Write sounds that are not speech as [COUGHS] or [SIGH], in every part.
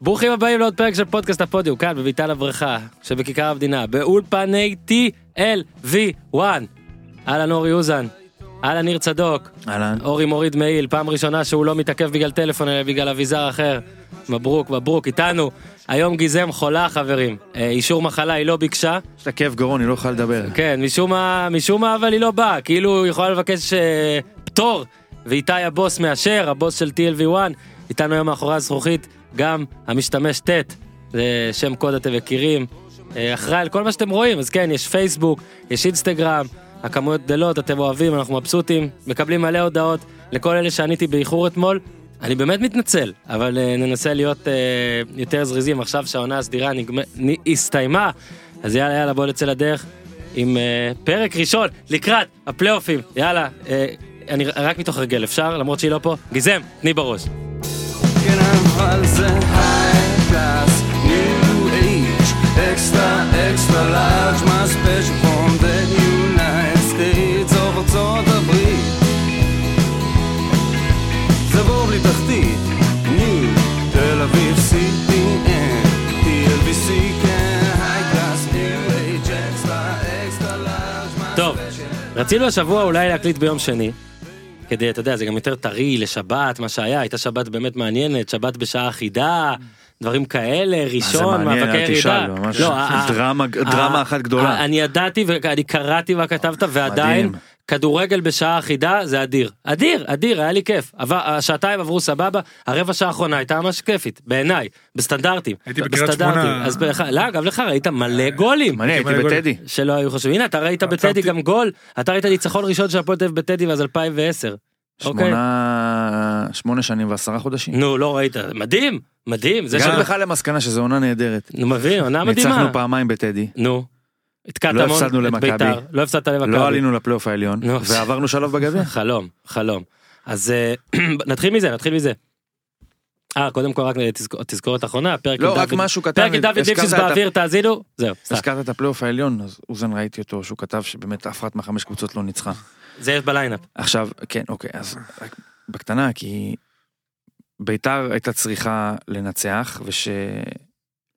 ברוכים הבאים לעוד פרק של פודקאסט הפודיום, כאן בביתן הברכה, שבכיכר המדינה, באולפני TLV1. אהלן אורי אוזן, אהלן ניר צדוק, אהלן. אורי מוריד מעיל, פעם ראשונה שהוא לא מתעכב בגלל טלפון אלא בגלל אביזר אחר. מברוק, מברוק, איתנו. היום גיזם חולה חברים, אה, אישור מחלה היא לא ביקשה, יש לה כאב גרון, היא לא יכולה לדבר. כן, משום מה, משום מה אבל היא לא באה, כאילו היא יכולה לבקש אה, פטור, ואיתי הבוס מאשר, הבוס של TLV1, איתנו היום מאחורי הזכוכית, גם המשתמש טט, זה שם קוד אתם מכירים, אה, אחראי על כל מה שאתם רואים, אז כן, יש פייסבוק, יש אינסטגרם, הכמויות גדלות, אתם אוהבים, אנחנו מבסוטים, מקבלים מלא הודעות, לכל אלה שעניתי באיחור אתמול. אני באמת מתנצל, אבל אה, ננסה להיות אה, יותר זריזים עכשיו שהעונה הסדירה נגמ... נ... הסתיימה, אז יאללה יאללה בוא נצא לדרך. עם אה, פרק ראשון לקראת הפלייאופים. יאללה, אה, אני רק מתוך הרגל, אפשר? למרות שהיא לא פה. גיזם, תני בראש. כן, אבל זה high class, new age, extra, extra large, my special from the United States או ארצות הברית. זה בור בלי תחתית, ניו, תל אביב, CPN, TLBC, כן, high class, new age, extra, extra large, my טוב, special. רצינו השבוע אולי להקליט ביום שני. כדי, אתה יודע, זה גם יותר טרי לשבת, מה שהיה, הייתה שבת באמת מעניינת, שבת בשעה אחידה, דברים כאלה, ראשון, אה, מעניין, מאבקי אל תשאל, ירידה. ממש לא, ה- דרמה- ה- דרמה ה- אחת גדולה. ה- אני ידעתי ואני קראתי מה כתבת, ועדיין, מדהים. כדורגל בשעה אחידה זה אדיר. אדיר, אדיר, היה לי כיף. עבר- השעתיים עברו סבבה, הרבע שעה האחרונה הייתה ממש כיפית, בעיניי, בסטנדרטים. הייתי בקריית בסטנדרטים. שמונה. אז בך- לא, גם לך ראית מלא גולים. מעניין, הייתי גול. בטדי. שלא היו חשובים. הנה, אתה ראית בטדי עצרתי. גם גול, אתה ראית ניצחון ראשון של הפועל תל אביב בטדי מאז 2010. אוקיי. שמונה... שמונה שנים ועשרה חודשים. נו, לא ראית. מדהים, מדהים. זה הגענו שאתה... בכלל למסקנה שזו עונה נהדרת. נו, מבין, עונה מדהימה. ניצחנו פעמיים בטדי, נו. התקעת לא המון הפסדנו את למכבי. בית"ר, לא הפסדת למכבי. לא עלינו לפלייאוף העליון, נו. ועברנו שלב בגביע. חלום, חלום. אז אה, [CLEARS THROAT] נתחיל מזה, נתחיל מזה. אה, קודם כל רק תזכור- תזכורת אחרונה, פרק עם לא, דוד... רק משהו קטן, פרק עם דוד הזכרת ליפשיץ את ה- באוויר, תאזינו, זהו, סתם. הזכרת את הפלייאוף העליון, אז אוזן ראיתי אותו, שהוא כתב שבאמת אף אחת מהחמש קבוצות לא ניצחה. זה יש בליינאפ. עכשיו, כן, אוקיי, אז רק בקטנה, כי ביתר הייתה צריכה לנצח וש...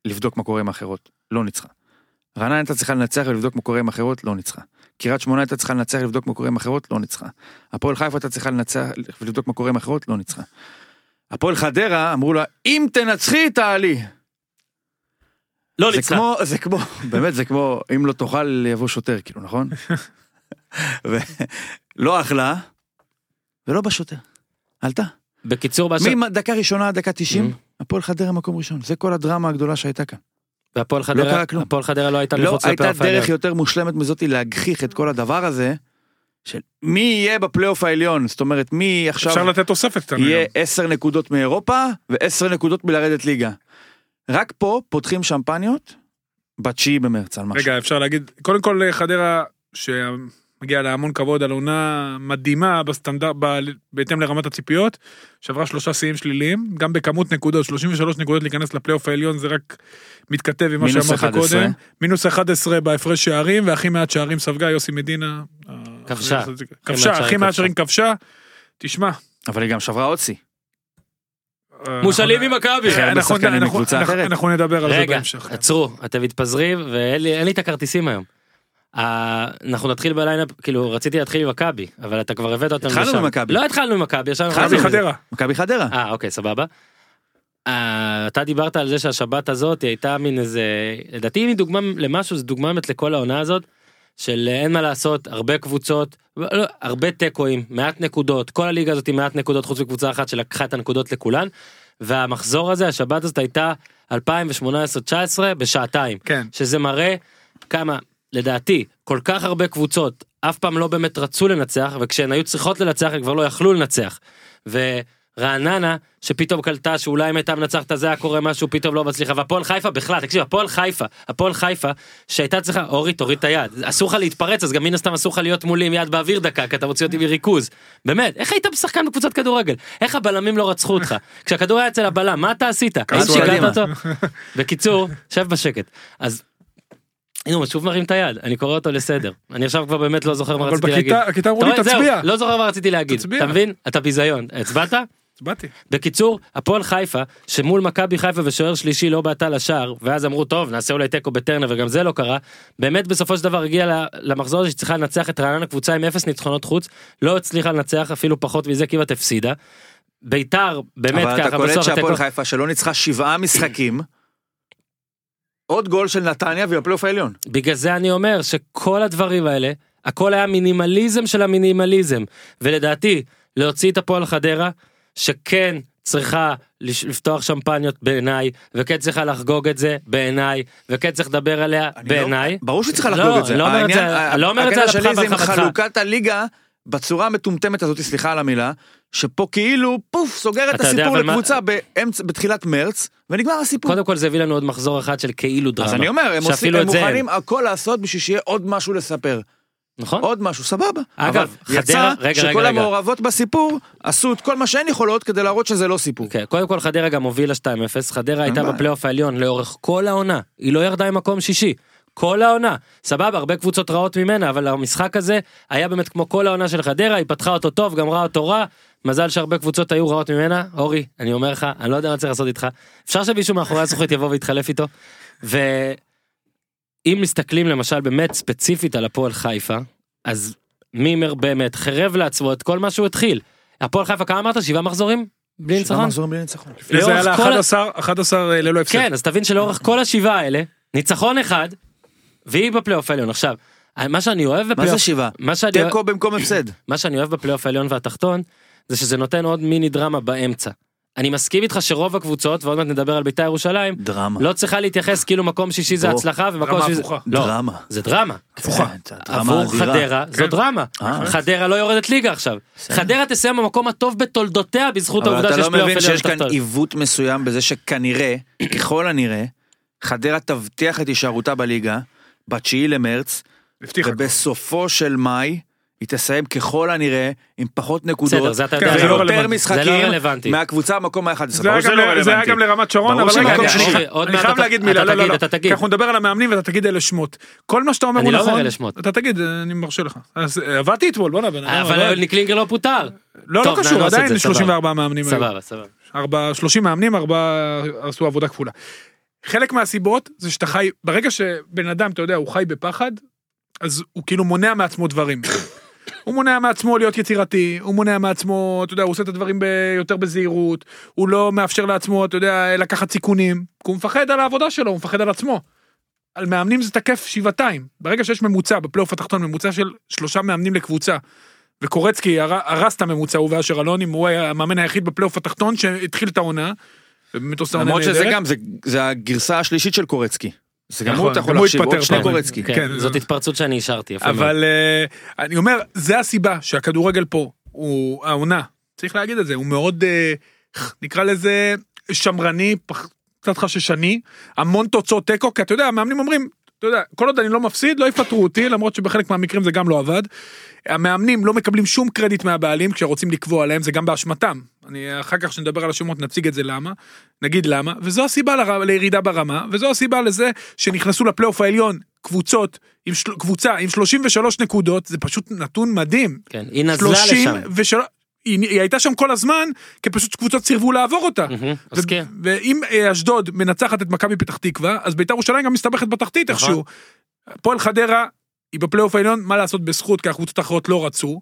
לבדוק מה קורה עם האחרות, לא ניצחה. רעננה הייתה צריכה לנצח ולבדוק מה קורה עם האחרות, לא ניצחה. קריית שמונה הייתה צריכה לנצח ולבדוק מה קורה עם האחרות, לא ניצחה. הפועל חיפה הייתה צריכה לנצח ולבדוק מה קורה עם האחרות, לא ניצחה. הפועל חדרה אמרו לה, אם תנצחי תעלי. לא זה ניצחה. כמו, זה כמו, באמת זה כמו, אם לא תאכל יבוא שוטר, כאילו, נכון? ולא אכלה, ולא בא שוטר. עלתה. בקיצור, מה ש- מדקה ראשונה עד דקה 90, Mhm. Mm-hmm. הפועל חדרה מקום ראשון. זה כל הדרמה הגדולה שהייתה כאן. והפועל חדרה, לא קרה כלום. הפועל חדרה לא הייתה לא מחוץ הייתה לפלייאוף דרך העליון. יותר מושלמת מזאתי להגחיך את כל הדבר הזה, של מי יהיה בפלייאוף העליון. זאת אומרת, מי אפשר עכשיו לתת תוספת קטנה. יהיה גם. 10 נקודות מאירופה ו-10 נקודות מלרדת ליגה. רק פה פותחים שמפניות בתשיעי במרץ על משהו. רגע, אפשר להגיד, קודם כל אה, חדרה, שמגיע לה המון כבוד על עונה מדהימה בסטנדרט, ב- בהתאם לרמת הציפיות, שברה שלושה שיאים שליליים, גם בכמות נקודות, 33 נקודות להיכנס לפלייאוף העליון, זה רק מתכתב עם מה מינוס שאמרת 11. קודם. מינוס 11 בהפרש שערים, והכי מעט שערים ספגה יוסי מדינה. אה, כבשה. כן, הכי מעט כבשה, הכי שערים מעט כבשה. שערים כבשה. תשמע. אבל היא גם שברה עוד שיא. אה, מושאלים אנחנו- ממכבי. אה, הרבה אנחנו- שחקנים אנחנו- מקבוצה אנחנו- אחרת. אנחנו נדבר על זה רגע, בהמשך. כן. עצרו, אתם מתפזרים ואין לי אין לי את הכרטיסים היום. אה, אנחנו נתחיל בליינאפ, כאילו רציתי להתחיל עם מכבי, אבל אתה כבר הבאת אותנו לשם. התחלנו ממכבי. לא התחלנו עם מכבי, ישר התחלנו נכנסנו מכבי לזה. חדרה. מכבי חדרה. אה, אוקיי, סבבה. אה, אתה דיברת על זה שהשבת הזאת היא הייתה מין איזה, לדעתי אם היא דוגמה למשהו, זו דוגמה באמת לכל העונה הזאת, של אין מה לעשות, הרבה קבוצות, לא, הרבה תיקואים, מעט נקודות, כל הליגה הזאת היא מעט נקודות חוץ מקבוצה אחת שלקחה את הנקודות לכולן, והמחזור הזה, השבת הזאת הייתה 2018-2019 בשעתיים, כן. שזה מראה כמה, לדעתי, כל כך הרבה קבוצות אף פעם לא באמת רצו לנצח, וכשהן היו צריכות לנצח הן כבר לא יכלו לנצח. ורעננה, שפתאום קלטה שאולי אם הייתה מנצחת זה היה קורה משהו, פתאום לא מצליחה. והפועל חיפה בכלל, תקשיב, הפועל חיפה, הפועל חיפה, שהייתה צריכה, אורי תוריד את היד, אסור לך להתפרץ, אז גם מן הסתם אסור לך להיות מולי עם יד באוויר דקה, כי אתה מוציא אותי מריכוז. באמת, איך היית שחקן בקבוצת כדורגל? איך הבלמים לא רצחו אותך? כשהכדור היה אצל הבלם, מה אתה עשית? האם כעסו שיגעת קדימה. אותו? בקיצור, שב בשקט. אז הנה הוא שוב מרים את היד, אני קורא אותו לסדר. אני עכשיו כבר באמת לא זוכר מה אבל רציתי להגיד. בכיתה, הכיתה אמרו אתה לי רואה? זהו, תצביע. לא זוכר מה רציתי להגיד. תצביע. אתה מבין? אתה ביזיון. הצבעת? באתי. בקיצור, הפועל חיפה, שמול מכבי חיפה ושוער שלישי לא בעטה לשער, ואז אמרו, טוב, נעשה אולי תיקו בטרנר, וגם זה לא קרה, באמת בסופו של דבר הגיעה ל- למחזור הזה שצריכה לנצח את רעננה קבוצה עם אפס ניצחונות חוץ, לא הצליחה לנצח אפילו פחות מזה, כמעט הפסידה. ביתר, באמת אבל אתה ככה, קולט בסוף התיקו... שהפועל חיפה שלא ניצחה שבעה משחקים, עוד גול של נתניה והיא בפלייאוף העליון. בגלל זה אני אומר שכל הדברים האלה, הכל היה מינימליזם של המינימליזם. ולדעתי, להוציא את הפועל חדרה, שכן צריכה לש- לפתוח שמפניות בעיניי, וכן צריכה לחגוג את זה בעיניי, וכן צריך לדבר עליה אני לא- בעיניי. ברור שצריך לא, לחגוג את זה. לא אומר את זה- העניין- אני לא אומר את זה הקטע על אפך שלי זה עם ועל חמתך. חלוקת הליגה בצורה המטומטמת הזאת, סליחה על המילה, שפה כאילו פוף סוגר את אתה יודע, הסיפור אבל מה- לקבוצה באמצע- בתחילת מרץ ונגמר הסיפור. קודם כל זה הביא לנו עוד מחזור אחד של כאילו דרמה. אז אני אומר, הם עושים, שאפילו הם את זה אין. מוכנים הכל לעשות בשביל שיהיה עוד משהו לספר. נכון? עוד משהו, סבבה. אגב, אבל חדרה- רגע, רגע, יצא שכל רגע. המעורבות בסיפור עשו את כל מה שהן יכולות כדי להראות שזה לא סיפור. כן, קודם כל חדרה גם הובילה 2-0, חדרה הייתה בעיה. בפלייאוף העליון לאורך כל העונה, היא לא ירדה עם מקום שישי. כל העונה, סבבה, הרבה קבוצות רעות ממנה, אבל המשחק הזה היה באמת כמו כל העונה של חדרה, היא פתחה אותו טוב, גמרה אותו רע, מזל שהרבה קבוצות היו רעות ממנה, אורי, אני אומר לך, אני לא יודע מה צריך לעשות איתך, אפשר שמישהו מאחורי הזכוכית יבוא ויתחלף איתו, ואם מסתכלים למשל באמת ספציפית על הפועל חיפה, אז מימר באמת חרב לעצמו את כל מה שהוא התחיל. הפועל חיפה כמה אמרת? שבעה מחזורים? בלי ניצחון? מחזורים בלי ניצחון. לפני זה היה לאורך לה כל ה- 11, 11 אה, ללא הפסד. כן, אז תבין שלאורך כל השבעה האלה, ניצחון אחד, והיא בפלייאוף העליון. עכשיו, מה שאני אוהב מה זה בפלייאוף... שבעה? מה שאני, אוהב, תיקו במקום הפסד. מה שאני אוהב בפלייאוף העליון והתחתון, זה שזה נותן עוד מיני דרמה באמצע. אני מסכים איתך שרוב הקבוצות, ועוד מעט נדבר על בית"ר ירושלים, דרמה. לא צריכה להתייחס כאילו מקום שישי זה בוא. הצלחה ומקום דרמה שישי זה... הפוכה. לא, לא. דרמה. זה דרמה. כן. הפוכה. אה, זה דרמה עבור חדרה אדירה. זו כן. דרמה. אה. חדרה לא יורדת ליגה עכשיו. חדרה תסיים במקום הטוב בתולדותיה בזכות אבל העובדה אתה שיש לא פלייאוף מבין עליון שיש כאן תחתון. עיוות מסוים בזה שכנראה, ככל הנראה, חדרה תבטיח את הישארותה בליגה בתשיעי למרץ, הבטיחה. ובסופו של מאי היא תסיים ככל הנראה עם פחות בסדר, נקודות זה אתה כן, יודע. זה לא ויותר רלוונטי. זה לא משחקים רלוונטי. מהקבוצה במקום ה-11. זה היה לא גם ל- זה היה גם לרמת שרון, ברור אבל רגע, שמקום רגע, שני. שנייה, לא עוד אני מעט חייב אתה- להגיד אתה מילה, לא, תגיד, לא, לא, אתה תגיד. אנחנו נדבר על המאמנים ואתה תגיד אלה שמות. כל מה שאתה אומר אני הוא לא אומר נכון, אלה שמות. אתה תגיד, אני מרשה לך. אז אה, עבדתי אתמול, בואנה, בן אדם, אבל עבד. יוני קלינגר לא פוטר. לא, לא טוב, קשור, נעשה את עדיין זה, סבבה. 34 מאמנים היו. סבבה, סבבה. ארבע, 30 מאמנים, ארבע עשו עבודה כפולה. חלק מהסיבות זה שאתה חי, ברגע שבן אדם, אתה יודע, הוא חי בפחד, אז הוא כאילו מונע מעצמו דברים. הוא מונע מעצמו להיות יצירתי, הוא מונע מעצמו, אתה יודע, הוא עושה את הדברים ב- יותר בזהירות, הוא לא מאפשר לעצמו, אתה יודע, לקחת סיכונים, כי הוא מפחד על העבודה שלו, הוא מפחד על עצמו. על מאמנים זה תקף שבעתיים. ברגע שיש ממוצע, בפלייאוף התחתון, ממוצע של שלושה מאמנים לקבוצה, וקורצקי הר- הרס את הממוצע, הוא ואשר אלונים, הוא היה המאמן היחיד בפלייאוף התחתון שהתחיל את העונה, ובאמת עושה עונה למרות שזה נהדרת. גם, זה- זה הגרסה השלישית של קורצקי. זה גם נכון, הוא אתה יכול גם הוא להחשיב, התפטר עוד שני פעמיים. קורצקי. כן, כן, זאת זה- התפרצות שאני השארתי. יפה מאוד. אבל אה, אני אומר, זה הסיבה שהכדורגל פה הוא העונה, צריך להגיד את זה, הוא מאוד, אה, נקרא לזה, שמרני, פח- קצת חששני, המון תוצאות תיקו, כי אתה יודע, המאמנים אומרים, אתה יודע, כל עוד אני לא מפסיד, לא יפטרו אותי, למרות שבחלק מהמקרים זה גם לא עבד. המאמנים לא מקבלים שום קרדיט מהבעלים כשרוצים לקבוע עליהם, זה גם באשמתם. אני אחר כך כשנדבר על השמות נציג את זה למה, נגיד למה, וזו הסיבה לר... לירידה ברמה, וזו הסיבה לזה שנכנסו לפלייאוף העליון קבוצות, עם של... קבוצה עם 33 נקודות, זה פשוט נתון מדהים. כן, היא נזלה 30 לשם. ושל... היא... היא הייתה שם כל הזמן, כי פשוט קבוצות סירבו לעבור [LAUGHS] אותה. מהמם, כן, ו- מסכים. ואם אה, אשדוד מנצחת את מכבי פתח תקווה, אז ביתר ירושלים גם מסתבכת בתחתית נכון. איכשהו. הפועל חדרה, היא בפלייאוף העליון, מה לעשות בזכות, כי הקבוצות האחרות לא רצו.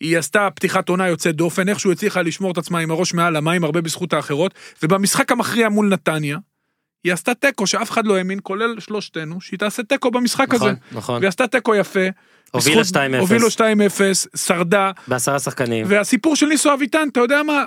היא עשתה פתיחת עונה יוצאת דופן, איכשהו הצליחה לשמור את עצמה עם הראש מעל המים, הרבה בזכות האחרות, ובמשחק המכריע מול נתניה, היא עשתה תיקו שאף אחד לא האמין, כולל שלושתנו, שהיא תעשה תיקו במשחק הזה. נכון, נכון. והיא עשתה תיקו יפה. הובילה בזכות- 2-0. הובילה 2-0, שרדה, בעשרה שחקנים. והסיפור של ניסו אביטן, אתה יודע מה,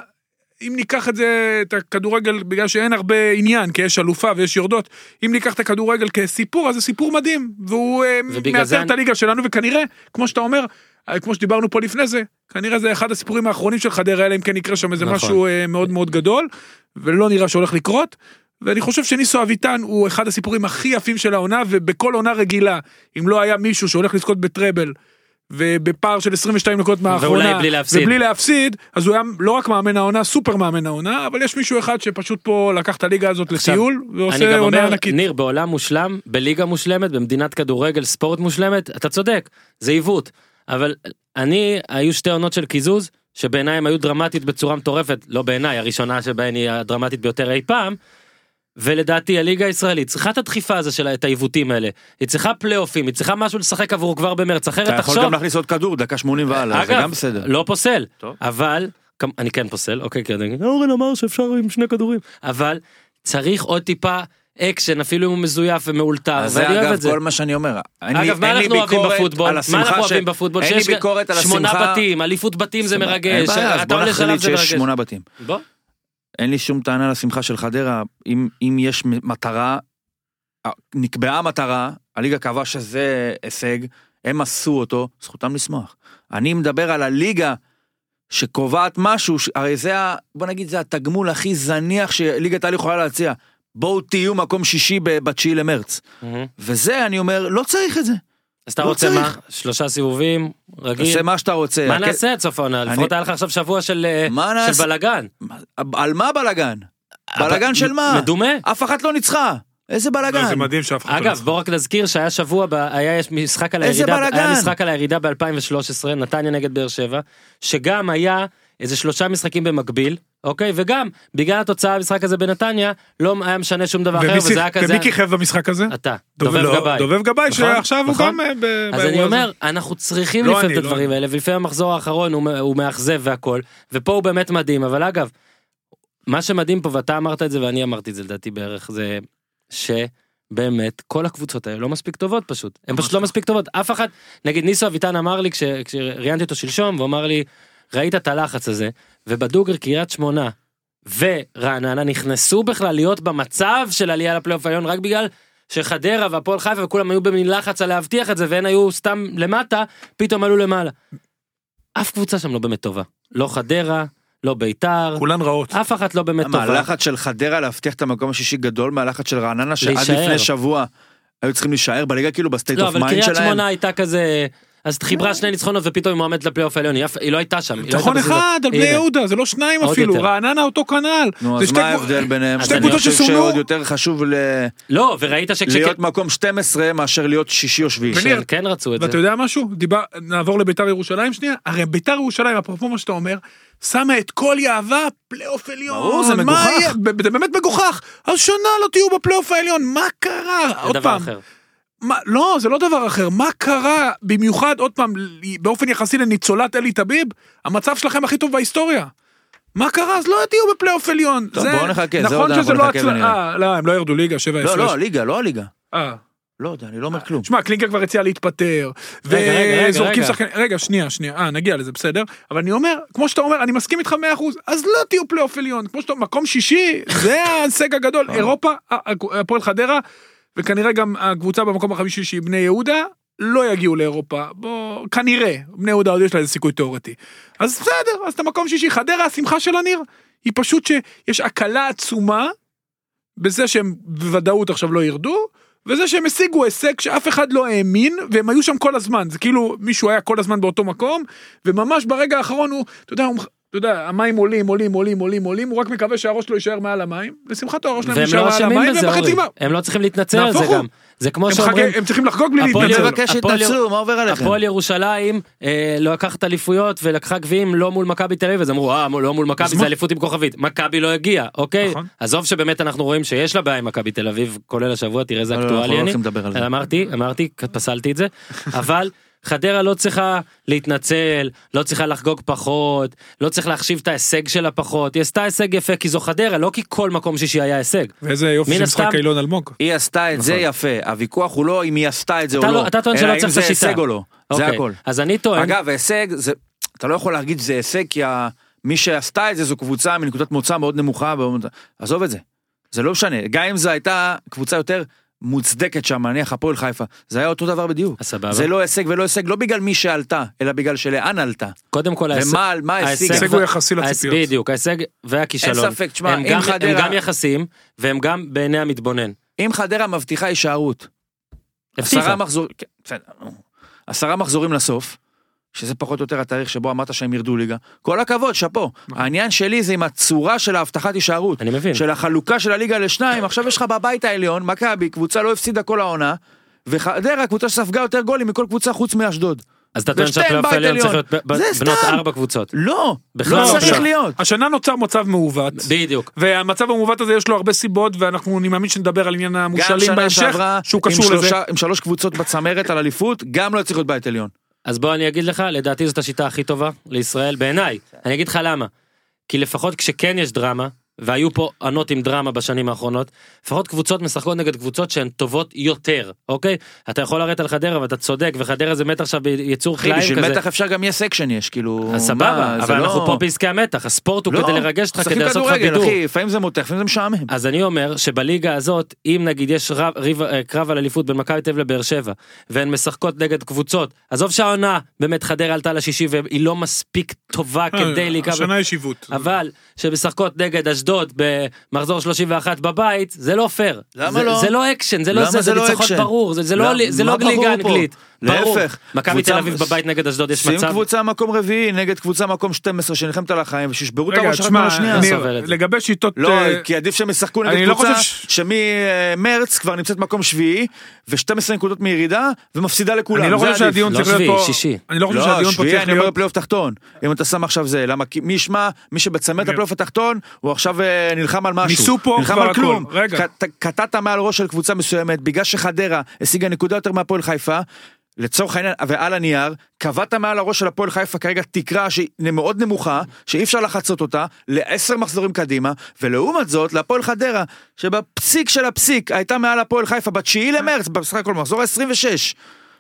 אם ניקח את זה, את הכדורגל, בגלל שאין הרבה עניין, כי יש אלופה ויש יורדות, אם ניקח את הכדורגל כסיפור, אז זה סיפור מדהים, והוא אה, ובגלל זה מאתר את אני- הליגה שלנו, וכנראה, כמו שאתה אומר, אה, כמו שדיברנו פה לפני זה, כנראה זה אחד הסיפורים האחרונים של חדרה, אלא אם כן יקרה שם איזה נכון. משהו אה, מאוד מאוד גדול, ולא נראה שהולך לקרות. ואני חושב שניסו אביטן הוא אחד הסיפורים הכי יפים של העונה, ובכל עונה רגילה, אם לא היה מישהו שהולך לזכות בטראבל, ובפער של 22 נקודות מהאחרונה, ואולי בלי להפסיד. ובלי להפסיד, אז הוא היה לא רק מאמן העונה, סופר מאמן העונה, אבל יש מישהו אחד שפשוט פה לקח את הליגה הזאת לטיול, אני ועושה גם עונה אומר, ענקית. ניר, בעולם מושלם, בליגה מושלמת, במדינת כדורגל, ספורט מושלמת, אתה צודק, זה עיוות. אבל אני, היו שתי עונות של קיזוז, שבעיניי הם היו דרמטית בצורה מטורפת, לא בעיניי, הראשונה שבהן היא הדרמטית ביותר אי פעם. ולדעתי הליגה הישראלית צריכה את הדחיפה הזו שלה, את העיוותים האלה. היא צריכה פלייאופים, היא צריכה משהו לשחק עבורו כבר במרץ, אחרת אתה תחשוב. יכול גם להכניס עוד כדור, דקה 80 והלאה, זה אגב, גם בסדר. לא פוסל, טוב. אבל, כמ- אני כן פוסל, אוקיי, כי אני- אורן אמר שאפשר עם שני כדורים, אבל צריך עוד טיפה אקשן, אפילו אם הוא מזויף ומאולתר, אז זה ואני אוהב אגב את זה. כל מה שאני אומר. אין לי- אגב, מה אין לי אנחנו אוהבים ביקורת בפוטבול? על מה השמחה אנחנו ש- אוהבים בפוטבול? אין לי שיש ביקורת על שמונה השמחה. בתים, אליפות בתים זה סבבה, מרגש, אין בעיה, אז אתה בוא עולה שלב נחליט זה שיש מרגש. שמונה בתים. בוא. אין לי שום טענה לשמחה של חדרה, אם, אם יש מטרה, אה, נקבעה מטרה, הליגה קבעה שזה הישג, הם עשו אותו, זכותם לשמוח. אני מדבר על הליגה שקובעת משהו, ש- הרי זה, ה- בוא נגיד, זה התגמול הכי זניח שליגת העל יכולה להציע. בואו תהיו מקום שישי ב- בתשיעי למרץ. מהמם. וזה, אני אומר, לא צריך את זה. אז אתה לא רוצה מה? צריך. שלושה סיבובים, רגיל. תעשה מה שאתה רוצה. מה הכ- נעשה עד סוף העונה? אני- לפחות היה לך עכשיו שבוע של אה, מה של נעשה? בלאגן. על מה בלאגן? בלאגן של מה? מדומה. אף אחת לא ניצחה. איזה בלאגן? זה מדהים שאף אחד לא אגב, בוא רק נזכיר שהיה שבוע, ב... היה יש משחק על איזה הירידה, היה בלאגן. משחק על הירידה ב-2013, נתניה נגד באר שבע, שגם היה איזה שלושה משחקים במקביל, אוקיי? וגם, בגלל התוצאה המשחק הזה בנתניה, לא היה משנה שום דבר אחר, ומי וזה היה שיח- כזה... ומי כיכב במשחק הזה? אתה, דוב- דובב לא, גבאי. דובב גבאי, נכון, שעכשיו הוא נכון. גם אה, ב- באירוע אז הזה. אני אומר, אנחנו צריכים לא לפעמים אני, את לא הדברים האלה, ולפעמים המחזור האחרון הוא מ- הוא מאכזב והכל, ופה הוא באמת מדהים, אבל אגב, מה שמדהים פה, ואתה אמרת את זה ואני אמרתי את זה לדעתי בערך, זה שבאמת כל הקבוצות האלה לא מספיק טובות פשוט, הן פשוט לא מספיק טובות, אף אחת, נגיד ניסו אביטן אמר לי, כש- כשראיינתי אותו שלשום, והוא אמר לי, ראית את הלחץ הזה, ובדוגר קריית שמונה ורעננה נכנסו בכלל להיות במצב של עלייה לפלייאוף העליון רק בגלל שחדרה והפועל חיפה וכולם היו במין לחץ על להבטיח את זה והן היו סתם למטה, פתאום עלו למעלה. אף קבוצה שם לא באמת טובה. לא חדרה, לא ביתר, כולן רעות. אף אחת לא באמת מה, טובה. הלחץ של חדרה להבטיח את המקום השישי גדול מהלחץ של רעננה שעד להישאר. לפני שבוע היו צריכים להישאר בליגה כאילו בסטייט לא, אוף אבל מיינד קריית שלהם. שמונה הייתה כזה... אז חיברה שני ניצחונות ופתאום היא מועמדת לפלייאוף העליון, היא אף- היא לא הייתה שם. היא לא הייתה ניצחון בסביבות. אחד על בני הנה. יהודה, זה לא שניים עוד אפילו, יותר. רעננה אותו כנ"ל. נו, זה אז שתי מה קבוצ- ההבדל ביניהם? שתי אני קבוצות חושב שסומנו- שעוד יותר חשוב ל- לא, וראית שכש... להיות מקום 12 מאשר להיות שישי או שביעי. בני- שהם כן רצו את זה. ואתה יודע משהו? דיבר, נעבור לביתר ירושלים שנייה. הרי ביתר ירושלים, אפרופו מה שאתה אומר, שמה את כל יהבה פלייאוף עליון. ברור, זה מה מגוחך. יהיה? ב- זה באמת מגוחך. אז שנה לא תהיו בפלייאוף העליון, מה קרה? זה עוד דבר פעם. אחר. מה, לא, זה לא דבר אחר. מה קרה, במיוחד, עוד פעם, ל- באופן יחסי לניצולת אלי טביב, המצב שלכם הכי טוב בהיסטוריה. מה קרה? אז לא תהיו בפלייאוף עליון. טוב, זה- בואו נחכה, זה עוד נכון אנחנו שזה לא נחכה ונראה. הצלחה. לא, הם לא ירדו ליגה, שבע לא, הפרש. לא, הליגה, לא הליגה. אה. לא יודע, אני לא אומר כלום. שמע, קלינגר כבר הציע להתפטר, רגע, רגע, רגע, וזורקים רגע. שחקנים, רגע, שנייה, שנייה, אה, נגיע לזה, בסדר, אבל אני אומר, כמו שאתה אומר, אני מסכים איתך 100%, אז לא תהיו פלייאוף עליון, כמו שאתה, מקום שישי, זה ההישג הגדול, אה. אירופה, ה- ה- הפועל חדרה, וכנראה גם הקבוצה במקום החמישי שהיא בני יהודה, לא יגיעו לאירופה, בוא, כנראה, בני יהודה עוד יש לה איזה סיכוי תיאורטי. אז בסדר, אז אתה מקום שישי, חדרה, השמחה שלה ניר, היא פשוט שיש הקלה עצומה, בזה שהם בוודאות עכשיו לא ירדו, וזה שהם השיגו הישג שאף אחד לא האמין, והם היו שם כל הזמן, זה כאילו מישהו היה כל הזמן באותו מקום, וממש ברגע האחרון הוא, אתה יודע, הוא... אתה יודע, המים עולים, עולים, עולים, עולים, עולים, הוא רק מקווה שהראש לא יישאר מעל המים, לשמחתו הראש שלהם והם לא יישאר מעל אשמים המים, בזה, והם בחצי אורי. גמר. הם לא צריכים להתנצל על זה נהפוך הוא. גם. זה כמו הם שאומרים, חגג- הם צריכים לחגוג בלי הפועל להתנצל. ירושלים- מבקש הפועל- שיתנצלו, מה עובר עליכם? הפועל ירושלים אה, לא לקחת אליפויות ולקחה גביעים לא מול מכבי תל אביב אז אמרו אה מול- לא מול מכבי זה אליפות עם כוכבית מכבי לא הגיעה אוקיי נכון. עזוב שבאמת אנחנו רואים שיש לה בעיה עם מכבי תל אביב כולל השבוע תראה איזה לא, לא, אנחנו אקטואלי אני לא הולכים לדבר על זה. אמרתי אמרתי פסלתי [LAUGHS] את זה אבל. חדרה לא צריכה להתנצל, לא צריכה לחגוג פחות, לא צריך להחשיב את ההישג שלה פחות, היא עשתה הישג יפה כי זו חדרה, לא כי כל מקום שישי היה הישג. ואיזה יופי מן של משחק הסתם- אילון אלמוג. היא עשתה את זה יפה, הוויכוח הוא לא אם היא עשתה את זה או נכון. אתה לא, לא- אתה טוען אלא שלא אם צריך את זה השיטה. הישג או לא, זה אוקיי, הכל. אז אני טוען, אגב, הישג, זה, אתה לא יכול להגיד שזה הישג, כי ה, מי שעשתה את זה זו קבוצה מנקודת מוצא מאוד נמוכה, מאוד- עזוב את זה. זה לא משנה, גם אם זו הייתה קבוצה יותר מוצדקת שם, נניח הפועל חיפה, זה היה אותו דבר בדיוק. אז סבבה. זה לא הישג ולא הישג, לא בגלל מי שעלתה, אלא בגלל שלאן עלתה. קודם כל ההישג- ומה מה השיגה. ההישג ההישג הוא יחסי לציפיות. ההס- בדיוק, ההישג והכישלון. אין ספק, תשמע, הם אם גם- הם חדרה- גם יחסים, והם גם בעיני המתבונן. אם חדרה מבטיחה הישארות, הבטיחה. עשרה מחזורים, כן, בסדר, נו. עשרה מחזורים לסוף, שזה פחות או יותר התאריך שבו אמרת שהם ירדו ליגה, כל הכבוד, שאפו. העניין שלי זה עם הצורה של ההבטחת הישארות. נכון. אני מבין. של החלוקה של הליגה לשניים, עכשיו יש לך בבית העליון, מכבי, קבוצה לא הפסידה כל העונה, וחדרה, קבוצה שספגה יותר גולים מכל קבוצה חוץ מאשדוד. אז אתה טוען ושתיהן שהפלייאוף בית העליון צריך עליון. להיות ב- ב- זה בנות סתם. ארבע קבוצות. לא, בכלל לא לא צריך עכשיו. להיות. השנה נוצר מצב מעוות. בדיוק. והמצב המעוות הזה יש לו הרבה סיבות ואנחנו אני מאמין שנדבר על עניין גם המושאלים שנה בהמשך שעברה, שהוא עם קשור לזה. שלושה- עם שלוש קבוצות בצמרת על אליפות, גם לא צריך להיות בית עליון. אז בוא אני אגיד לך, לדעתי זאת השיטה הכי טובה לישראל, בעיניי. אני אגיד לך למה. כי לפחות כשכן יש דרמה, והיו פה ענות עם דרמה בשנים האחרונות, לפחות קבוצות משחקות נגד קבוצות שהן טובות יותר, אוקיי? אתה יכול לרדת על חדרה ואתה צודק, וחדרה זה מת עכשיו ביצור אחי, חיים בשביל כזה. מתח אפשר גם יהיה סקשן יש, כאילו... אז מה, סבבה, זה אבל לא- אנחנו פה בעסקי המתח, הספורט הוא לא, כדי לרגש אותך, משחקים כדי לעשות לך כדורגל, בידור. אחי, לפעמים זה מותח, לפעמים זה משעמם. אז אני אומר שבליגה הזאת, אם נגיד יש רב, ריב, אה, קרב על אליפות בין מכבי תל אביב לבאר שבע, והן משחקות נגד קבוצות, עזוב שהעונה באמת חדרה עלתה לשישי והיא לא מספיק טובה כדי להיקרב, השנה יש עיוות. אבל שמשחקות נגד אשדוד במחזור 31 בבית, זה לא פייר. למה זה, לא? זה לא אקשן, זה לא למה זה, זה זה לא ניצחון אקשן? ברור, זה, זה לא, למה- זה לא מה ליגה ברור פה? אנגלית. ברור. להפך, מכבי תל קבוצה- אביב בבית נגד אשדוד יש שים מצב. קבוצה מקום רביעי נגד קבוצה מקום 12 שנלחמת על החיים ושישברו את רגע, הראש אחת תשמע, מעל השנייה. ניר, סובל את זה. לגבי שיטות... לא, אה, כי עדיף שהם ישחקו אני נגד לא קבוצה חושב ש- שממרץ כבר נמצאת מקום שביעי ו-12 נקודות מירידה ומפסידה לכולם. אני לא זה חושב עדיף. שהדיון לא צריך להיות שביעי, פה... שישי. אני לא חושב לא, שהדיון פה שביעי, צריך אני אומר להיות... בפלייאוף תחתון. אם אתה שם עכשיו זה, למה? כי מי ישמע, מי שבצמרת הפלייאוף התחתון, הוא עכשיו אה, נלחם על משהו. ניסו פה נלחם כבר על כלום. הכל. רגע. קט- קטעת מעל ראש של קבוצה מסוימת, בגלל שחדרה השיגה נקודה יותר מהפועל חיפה, לצורך העניין, ועל הנייר, קבעת מעל הראש של הפועל חיפה כרגע תקרה שהיא מאוד נמוכה, שאי אפשר לחצות אותה, לעשר מחזורים קדימה, ולעומת זאת, להפועל חדרה, שבפסיק של הפסיק הייתה מעל הפועל חיפה בתשיעי למרץ, בסך הכל מחזור ה-26.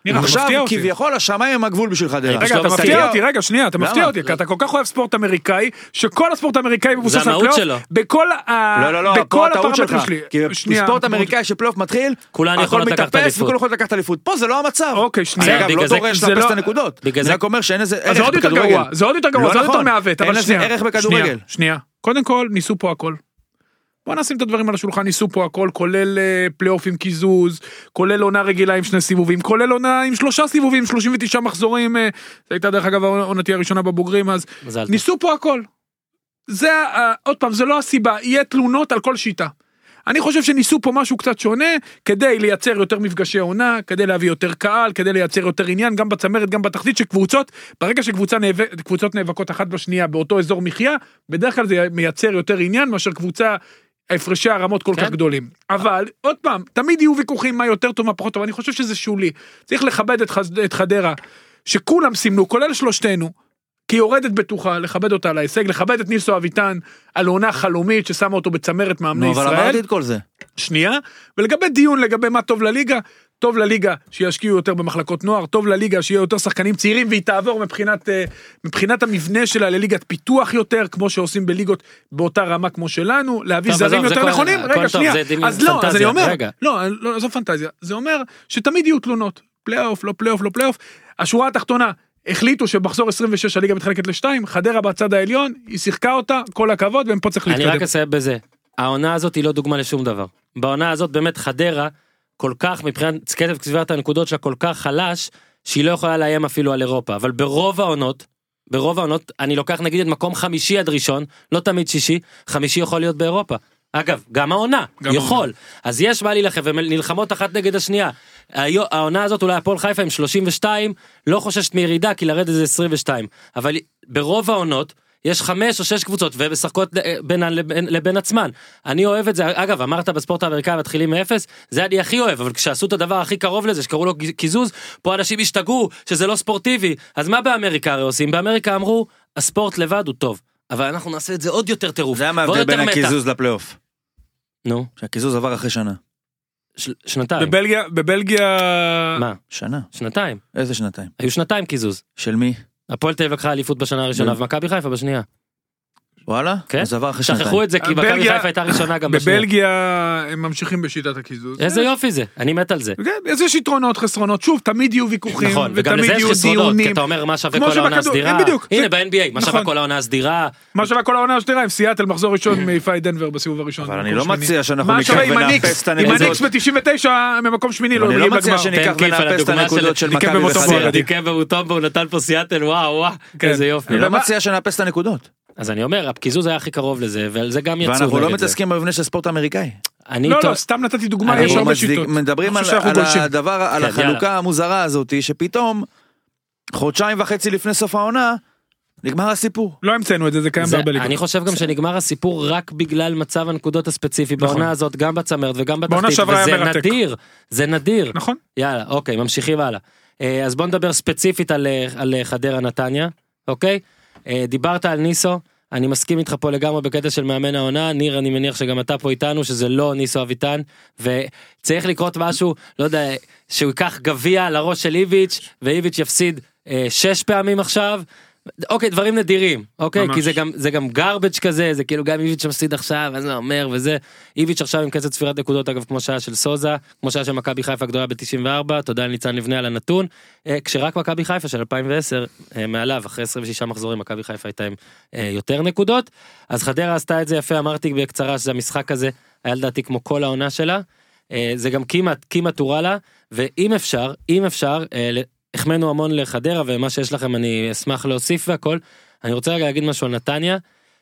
ניר, אתה עכשיו אה. מפתיע אותי. כביכול השמיים הם הגבול בשביל חדרה. רגע, אתה שלמה מפתיע קרעי. אותי, רגע, שנייה, אתה למה? מפתיע אותי, כי אתה כל כך אוהב ספורט אמריקאי, שכל הספורט האמריקאי מבוסס על המהות פלייאוף, שלו. בכל ה... לא, לא, לא, פה אה, בכל הטעות הפרמטרים שלך. שלי. כי שנייה, בספורט מאוד- אמריקאי שפלייאוף מתחיל, כולן הכל יכולות לקחת מתאפס אליפות. וכולם יכולות לקחת אליפות. פה זה לא המצב. אוקיי, שנייה. אני אגב בגלל לא זה- דורש זה לאפס לא- את הנקודות. בגלל אני זה- רק אומר שאין איזה אז אה, זה ערך עוד יותר בכדורגל. גרוע, זה עוד יותר גרוע, לא זה עוד יותר נכון. מעוות, אין אבל לזה שנייה. ערך שנייה, בכדורגל. שנייה, קודם כל, ניסו פה הכל. בוא נשים את הדברים על השולחן, ניסו פה הכל, כולל אה, פלייאוף עם קיזוז, כולל עונה רגילה עם שני סיבובים, כולל עונה עם שלושה סיבובים, 39 מחזורים, אה, זו הייתה דרך אגב עונתי הראשונה בבוגרים אז, מזל טוב. ניסו פה הכל. זה, ה- עוד פעם, זה לא הסיבה, יהיה תלונות על כל שיטה. אני חושב שניסו פה משהו קצת שונה, כדי לייצר יותר מפגשי עונה, כדי להביא יותר קהל, כדי לייצר יותר עניין, גם בצמרת, גם בתחתית, שקבוצות, ברגע שקבוצות נאבק, קבוצות נאבקות אחת בשנייה באותו אזור מחיה, בדרך כלל זה מייצר יותר עניין מאשר קבוצה, הפרשי הרמות כל כן. כך גדולים. אבל, עוד פעם, תמיד יהיו ויכוחים מה יותר טוב, מה פחות טוב, אני חושב שזה שולי. צריך לכבד את, חז... את חדרה, שכולם סימנו, כולל שלושתנו, כי היא יורדת בטוחה, לכבד אותה על ההישג, לכבד את ניסו אביטן על עונה חלומית ששמה אותו בצמרת מאמני נו, אבל ישראל. אמרתי את כל זה. שנייה, ולגבי דיון לגבי מה טוב לליגה, טוב לליגה שישקיעו יותר במחלקות נוער, טוב לליגה שיהיו יותר שחקנים צעירים והיא תעבור מבחינת, אה, מבחינת המבנה שלה לליגת פיתוח יותר, כמו שעושים בליגות באותה רמה כמו שלנו, להביא טוב, זרים עזוב, זה יותר כל- נכונים, הכל רגע טוב, שנייה, זה דמיון, אז לא, אז אני פנטזיה, אומר, רגע. לא, לא, עזוב פנטזיה, זה אומר שתמיד יהיו תלונות, פלייאוף, לא פלייאוף, לא פלייאוף, השורה התחתונה. החליטו שבמחזור 26 הליגה מתחלקת לשתיים, חדרה בצד העליון, היא שיחקה אותה, כל הכבוד, ומפה צריך אני להתקדם. רק אסיים בזה. העונה הזאת היא לא דוגמה לשום דבר. בעונה הזאת באמת חדרה כל כך מבחינת קצב צבירת הנקודות שלה כל כך חלש שהיא לא יכולה לאיים אפילו על אירופה אבל ברוב העונות. ברוב העונות אני לוקח נגיד את מקום חמישי עד ראשון לא תמיד שישי חמישי יכול להיות באירופה. אגב גם העונה גם יכול אז יש מה להילחם ונלחמות אחת נגד השנייה. היו- העונה הזאת אולי הפועל חיפה עם 32 לא חוששת מירידה כי לרדת זה 22 אבל ברוב העונות יש חמש או שש קבוצות ומשחקות בינן לבין, לבין עצמן. אני אוהב את זה, אגב, אמרת בספורט האמריקאי מתחילים מאפס, זה אני הכי אוהב, אבל כשעשו את הדבר הכי קרוב לזה, שקראו לו קיזוז, פה אנשים השתגעו שזה לא ספורטיבי. אז מה באמריקה הרי עושים? באמריקה אמרו, הספורט לבד הוא טוב, אבל אנחנו נעשה את זה עוד יותר טירוף. זה ועוד המהבדל יותר בין מתח. הקיזוז לפלייאוף. נו, שהקיזוז עבר אחרי שנה. ש... שנתיים. בבלגיה, בבלגיה... מה? שנה? שנתיים. איזה שנתיים? היו שנתיים קיזוז. של מי? הפועל תל אביב לקחה אליפות בשנה הראשונה ומכבי חיפה בשנייה. וואלה? כן. אז עבר אחרי שנתיים. שכחו את זה כי מכבי בלגיה- חיפה הייתה ראשונה גם בשנייה. בבלגיה הם ממשיכים בשיטת הקיזוז. איזה יופי זה, אני מת על זה. כן, אז יש יתרונות חסרונות שוב תמיד יהיו ויכוחים נכון, וגם ותמיד לזה יש יהיו חסרונות, כי דיונים. אתה אומר מה שווה כמו כל העונה שבכדור- הסדירה. בדיוק, הנה זה- ב-NBA, מה שווה נכון. כל העונה הסדירה. מה שווה כל העונה השנייה עם סיאטל מחזור [LAUGHS] ראשון מעיפה את דנבר בסיבוב הראשון. אבל אני במקום לא שמיני. מציע שאנחנו מה ניקח שווה עם ונאפס הניקס? את הנקודות. עם הניקס ב-99 ממקום שמיני לא אני מגיעים לא מציע לגמר. שניקח תן כיף על ונאפס את הדוגמה הנקודות של של- מכבי דיקה במוטו וחדרה. מועדית. דיקה והוטומבו, הוא נתן פה סיאטל, וואו, וואו, כן. איזה יופי. אני לא ומה- מציע שנאפס את הנקודות. אז אני אומר, הקיזוז היה הכי קרוב לזה, ועל זה גם יצאו. ואנחנו לא נגד זה. מתעסקים במבנה של ספורט אמריקאי. אני לא טוע- לא סתם נתתי דוגמה אני יש הרבה לא מצדיק- שיטות. מדברים אני על, חושב שאנחנו על גולשים. הדבר, על כן, החלוקה יאללה. המוזרה הזאת, שפתאום חודשיים וחצי לפני סוף העונה, נגמר הסיפור. לא המצאנו את זה, זה קיים זה- בהרבה ליגות. אני חושב גם שנגמר הסיפור רק בגלל מצב הנקודות הספציפי בעונה הזאת, גם בצמרת וגם נכון. בעונה בתחתית, שעברה היה וזה מרתק. נדיר, זה נדיר. נכון? יאללה, אוקיי, ממשיכים הלאה. אה, אז בוא נדבר ספציפית על, אה, על אה, חדרה נתניה, אוקיי? אה, דיברת על ניסו, אני מסכים איתך פה לגמרי בקטע של מאמן העונה, ניר, אני מניח שגם אתה פה איתנו, שזה לא ניסו אביטן, וצריך לקרות משהו, לא יודע, שהוא ייקח גביע על הראש של איביץ', ואיביץ' יפסיד אה, שש פעמים עכשיו. אוקיי, דברים נדירים, אוקיי? ממש. כי זה גם, זה גם garbage כזה, זה כאילו גם איביץ' מפסיד עכשיו, אז זה אומר וזה. איביץ' עכשיו עם קצב ספירת נקודות, אגב, כמו שהיה של סוזה, כמו שהיה של מכבי חיפה הגדולה ב-94, תודה לניצן לבנה על הנתון. אה, כשרק מכבי חיפה של 2010, אה, מעליו, אחרי 26 מחזורים, מכבי חיפה הייתה עם אה, יותר נקודות. אז חדרה עשתה את זה יפה, אמרתי בקצרה שזה המשחק הזה, היה לדעתי כמו כל העונה שלה. אה, זה גם כמעט, כמעט הורע לה, ואם אפשר, אם אפשר, אה, ל- החמאנו המון לחדרה, ומה שיש לכם אני אשמח להוסיף והכל. אני רוצה רגע להגיד משהו על נתניה,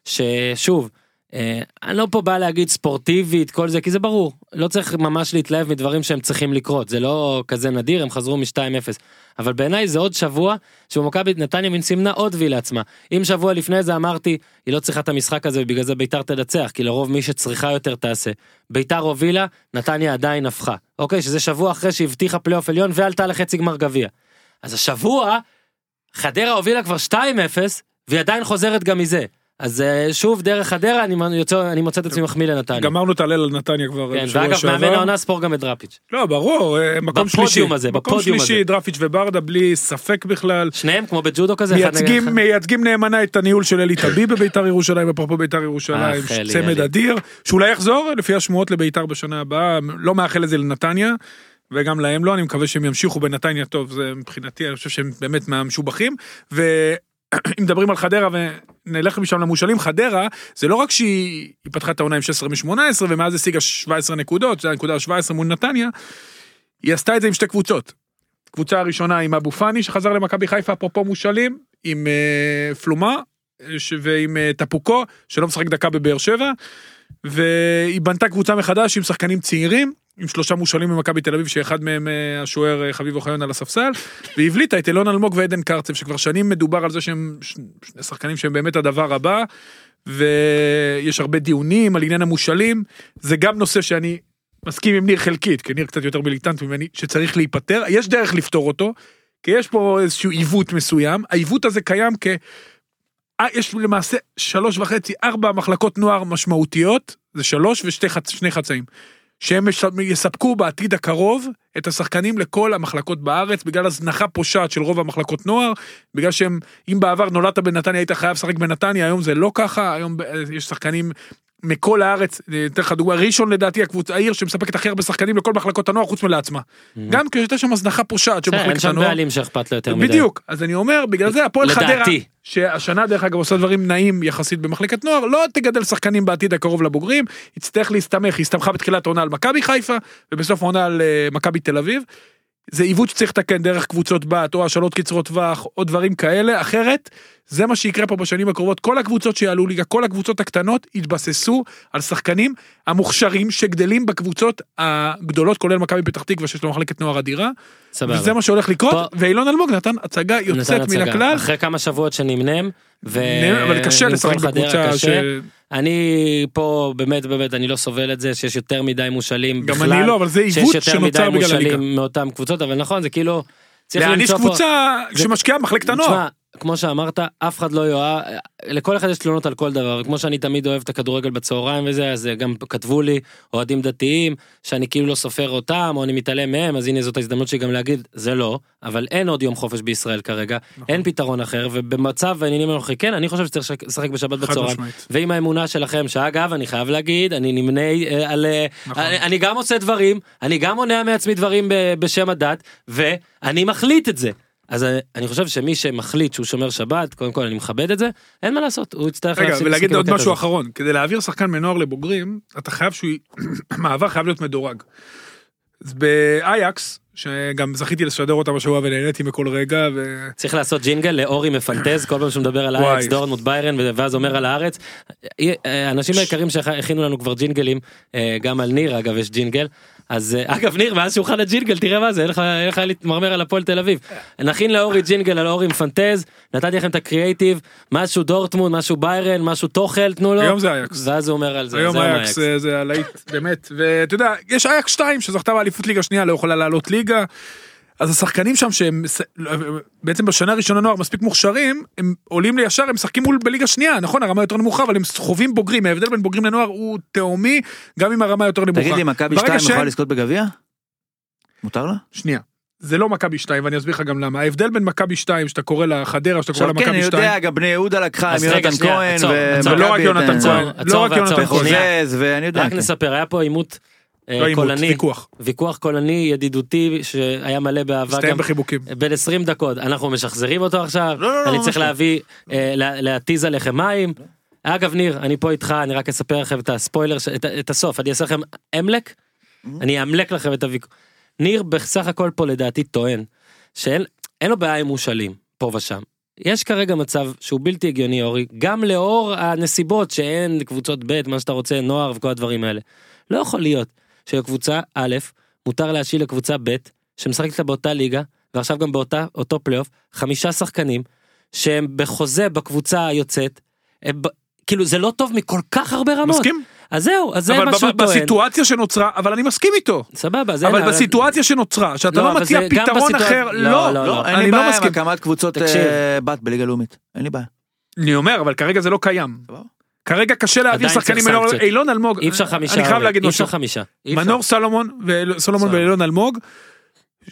ששוב, אה, אני לא פה בא להגיד ספורטיבית, כל זה, כי זה ברור, לא צריך ממש להתלהב מדברים שהם צריכים לקרות, זה לא כזה נדיר, הם חזרו מ-2-0. אבל בעיניי זה עוד שבוע שמכבי נתניה מין סימנה עוד וי לעצמה. אם שבוע לפני זה אמרתי, היא לא צריכה את המשחק הזה ובגלל זה ביתר תנצח, כי לרוב מי שצריכה יותר תעשה. ביתר הובילה, נתניה עדיין הפכה. אוקיי, שזה שבוע אחרי שהבטיחה פלייאוף עליון ועלתה לחצי גמר גביע. אז השבוע, חדרה הובילה כבר 2-0, והיא עדיין חוזרת גם מזה. אז אה, שוב, דרך חדרה, אני, מ- יוצא, אני מוצא את עצמי מחמיא לנתניה. גמרנו את הליל על נתניה כבר כן, בשבוע ואגב, מאמן שעבר. העונה ספור גם את דראפיץ'. לא, ברור, אה, מקום בפודיום שלישי. הזה, מקום בפודיום הזה. שלישי, דרפיץ' וברדה, בלי ספק בכלל. שניהם כמו בג'ודו כזה, אחד נגד אחד. מייצגים, מייצגים נאמנה את הניהול של אלי טביב בביתר ירושלים, אפרופו ביתר ירושלים, אך, אלי, צמד אלי. אדיר, שאולי יחזור לפי השמועות לביתר בשנה הבאה, לא מאחל את זה לנתניה, וגם להם לא, אני מקווה שהם ימשיכו בנתניה טוב, זה מבחינתי, אני חושב שהם באמת מהמשובחים, ואם [CLEARS THROAT] מדברים על חדרה ונלך משם למושאלים, חדרה, זה לא רק שהיא היא פתחה את העונה עם 16 מ-18 ומאז השיגה 17 נקודות, זה הנקודה ה-17 מול נתניה, היא עשתה את זה עם שתי קבוצות. קבוצה הראשונה עם אבו פאני שחזר למכבי חיפה אפרופו מושאלים, עם אה, פלומה אה, ש- ועם אה, טפוקו שלא משחק דקה בבאר שבע, והיא בנתה קבוצה מחדש עם שחקנים צעירים. עם שלושה מושאלים ממכבי תל אביב שאחד מהם אה, השוער אה, חביב אוחיון על הספסל והבליטה את אילון אלמוג ועדן קרצב שכבר שנים מדובר על זה שהם ש- שני שחקנים שהם באמת הדבר הבא ויש הרבה דיונים על עניין המושאלים זה גם נושא שאני מסכים עם ניר חלקית, כי ניר קצת יותר מיליטנט ממני, שצריך להיפטר, יש דרך לפתור אותו, כי יש פה איזשהו עיוות מסוים, העיוות הזה קיים כ... אה, יש למעשה שלוש וחצי, ארבע מחלקות נוער משמעותיות, זה שלוש ושני חצ... שני חצאים, שהם יש- יספקו בעתיד הקרוב את השחקנים לכל המחלקות בארץ, בגלל הזנחה פושעת של רוב המחלקות נוער, בגלל שהם, אם בעבר נולדת בנתניה היית חייב לשחק בנתניה, היום זה לא ככה, היום ב- יש שחקנים מכל הארץ, אה, אתן לך דוגמה, ראשון לדעתי הקבוצה, העיר שמספקת הכי הרבה שחקנים לכל מחלקות הנוער חוץ מלעצמה. גם כי הייתה שם הזנחה פושעת בסדר, של כן, אין מחלקת שם הנוער. בעלים שאכפת לו יותר מדי. בדיוק, אז אני אומר, בגלל זה הפועל לדעתי. חדרה, שהשנה דרך אגב עושה דברים נעים יחסית במחלקת נוער, לא תגדל שחקנים בעתיד הקרוב לבוגרים, יצטרך להסתמך, היא הסתמכה בתחילת העונה על מכבי חיפה, ובסוף העונה על אה, מכבי תל אביב. זה עיוות שצריך לתקן דרך קבוצות בת, או השאלות קצרות טווח, או דברים כאלה, אחרת, זה מה שיקרה פה בשנים הקרובות, כל הקבוצות שיעלו ליגה, כל הקבוצות הקטנות, יתבססו על שחקנים המוכשרים שגדלים בקבוצות הגדולות, כולל מכבי פתח תקווה, שיש לו מחלקת נוער אדירה. סבבה. וזה מה שהולך לקרות, ואילון אלמוג נתן הצגה יוצאת נתן מן הצגה. הכלל, אחרי כמה שבועות שנמנם. ו... נהנה, אבל קשה למכור לשחק חדרה בקבוצה ש... קשה. אני פה באמת באמת אני לא סובל את זה שיש יותר מדי מושאלים גם בכלל. אני לא, אבל זה שיש עיוות יותר שנוצר מדי בגלל הליגה. מושאלים מאותם קבוצות אבל נכון זה כאילו. צריך להעניש למצוא פה- קבוצה זה- שמשקיעה במחלקת הנוער. תשמע, כמו שאמרת, אף אחד לא יאהב, לכל אחד יש תלונות על כל דבר, וכמו שאני תמיד אוהב את הכדורגל בצהריים וזה, אז גם כתבו לי אוהדים דתיים, שאני כאילו לא סופר אותם, או אני מתעלם מהם, אז הנה זאת ההזדמנות שלי גם להגיד, זה לא, אבל אין עוד יום חופש בישראל כרגע, נכון. אין פתרון אחר, ובמצב העניינים הנוכחי, כן, אני חושב שצריך לשחק- לשחק בשבת חד בצהריים, משמעית. ועם האמונה שלכם, שאגב, אני חייב להגיד, אני נמנה אה, על... אה, נכון. אני, אני גם עושה דברים, אני גם מונע מעצמי דברים ב, בשם הדת, ואני מחליט את זה. אז אה, אני חושב שמי שמחליט שהוא שומר שבת, קודם כל אני מכבד את זה, אין מה לעשות, הוא יצטרך רגע, להפסיק ולהגיד לשחק עוד בקטע משהו הזה. אחרון, כדי להעביר שחקן מנוער [CLEARS THROAT] לבוגרים, אתה חייב שהוא... המעבר חייב להיות מדורג. אז באייקס, שגם זכיתי לשדר אותה בשבוע ונהניתי מכל רגע, ו... צריך לעשות ג'ינגל לאורי מפנטז כל פעם שהוא מדבר על וואי. הארץ, דורנמוט ביירן ואז אומר על הארץ. אה, האנשים היקרים שהכינו לנו כבר ג'ינגלים, אה, גם על ניר אגב יש ג'ינגל. אז אה, אגב ניר מאז שהוכן הג'ינגל תראה מה זה אין לך- אין לך להתמרמר על הפועל תל אביב. נכין לאורי ג'ינגל על אורי מפנטז נתתי לכם את הקריאייטיב משהו דורטמונד משהו ביירן משהו טוחל תנו לו. היום זה אייקס. ואז הוא אומר על זה. היום זה אייקס אה, זה הלהיט, באמת, ואתה יודע, יש אייקס 2 שזכתה באליפות ליגה שנייה, לא יכולה לעלות ליגה, אז השחקנים שם שהם ס- לא, בעצם בשנה הראשונה נוער מספיק מוכשרים, הם עולים לי ישר, הם משחקים מול בליגה שנייה, נכון, הרמה יותר נמוכה, אבל הם חווים בוגרים, ההבדל בין בוגרים לנוער הוא תהומי, גם עם הרמה יותר נמוכה. תגיד לי, מכבי ברגע 2 שהם- יכולה לזכות בגביע? מותר לה? שנייה. זה לא מכבי 2 ואני אסביר לך גם למה ההבדל בין מכבי 2 שאתה קורא לה חדרה שאתה קורא עכשיו לה כן, אני מכבי 2 יודע, גם בני יהודה לקחה עם אז רגע, יונתן שנייה, כהן, עצור, ו- עצור. ולא רק ומכבי יונתן את- אה, כהן, לא עצור רק יונתן ועצור, כהן, שנייה. וחוזז, ואני יודע. רק כן. נספר היה פה עימות אה, לא עימות, קולני ויכוח, ויכוח קולני ידידותי שהיה מלא באהבה הסתיים גם בחיבוקים. בין 20 דקות אנחנו משחזרים אותו עכשיו לא, לא, לא, אני ממש צריך לא. להביא אה, לה- להתיז עליכם מים. אגב ניר אני פה איתך אני רק אספר לכם את הספוילר ש- את, ה- את הסוף אני אעשה לכם אמלק Mm-hmm. אני אאמלק לכם את הוויכוח. ניר בסך הכל פה לדעתי טוען שאין אין לו בעיה עם מושאלים פה ושם. יש כרגע מצב שהוא בלתי הגיוני אורי גם לאור הנסיבות שאין קבוצות ב' מה שאתה רוצה נוער וכל הדברים האלה. לא יכול להיות שלקבוצה א' מותר להשאיל לקבוצה ב' שמשחקת איתה באותה ליגה ועכשיו גם באותה אותו פלייאוף חמישה שחקנים שהם בחוזה בקבוצה היוצאת. הם, ב- כאילו זה לא טוב מכל כך הרבה רמות. מסכים? אז זהו אז זה אבל מה שהוא ב- טוען. בסיטואציה שנוצרה אבל אני מסכים איתו. סבבה זה אבל בסיטואציה שנוצרה, שאתה לא, לא אבל מציע זה גם פתרון בסיטואציה- אחר, לא, לא, לא, לא, לא, אין אני לי לא בעיה עם מסכים. הקמת קבוצות תקשיב. אה, בת בליגה לאומית. אין לי בעיה. אני אומר, אבל כרגע זה לא קיים. סבבה. כרגע קשה להעביר עדיין צריך שחקנים אילון- סנקציות. אילון אלמוג, אי אפשר חמישה אני חייב אורי, להגיד אי אפשר משהו, חמישה. אי אפשר. מנור סלומון, ואל- סולומון סלומון. ואילון אלמוג,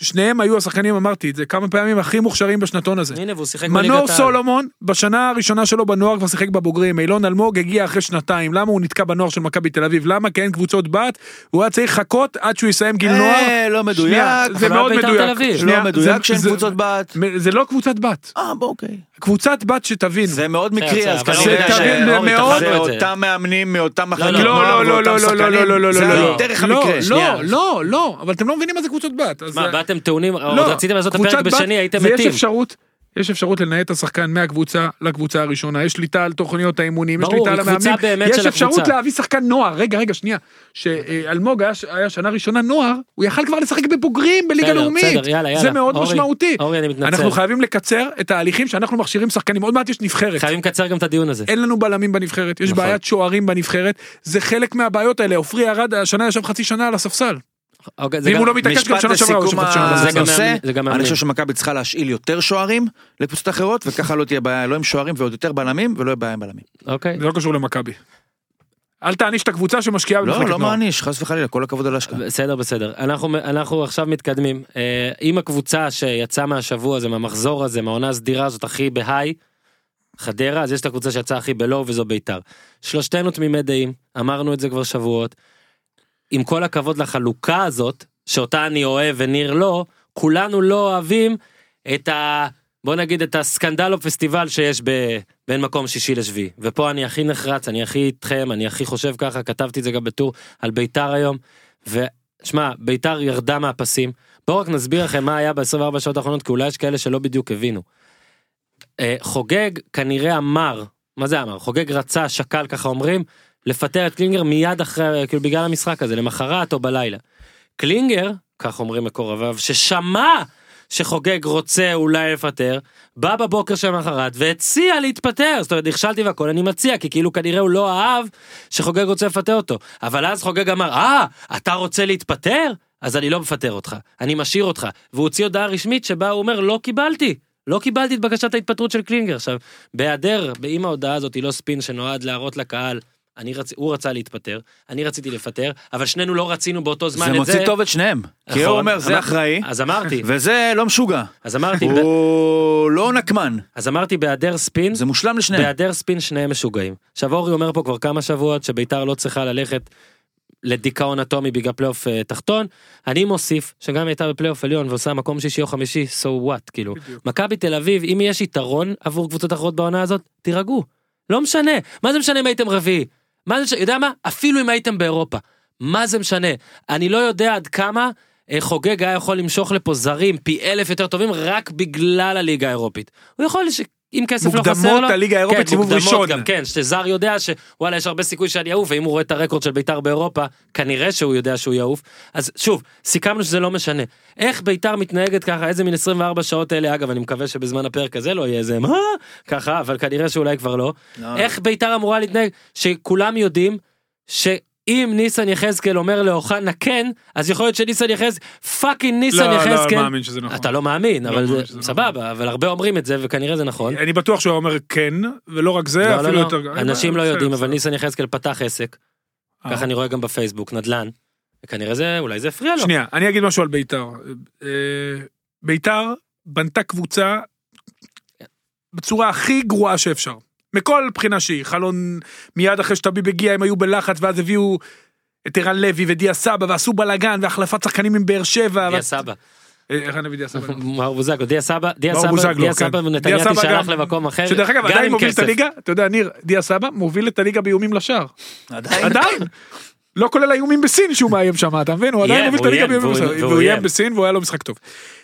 שניהם היו השחקנים, אמרתי את זה כמה פעמים, הכי מוכשרים בשנתון הזה. הנה והוא שיחק מנור בליגת העל. סולומון בשנה הראשונה שלו בנוער כבר שיחק בבוגרים אילון אלמוג הגיע אחרי שנתיים למה הוא נתקע בנוער של מכבי תל אביב למה כי אין קבוצות בת הוא היה צריך לחכות עד שהוא יסיים גיל נוער אה, לא מדויק. שנייה, זה אבל מאוד בית"ר תל מדויק אביב. שנייה, לא זה- מדויק שאין זה- קבוצות בת. זה לא קבוצת בת אה, בוא, אוקיי. קבוצת בת שתבין זה מאוד בסדר, מקרי, בסדר, אז אבל כנראה אורי, ש- תבין, אורי, מאוד- זה את זה. אותם מאמנים מאותם מחלקים. לא, לא, נוער לא, ואותם לא, לא, לא, שחקנים. לא, לא, לא, זה לא, היה לא. דרך לא, המקרה. שנייה. לא, לא, לא, אבל אתם לא מבינים מה זה קבוצות בת. אז- מה באתם טעונים לא, עוד רציתם לעשות את הפרק קבוצת בת בשני הייתם זה יש מתים. אפשרות. יש אפשרות לנהל את השחקן מהקבוצה לקבוצה הראשונה, יש שליטה על תוכניות האימונים, יש ברור, שליטה על היא קבוצה המאמנים, באמת יש של אפשרות הקבוצה. להביא שחקן נוער, רגע, רגע, שנייה, שאלמוג היה, היה שנה ראשונה נוער, הוא יכל כבר לשחק בבוגרים בליגה בסדר, לאומית, בסדר, יאללה, יאללה. זה מאוד אורי, משמעותי. אורי, אני מתנצל. אנחנו חייבים לקצר את ההליכים שאנחנו מכשירים שחקנים, עוד מעט יש נבחרת. חייבים לקצר גם את הדיון הזה. אין לנו בלמים בנבחרת, יש נכון. בעיית שוערים בנבחרת, זה חלק מהבעיות האלה, עופרי ירד השנה ישב חצי שנה על הספסל. אוקיי, זה ואם גם- הוא לא מתעקש גם משפט שנה שעברה הוא ישב לסיכום חצי שנה על זה הספסל. גם הנושא, מאמנים, זה גם אני מאמנים. חושב שמכבי צריכה להשאיל יותר שוערים לקבוצות אחרות, וככה לא תהיה בעיה לא עם שוערים ועוד יותר בלמים, ולא יהיה בעיה עם בלמים. אוקיי. זה לא קשור למכבי. אל תעניש את הקבוצה שמשקיעה לא, במחלקת לא נוער. מעניש, חס וחלילה, כל הכבוד על ההשקעה. בסדר בסדר אנחנו אנחנו עכשיו מתקדמים אה, עם הקבוצה שיצאה מהשבוע הזה מהמחזור הזה מהעונה הסדירה הזאת הכי בהיי. חדרה אז יש את הקבוצה שיצאה הכי בלואו וזו ביתר. שלושתנו תמימי דעים אמרנו את זה כבר שבועות. עם כל הכבוד לחלוקה הזאת שאותה אני אוהב וניר לא כולנו לא אוהבים את ה... בוא נגיד את הסקנדל או פסטיבל שיש ב... בין מקום שישי לשביעי ופה אני הכי נחרץ אני הכי איתכם אני הכי חושב ככה כתבתי את זה גם בטור על ביתר היום. ושמע ביתר ירדה מהפסים בואו רק נסביר לכם מה היה ב-24 שעות האחרונות כי אולי יש כאלה שלא בדיוק הבינו. אה, חוגג כנראה אמר מה זה אמר חוגג רצה שקל ככה אומרים לפטר את קלינגר מיד אחרי כאילו בגלל המשחק הזה למחרת או בלילה. קלינגר כך אומרים מקורביו ששמע שחוגג רוצה אולי לפטר בא בבוקר שלמחרת והציע להתפטר זאת אומרת נכשלתי והכל אני מציע כי כאילו כנראה הוא לא אהב שחוגג רוצה לפטר אותו אבל אז חוגג אמר אה אתה רוצה להתפטר אז אני לא מפטר אותך אני משאיר אותך והוא הוציא הודעה רשמית שבה הוא אומר לא קיבלתי. לא קיבלתי את בקשת ההתפטרות של קלינגר עכשיו בהיעדר אם ההודעה הזאת היא לא ספין שנועד להראות לקהל. אני רצ... הוא רצה להתפטר, אני רציתי לפטר, אבל שנינו לא רצינו באותו זמן זה את זה. מוציא טוב את שניהם. כי הוא נכון, אומר, זה אמר- אחראי, אז אמרתי, וזה לא משוגע. אז אמרתי, ב- הוא לא נקמן. אז אמרתי בהיעדר ספין, זה מושלם לשניהם. בהיעדר ספין שניהם משוגעים. עכשיו אורי אומר פה כבר כמה שבועות שביתר לא צריכה ללכת לדיכאון אטומי בגלל פלייאוף אה, תחתון. אני מוסיף שגם אם הייתה בפלייאוף עליון ועושה מקום שישי או חמישי, so what, כאילו. מכבי תל אביב, אם יש יתרון עבור קבוצות אחרות בעונה הזאת, תירגעו. לא משנה. מה זה משנה אם הייתם רביעי? מה זה משנה, יודע מה? אפילו אם הייתם באירופה. מה זה משנה? אני לא יודע עד כמה אה, חוגג היה יכול למשוך לפה זרים פי אלף יותר טובים רק בגלל הליגה האירופית. הוא יכול, ש... אם כסף לא חסר מוקדמות לו, הליגה האירופית סיבוב מוקדמות ראשון. גם, כן, שזר יודע שוואלה יש הרבה סיכוי שאני אעוף, ואם הוא רואה את הרקורד של ביתר באירופה, כנראה שהוא יודע שהוא יעוף. אז שוב, סיכמנו שזה לא משנה. איך ביתר מתנהגת ככה, איזה מין 24 שעות אלה, אגב, אני מקווה שבזמן הפרק הזה לא יהיה איזה מה, ככה, אבל כנראה שאולי כבר לא. איך ביתר אמורה להתנהג, שכולם יודעים שאם ניסן יחזקאל אומר לאוחנה כן, אז יכול להיות שניסן יחזקאל, פאקינג לא, ניסן לא יחזקאל. מאמין שזה נכון. אתה לא מאמין, אבל מאמין זה- שזה סבבה, אבל הרבה אומרים את זה וכנראה זה נכון. אני בטוח שהוא היה אומר כן, ולא רק זה, לא, אפילו לא, לא, יותר... אנשים לא בסדר, יודעים, אבל בסדר. ניסן יחזקאל פתח עסק, אה. ככה אני רואה גם בפייסבוק, נדל"ן. וכנראה זה, אולי זה הפריע לו. שנייה, אני אגיד משהו על ביתר. אה, ביתר בנתה קבוצה בצורה הכי גרועה שאפשר. מכל בחינה שהיא. חלון, מיד אחרי שטביב הגיע, הם היו בלחץ, ואז הביאו את ערן לוי ודיה סבא, ועשו בלאגן, והחלפת שחקנים עם באר שבע. דיה ואז- סבא, אה, איך אני מביא דיה סבא? מאור בוזגלו, דיה סבא, דיה מאור סבא, בוזגלו, דיה כן. סבא דיה ונתניהו סבא שלח גם- למקום אחר, שדרך אגב, גם עדיין עם מוביל את כסף. הליגה, אתה יודע, ניר, דיה סבא מוביל את הליגה באיומים לשער. עדיין. לא כולל האיומים בסין שהוא מאיים שם, אתה מבין? הוא עדיין איים, מוביל את הוא הליגה איים, באיומים והוא- בסין. והוא והוא איים איים. בסין והוא היה לו משחק טוב.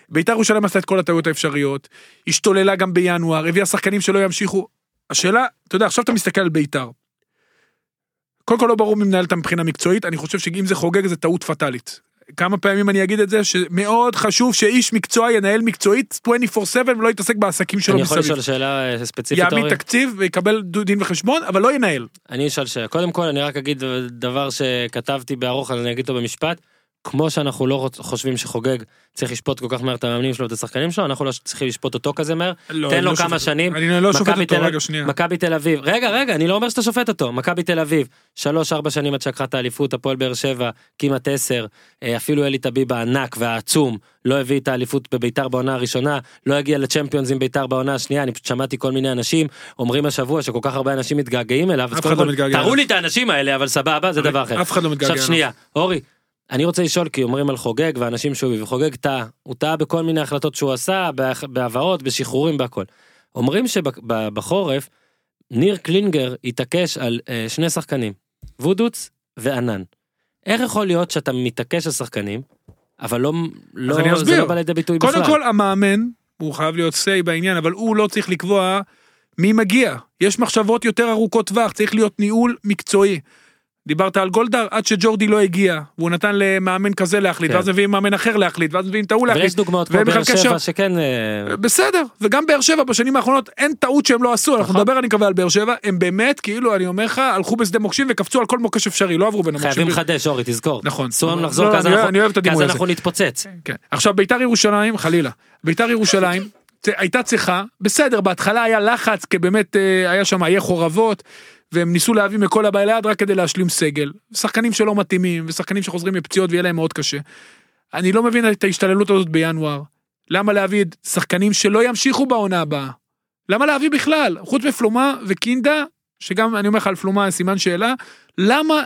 ביתר ירושלים עשתה את כל הטעויות האפשריות, השתוללה גם בינואר, הביאה שחקנים שלא ימשיכו. השאלה, אתה יודע, עכשיו אתה מסתכל על ביתר. קודם כל לא ברור מי מנהל אותה מבחינה מקצועית, אני חושב שאם זה חוגג זה טעות פטאלית. כמה פעמים אני אגיד את זה, שמאוד חשוב שאיש מקצוע ינהל מקצועית 24/7 ולא יתעסק בעסקים שלו אני יכול מסביב. לשאול שאלה אה, ספציפית, יעמיד אורי? תקציב ויקבל דין וחשבון, אבל לא ינהל. אני אשאל שאלה. קודם כל, אני רק אגיד אה, דבר שכתבתי בארוך, אז אני אגיד אותו במשפט. כמו שאנחנו לא רוצ- חושבים שחוגג צריך לשפוט כל כך מהר את המאמנים שלו ואת השחקנים שלו, אנחנו לא צריכים לשפוט אותו כזה מהר. לא, תן אני לו לא כמה שופט- שנים. אני לא שופט מכבי אותו, תל- רגע, שנייה. מכבי תל אביב, רגע, רגע, אני לא אומר שאתה שופט אותו. מכבי תל אביב, שלוש, ארבע שנים עד שלקחה את האליפות, הפועל באר שבע, כמעט עשר. אה, אפילו אלי טביב הענק והעצום לא הביא את האליפות בביתר בעונה הראשונה, לא הגיע לצ'מפיונס עם ביתר בעונה השנייה, אני פשוט שמעתי כל מיני אנשים אומרים השבוע שכל כך הרבה אנשים מתגעגעים אליו, אז אף קודם אחד לא כל, מתגעגע תראו אליו. לי את האנשים האלה, אבל סבבה, זה דבר אחר. אף אחד לא מתגעגע עכשיו שנייה, אורי, אני רוצה לשאול כי אומרים על חוגג ואנשים שהוא הביא, וחוגג טעה, הוא טעה בכל מיני החלטות שהוא עשה, בהח- בהבאות, בשחרורים, בהכל. אומרים שבחורף, ניר קלינגר התעקש על אה, שני שחקנים, וודוץ וענן. איך יכול להיות שאתה מתעקש על שחקנים, אבל לא, אז אני לא, זה אסביר. לא בא לידי ביטוי בכלל? קודם כל המאמן, הוא חייב להיות סיי בעניין, אבל הוא לא צריך לקבוע מי מגיע. יש מחשבות יותר ארוכות טווח, צריך להיות ניהול מקצועי. דיברת על גולדהר עד שג'ורדי לא הגיע, והוא נתן למאמן כזה להחליט, כן. ואז מביאים מאמן אחר להחליט, ואז מביאים את ההוא אבל להחליט. יש דוגמאות כמו והם באר מחכים שבע שם. שכן... אה, בסדר, וגם באר שבע בשנים האחרונות אין טעות שהם לא עשו, אנחנו נכון. נדבר אני מקווה על באר שבע, הם באמת, כאילו, אני אומר לך, הלכו בשדה מוקשים וקפצו על כל מוקש אפשרי, לא עברו בין המוקשים. חייבים לחדש, אורי, תזכור. נכון. אסור לנו לא, לחזור, לא, כי אז אני אוהב- אנחנו- אני אוהב את כי אז הדימוי הזה. אנחנו נתפוצץ. כן. עכשיו ביתר ירושלים חלילה ביתר ירושלים צ- הייתה צריכה בסדר בהתחלה היה לחץ כי באמת אה, היה שם איי חורבות והם ניסו להביא מכל הבא ליד רק כדי להשלים סגל שחקנים שלא מתאימים ושחקנים שחוזרים מפציעות ויהיה להם מאוד קשה. אני לא מבין את ההשתוללות הזאת בינואר למה להביא את שחקנים שלא ימשיכו בעונה הבאה למה להביא בכלל חוץ מפלומה וקינדה שגם אני אומר לך על פלומה סימן שאלה למה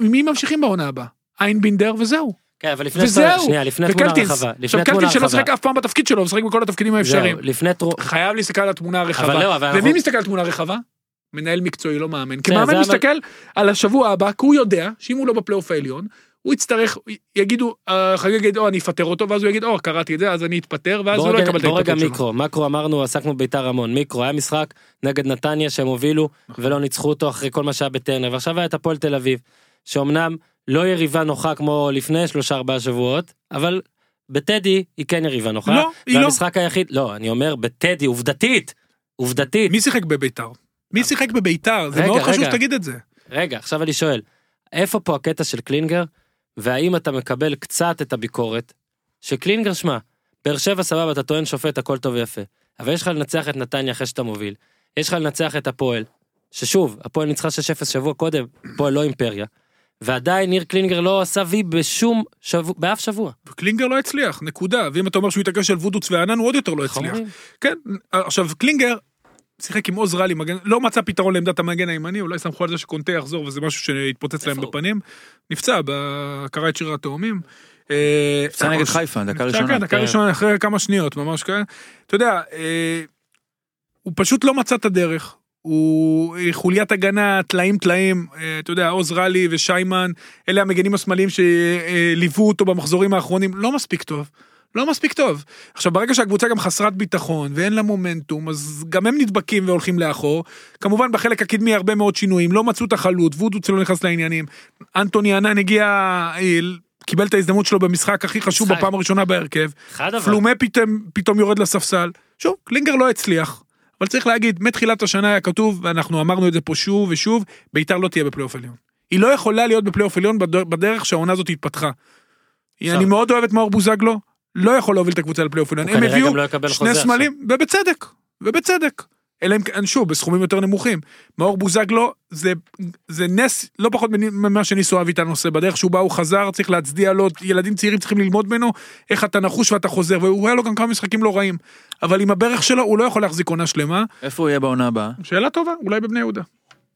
מי ממשיכים בעונה הבאה איינבינדר וזהו. כן, אבל לפני וזהו. שאתה... שנייה, לפני תמונה וקלטינס. רחבה. עכשיו לפני תמונה קלטינס שלא רחבה. שיחק אף פעם בתפקיד שלו, הוא משחק בכל התפקידים האפשריים. זהו, לפני תרו... חייב להסתכל על התמונה אבל לא, הרחבה. אבל אנחנו- ומי מסתכל על התמונה הרחבה? מנהל מקצועי, לא מאמן. כי זה מאמן אבל- מסתכל על השבוע הבא, כי הוא יודע שאם הוא לא בפלייאוף העליון, הוא יצטרך, יגידו, אה, חגג יגיד, או אני אפטר אותו, ואז הוא יגיד, או קראתי את זה, אז אני אתפטר, ואז בוא הוא לא רגע- יקבל את בוא רגע ההתפטרות שלו. מיקרו, מקרו אמרנו, עסקנו בביתר המון. מיקרו, היה משחק נגד נתניה שהם הובילו ולא ניצחו אותו אחרי כל מה שהיה בטרנר, ועכשיו היה את הפועל תל אביב, שאומנם לא יריבה נוחה כמו לפני שלושה ארבעה שבועות, אבל בטדי היא כן יריבה נוחה. לא, היא לא. והמשחק היחיד, לא, אני אומר, בטדי, עובדתית, עובדתית. מי שיחק בביתר? מי שיחק בביתר? זה אה. רגע, מאוד חשוב רגע. שתגיד את זה. רגע, עכשיו אני שואל, איפה פה הקטע של קלינגר, והאם אתה מקבל קצת את הביקורת, שקלינגר, שמע, באר שבע סבבה, אתה טוען שופט, הכל טוב ויפה, אבל יש לך לנצח את נתניה אחרי שאתה מוביל, יש לך לנצח את הפועל, ששוב, הפועל ניצחה 6-0 שבוע קודם, הפועל לא אימפריה, ועדיין ניר קלינגר לא עשה וי בשום שבוע, באף שבוע. קלינגר לא הצליח, נקודה. ואם אתה אומר שהוא התעקש על וודוץ וענן, הוא עוד יותר לא הצליח. חמורים. כן, עכשיו קלינגר שיחק עם עוז רלי, מגן, לא מצא פתרון לעמדת המגן הימני, אולי סמכו על זה שקונטה יחזור וזה משהו שהתפוצץ להם איפה הוא? בפנים. נפצע, ב- קרע את שיר התאומים. אה, יצא נגד אה, חיפה, דקה נפצע, ראשונה. כן, דקה כן. ראשונה כן. אחרי כמה שניות, ממש כאן. אתה יודע, אה, הוא פשוט לא מצא את הדרך. הוא אה, חוליית הגנה, טלאים טלאים, אה, אתה יודע, עוז רלי ושיימן, אלה המגנים השמאליים שליוו אותו במחזורים האחרונים, לא מספיק טוב. לא מספיק טוב. עכשיו, ברגע שהקבוצה גם חסרת ביטחון ואין לה מומנטום, אז גם הם נדבקים והולכים לאחור. כמובן, בחלק הקדמי הרבה מאוד שינויים, לא מצאו את החלוץ, וודוץ לא נכנס לעניינים. אנטוני ענן הגיע, אה, קיבל את ההזדמנות שלו במשחק הכי חשוב משחק. בפעם הראשונה בהרכב. חד אבל. פלומה פתאום, פתאום יורד לספסל. שוב, קלינגר לא הצליח. אבל צריך להגיד, מתחילת השנה היה כתוב, ואנחנו אמרנו את זה פה שוב ושוב, ביתר לא תהיה בפלייאוף עליון. היא לא יכולה להיות בפלייאוף עליון בד- בדרך שהעונה הזאת התפתחה. אני מאוד אוהב את מאור בוזגלו, לא יכול להוביל את הקבוצה לפלייאוף עליון. הוא הם כנראה הביאו גם לא יקבל חוזה שני עכשיו. סמלים, ובצדק, ובצדק. אלא אם כן, שוב, בסכומים יותר נמוכים. מאור בוזגלו, זה, זה נס לא פחות מני- ממה שניסו אביטן עושה. בדרך שהוא בא, הוא חזר, צריך להצדיע לו, ילדים צעירים צריכים ללמוד ממנו, איך אתה נחוש ואתה חוזר, והוא היה לו גם כמה משחקים לא רעים. אבל עם הברך שלו, הוא לא יכול להחזיק עונה שלמה. איפה הוא יהיה בעונה הבאה? שאלה טובה, אולי בבני יהודה.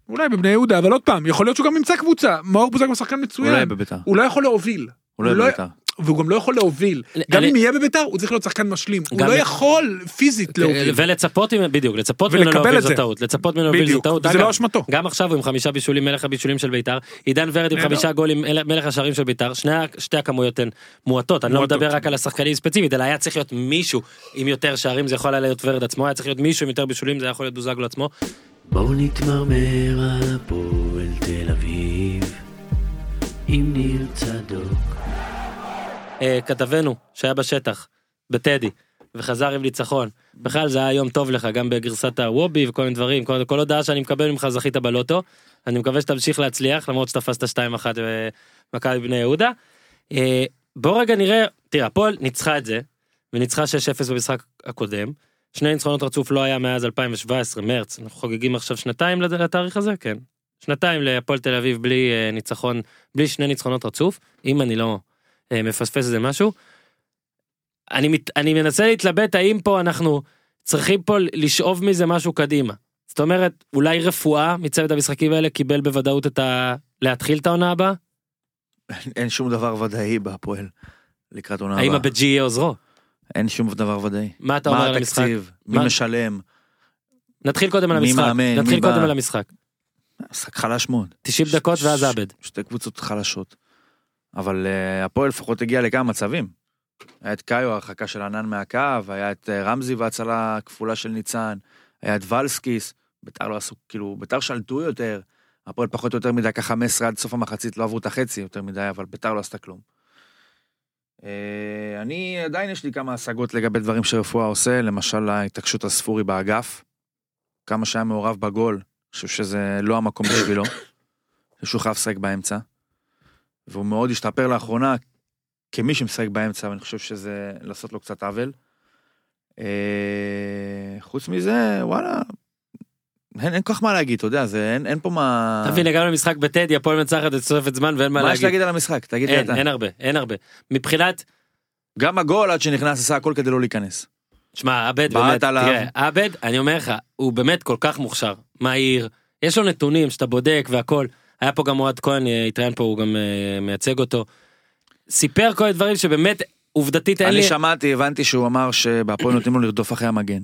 אולי בבני יהודה, אבל עוד פעם, יכול להיות שהוא גם ימצא קבוצה. מאור בוזגלו שחקן מצוין. אולי בביתר. הוא לא יכול להוביל. אולי הוא לא- בביתר. והוא גם לא יכול להוביל. אני- גם אני- אם יהיה בביתר, הוא צריך להיות שחקן משלים. הוא גם- לא יכול פיזית להוביל. אה, ולצפות ממנו, בדיוק, לצפות ממנו ולקבל להוביל את זו זה. טעות, לצפות ממנו להוביל זו בדיוק, טעות. וזה אגב, לא אשמתו. גם עכשיו הוא עם חמישה בישולים, מלך הבישולים של ביתר, עידן ורד עם נהדר. חמישה גולים, אל- מלך השערים של ביתר, שני ה- שתי הכמויות הן מועטות, אני לא מועטות. מדבר רק על השחקנים ספציפית, אלא היה צריך להיות מישהו עם יותר שערים, זה יכול היה להיות ורד עצמו, היה צריך להיות מישהו עם יותר בישולים, זה היה יכול להיות בוזגלו עצמו. בואו נתמרמר על הפועל תל אביב עם ניר צדוק אה, כתבנו שהיה בשטח, בטדי, וחזר עם ניצחון. בכלל זה היה יום טוב לך, גם בגרסת הוובי וכל מיני דברים, כל, כל הודעה שאני מקבל ממך זכית בלוטו. אני מקווה שתמשיך להצליח, למרות שתפסת 2-1 במכבי אה, בני יהודה. אה, בוא רגע נראה, תראה, הפועל ניצחה את זה, וניצחה 6-0 במשחק הקודם. שני ניצחונות רצוף לא היה מאז 2017, מרץ, אנחנו חוגגים עכשיו שנתיים לד- לתאריך הזה? כן. שנתיים להפועל תל אביב בלי אה, ניצחון, בלי שני ניצחונות רצוף, אם אני לא אה, מפספס איזה משהו. אני, מת, אני מנסה להתלבט האם פה אנחנו צריכים פה לשאוב מזה משהו קדימה. זאת אומרת, אולי רפואה מצוות המשחקים האלה קיבל בוודאות את ה... להתחיל את העונה הבאה? אין- אין שום דבר ודאי בהפועל לקראת עונה האם הבאה. הבג'י יהיה עוזרו? אין שום דבר ודאי. מה אתה אומר מה על המשחק? התקציב? מי מה- משלם? נתחיל קודם על מי המשחק. מאמן? מי נתחיל בא? קודם על המשחק. משחק חלש מאוד. 90 ש- דקות ואז ש- עבד. שתי קבוצות חלשות. אבל אה, הפועל לפחות הגיע לכמה מצבים. היה את קאיו, הרחקה של ענן מהקו, היה את אה, רמזי והצלה כפולה של ניצן, היה את ולסקיס, ביתר לא עשו, כאילו, ביתר שלטו יותר, הפועל פחות או יותר מדקה 15 עד סוף המחצית, לא עברו את החצי יותר מדי, אבל ביתר לא עשתה כלום. אה, אני, עדיין יש לי כמה השגות לגבי דברים שרפואה עושה, למשל ההתעקשות על ספורי באגף, כמה שהיה מעורב בגול, אני חושב שזה לא המקום בשבילו. [COUGHS] חושב שהוא חייב לשחק באמצע. והוא מאוד השתפר לאחרונה כמי שמשחק באמצע, ואני חושב שזה לעשות לו קצת עוול. אה, חוץ מזה, וואלה, אין, אין כל כך מה להגיד, אתה יודע, זה, אין, אין פה מה... תבין, הגענו למשחק בטדי, הפועל מנצחת בתוספת זמן ואין מה אה. מה יש להגיד. להגיד על המשחק? תגיד לי אין, אתה. אין הרבה, אין הרבה. מבחינת, גם הגול עד שנכנס עשה הכל כדי לא להיכנס. שמע, עבד, בעט באמת, עליו. תראה, עבד, אני אומר לך, הוא באמת כל כך מוכשר, מהיר, יש לו נתונים שאתה בודק והכל. היה פה גם אוהד כהן, אה, התראיין פה, הוא גם אה, מייצג אותו. סיפר כל מיני דברים שבאמת, עובדתית אין לי, אני שמעתי, הבנתי שהוא אמר שבהפועל נותנים לו לרדוף אחרי המגן.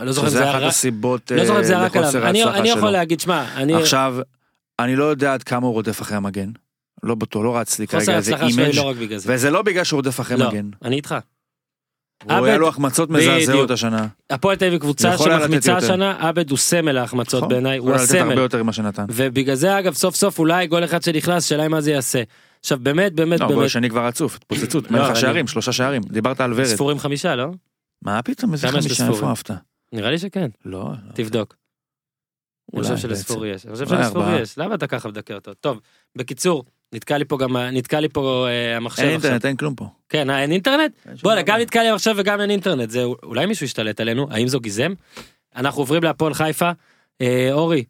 אני לא זוכר אם זה שזה היה אחת רק- הסיבות לא זוכר אם זה אה, היה רק עליו. לחוסר אני- ההצלחה אני יכול שלו. להגיד, שמע, אני... עכשיו, אני לא יודע עד כמה הוא רודף אחרי המגן. לא בטוח, לא רץ לי חוסר כרגע איזה ההצלחה שלו היא אימג'. לא רק בגלל זה. וזה לא בגלל שהוא רודף אחרי לא, מגן. אני איתך. הוא היה עבד- לו החמצות בדיוק. מזעזעות השנה. הפועל תל אביב קבוצה יכול היה לתת שמחמיצה יותר. השנה, עבד הוא סמל ההחמצות נכון. בעיניי, הוא יכול לתת הרבה הסמל. יותר ממה שנתן. ובגלל זה אגב סוף סוף אולי גול אחד שנכנס, שאלה היא מה זה יעשה. עכשיו באמת באמת לא, הגול באמת, השני כבר רצוף, התפוצצות, לא, מלך אני- השערים, שלושה שערים. דיברת על ורד. ספורים חמישה לא? מה פתאום, איזה כמה יש חמישה, לספורי? איפה אהבת? נראה לי שכן, לא, לא. תבדוק. אני אולי, חושב בעצם. שלספורי יש, אני חושב אולי שלספורי ארבעה. יש, למה אתה ככה מדכא אותו? טוב, בקיצור, נתקע לי פה גם, ה- נתקע לי פה אה, אין המחשב עכשיו. אינטרנט, אין כלום פה. כן, אה, אין אינטרנט? אין שום בואנה, דבר. גם נתקע לי עכשיו וגם אין אינטרנט, זה אולי מישהו ישתלט עלינו, האם זו גיזם? אנחנו עוברים להפועל חיפה, אה, אורי.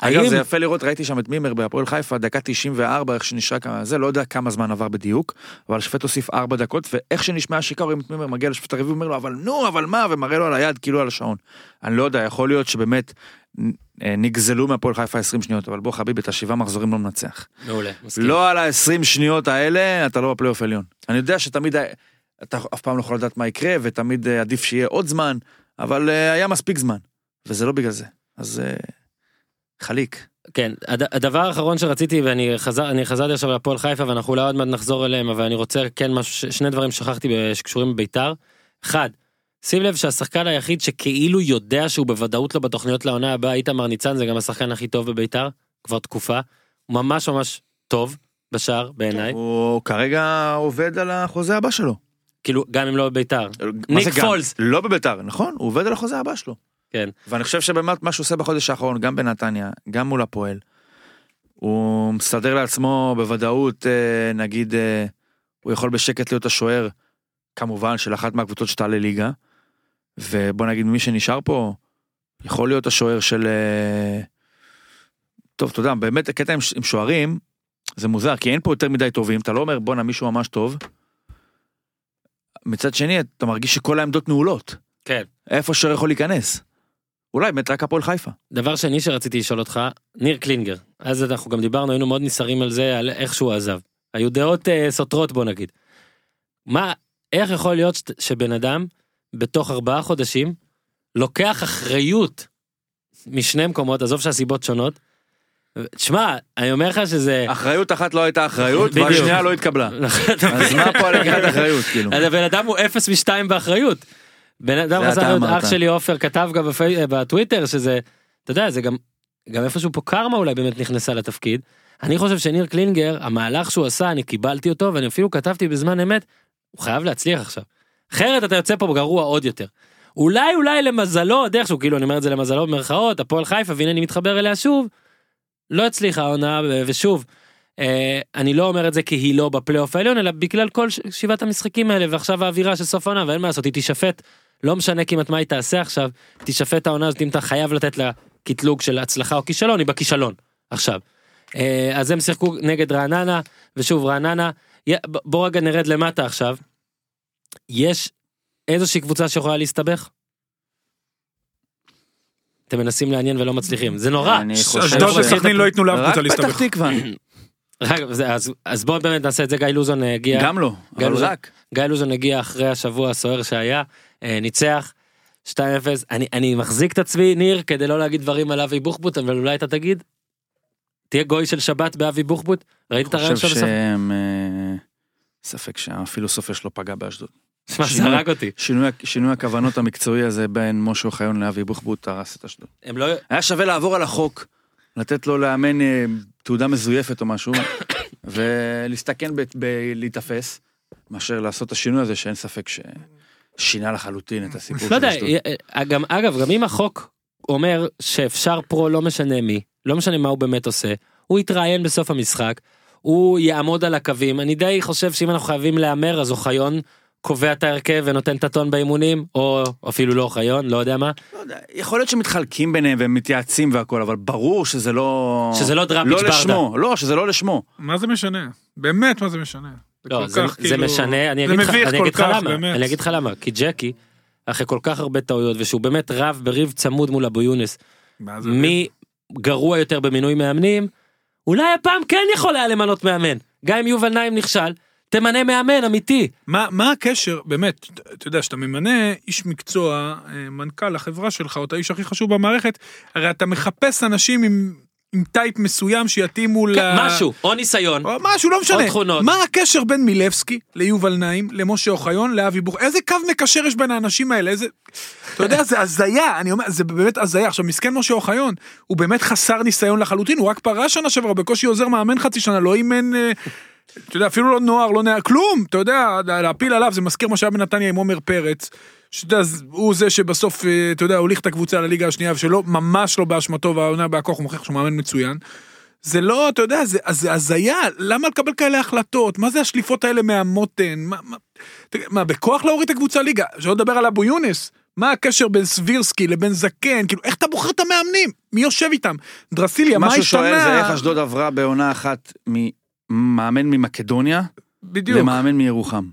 אגב, האם- זה יפה לראות, ראיתי שם את מימר בהפועל חיפה, דקה 94, איך שנשרק ה- זה, לא יודע כמה זמן עבר בדיוק, אבל השופט הוסיף 4 דקות, ואיך שנשמעה שיקה, רואים את מימר מגיע לשופט הרביעי, אומר לו, אבל נו, אבל מה, ומראה לו על היד, כאילו על השעון. אני לא יודע, יכול להיות שבאמת נ- אה, נגזלו מהפועל חיפה 20 שניות, אבל בוא חביבי, את השבעה מחזורים לא מנצח. מעולה, מסכים. לא על ה-20 שניות האלה, אתה לא בפלייאוף עליון. אני יודע שתמיד, ה- אתה אף פעם לא יכול לדעת מה יקרה, ותמיד אה, עדיף אה, שיהיה עוד זמן, אבל אה, היה מספיק זמן, וזה לא בגלל זה. אז אה, חליק. כן, הד- הדבר האחרון שרציתי, ואני חזר, אני חזרתי עכשיו להפועל חיפה, ואנחנו אולי עוד מעט נחזור אליהם, אבל אני רוצה כן משהו, ש- שני דברים ששכחתי ב- שקשורים בביתר. אחד, שים לב שהשחקן היחיד שכאילו יודע שהוא בוודאות לא בתוכניות לעונה הבאה, איתמר ניצן, זה גם השחקן הכי טוב בביתר, כבר תקופה. הוא ממש ממש טוב בשער בעיניי, כן, הוא כרגע עובד על החוזה הבא שלו. כאילו גם אם לא בביתר. מה זה ניק גם? פולס. לא בביתר, נכון? הוא עובד על החוזה הבא שלו. כן. ואני חושב שבאמת מה שהוא עושה בחודש האחרון, גם בנתניה, גם מול הפועל, הוא מסדר לעצמו בוודאות, אה, נגיד, אה, הוא יכול בשקט להיות השוער, כמובן, של אחת מהקבוצות שתעלה ליגה, ובוא נגיד מי שנשאר פה, יכול להיות השוער של... אה, טוב, אתה יודע, באמת הקטע עם, עם שוערים, זה מוזר, כי אין פה יותר מדי טובים, אתה לא אומר, בואנה, מישהו ממש טוב. מצד שני, אתה מרגיש שכל העמדות נעולות. כן. איפה שוער יכול להיכנס. אולי באמת רק הפועל חיפה. דבר שני שרציתי לשאול אותך, ניר קלינגר, אז אנחנו גם דיברנו, היינו מאוד נסערים על זה, על איך שהוא עזב. היו דעות אה, סותרות בוא נגיד. מה, איך יכול להיות ש, שבן אדם בתוך ארבעה חודשים לוקח אחריות משני מקומות, עזוב שהסיבות שונות. תשמע, אני אומר לך שזה... אחריות אחת לא הייתה אחריות, כן. בדיוק. והשנייה [LAUGHS] לא התקבלה. אז מה פה על לקיחת אחריות, כאילו? אז הבן אדם הוא 0 מ-2 באחריות. בן אדם זה חסר אתה אחריות, אמרת. אח שלי עופר כתב גם בפי- אה, בטוויטר שזה, אתה יודע, זה גם, גם איפשהו פה קרמה אולי באמת נכנסה לתפקיד. אני חושב שניר קלינגר, המהלך שהוא עשה, אני קיבלתי אותו, ואני אפילו כתבתי בזמן אמת, הוא חייב להצליח עכשיו. אחרת אתה יוצא פה גרוע עוד יותר. אולי אולי למזלו, עוד איכשהו, כאילו אני אומר את זה למזלו במרכאות, הפועל חיפה, והנה אני מתחבר אליה שוב, לא הצליחה העונה, ו- ושוב, אה, אני לא אומר את זה כי היא לא בפלייאוף העליון, אלא בגלל כל ש- שבעת המשחקים האלה, ועכשיו האווירה של סוף העונה, ואין מה לעשות, היא תישפט, לא משנה כמעט מה היא תעשה עכשיו, תישפט העונה הזאת אם אתה חייב לתת לה קטלוג של הצלחה או כישלון, היא בכישלון, עכשיו. אה, אז הם שיחקו נגד רעננה, ושוב רעננה, י- ב- בוא רגע נרד למטה עכשיו. יש איזושהי קבוצה שיכולה להסתבך? אתם מנסים לעניין ולא מצליחים, זה נורא. אני חושב אשדוד ש- וסכנין לא ייתנו לאף רק קבוצה להסתבך. פתח תקווה. רק, זה- אז, אז בואו באמת נעשה את זה, גיא לוזון אה, הגיע, גם לא, גם אבל זה. רק. גיא לוזון הגיע אחרי השבוע הסוער שהיה, אה, ניצח 2-0, אני, אני מחזיק את עצמי, ניר, כדי לא להגיד דברים על אבי בוחבוט, אבל אולי אתה תגיד? תהיה גוי של שבת באבי בוחבוט? ראית את אני הרעיון חושב שלו בסוף? שהם... אה, ספק שהפילוסופיה שלו פגעה באשדוד. שמע, זה הרג אותי. שינוי- שינוי הכוונות המקצועי הזה בין משה אוחיון לאבי בוחבוט הרס את אשדוד. הם לא... היה שווה לעבור על החוק, לתת לו לאמן אה, תעודה מזויפת או משהו, [COUGHS] ולהסתכן בלהיתפס, מאשר לעשות את השינוי הזה שאין ספק ששינה לחלוטין את הסיפור לא של יודע, אשדוד. אה, גם, אגב, גם אם החוק אומר שאפשר פרו לא משנה מי, לא משנה מה הוא באמת עושה, הוא יתראיין בסוף המשחק, הוא יעמוד על הקווים, אני די חושב שאם אנחנו חייבים להמר אז אוחיון קובע את ההרכב ונותן את הטון באימונים, או אפילו לא אוחיון, לא יודע מה, לא יודע, יכול להיות שמתחלקים ביניהם והם מתייעצים והכל, אבל ברור שזה לא... שזה לא דראפיץ' לא ברדה. לשמו, לא, שזה לא לשמו. מה זה משנה? באמת מה זה משנה? לא, כל זה, כך, זה כאילו- משנה, אני זה אגיד לך מביך אני כל אגיד לך כך, למה, באמת. אני אגיד לך למה, כי ג'קי, אחרי כל כך הרבה טעויות ושהוא באמת רב בריב צמוד מול אבו יונס, מה זה- מי גרוע יותר במינוי מאמנים, אולי הפעם כן יכול היה למנות מאמן. גם אם יובל נעים נכשל, תמנה מאמן אמיתי. מה מה הקשר, באמת, ת- אתה יודע, שאתה ממנה איש מקצוע, אה, מנכ"ל החברה שלך, או את האיש הכי חשוב במערכת, הרי אתה מחפש אנשים עם עם טייפ מסוים שיתאימו ל... כן, משהו, או ניסיון. או משהו, לא משנה. או תכונות. מה הקשר בין מילבסקי ליובל נעים, למשה אוחיון, לאבי בוך? איזה קו מקשר יש בין האנשים האלה? איזה... אתה יודע, זה הזיה, אני אומר, זה באמת הזיה. עכשיו, מסכן משה אוחיון, הוא באמת חסר ניסיון לחלוטין, הוא רק פרש שנה שעברה, הוא בקושי עוזר מאמן חצי שנה, לא אימן... אה, אתה יודע, אפילו לא נוער, לא נער, כלום, אתה יודע, להפיל עליו, זה מזכיר מה שהיה בנתניה עם עומר פרץ, שאתה יודע, ז- הוא זה שבסוף, אה, אתה יודע, הוליך את הקבוצה לליגה השנייה, ושלא, ממש לא באשמתו, והעונה בהכוח, הוא מוכיח שהוא מאמן מצוין. זה לא, אתה יודע, זה זה הזיה, למה לקבל כאלה החלטות? מה זה השליפות האלה מהמותן? מה, מה, תגיד, מה בכוח להוריד את הקבוצה ליגה? שלא לדבר על אבו יונס. מה הקשר בין סבירסקי לבין זקן? כאילו, איך אתה בוחר את המאמנים? מי יושב איתם? דרסיליה, מה מה שהוא שואל השתנה? זה איך אשדוד עברה בעונה אחת ממאמן ממקדוניה בדיוק. למאמן מירוחם.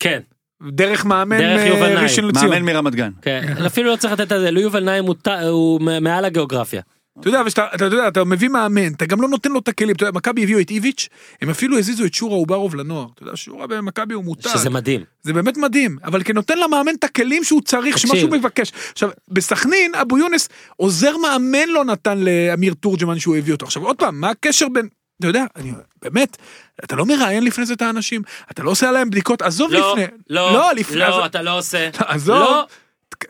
כן, דרך מאמן דרך יובל אה, נעים. ראשון לציון. מאמן מרמת גן. כן. אפילו לא צריך לתת את זה, לו יובל נעים הוא ת- הוא מ- מעל הגיאוגרפיה. אתה יודע, ושאתה, אתה יודע, אתה מביא מאמן, אתה גם לא נותן לו את הכלים. אתה יודע, מכבי הביאו את איביץ', הם אפילו הזיזו את שורה אוברוב לנוער. אתה יודע, שורה במכבי הוא מותר. שזה מדהים. זה באמת מדהים, אבל כנותן למאמן את הכלים שהוא צריך, שמה תקשיב. שהוא מבקש. עכשיו, בסכנין, אבו יונס, עוזר מאמן לא נתן לאמיר תורג'מן שהוא הביא אותו. עכשיו, עוד פעם, מה הקשר בין... אתה יודע, אני, באמת, אתה לא מראיין לפני זה את האנשים, אתה לא עושה עליהם בדיקות, עזוב לא, לפני. לא, לא, אז- אתה לא עושה. עזוב. לא,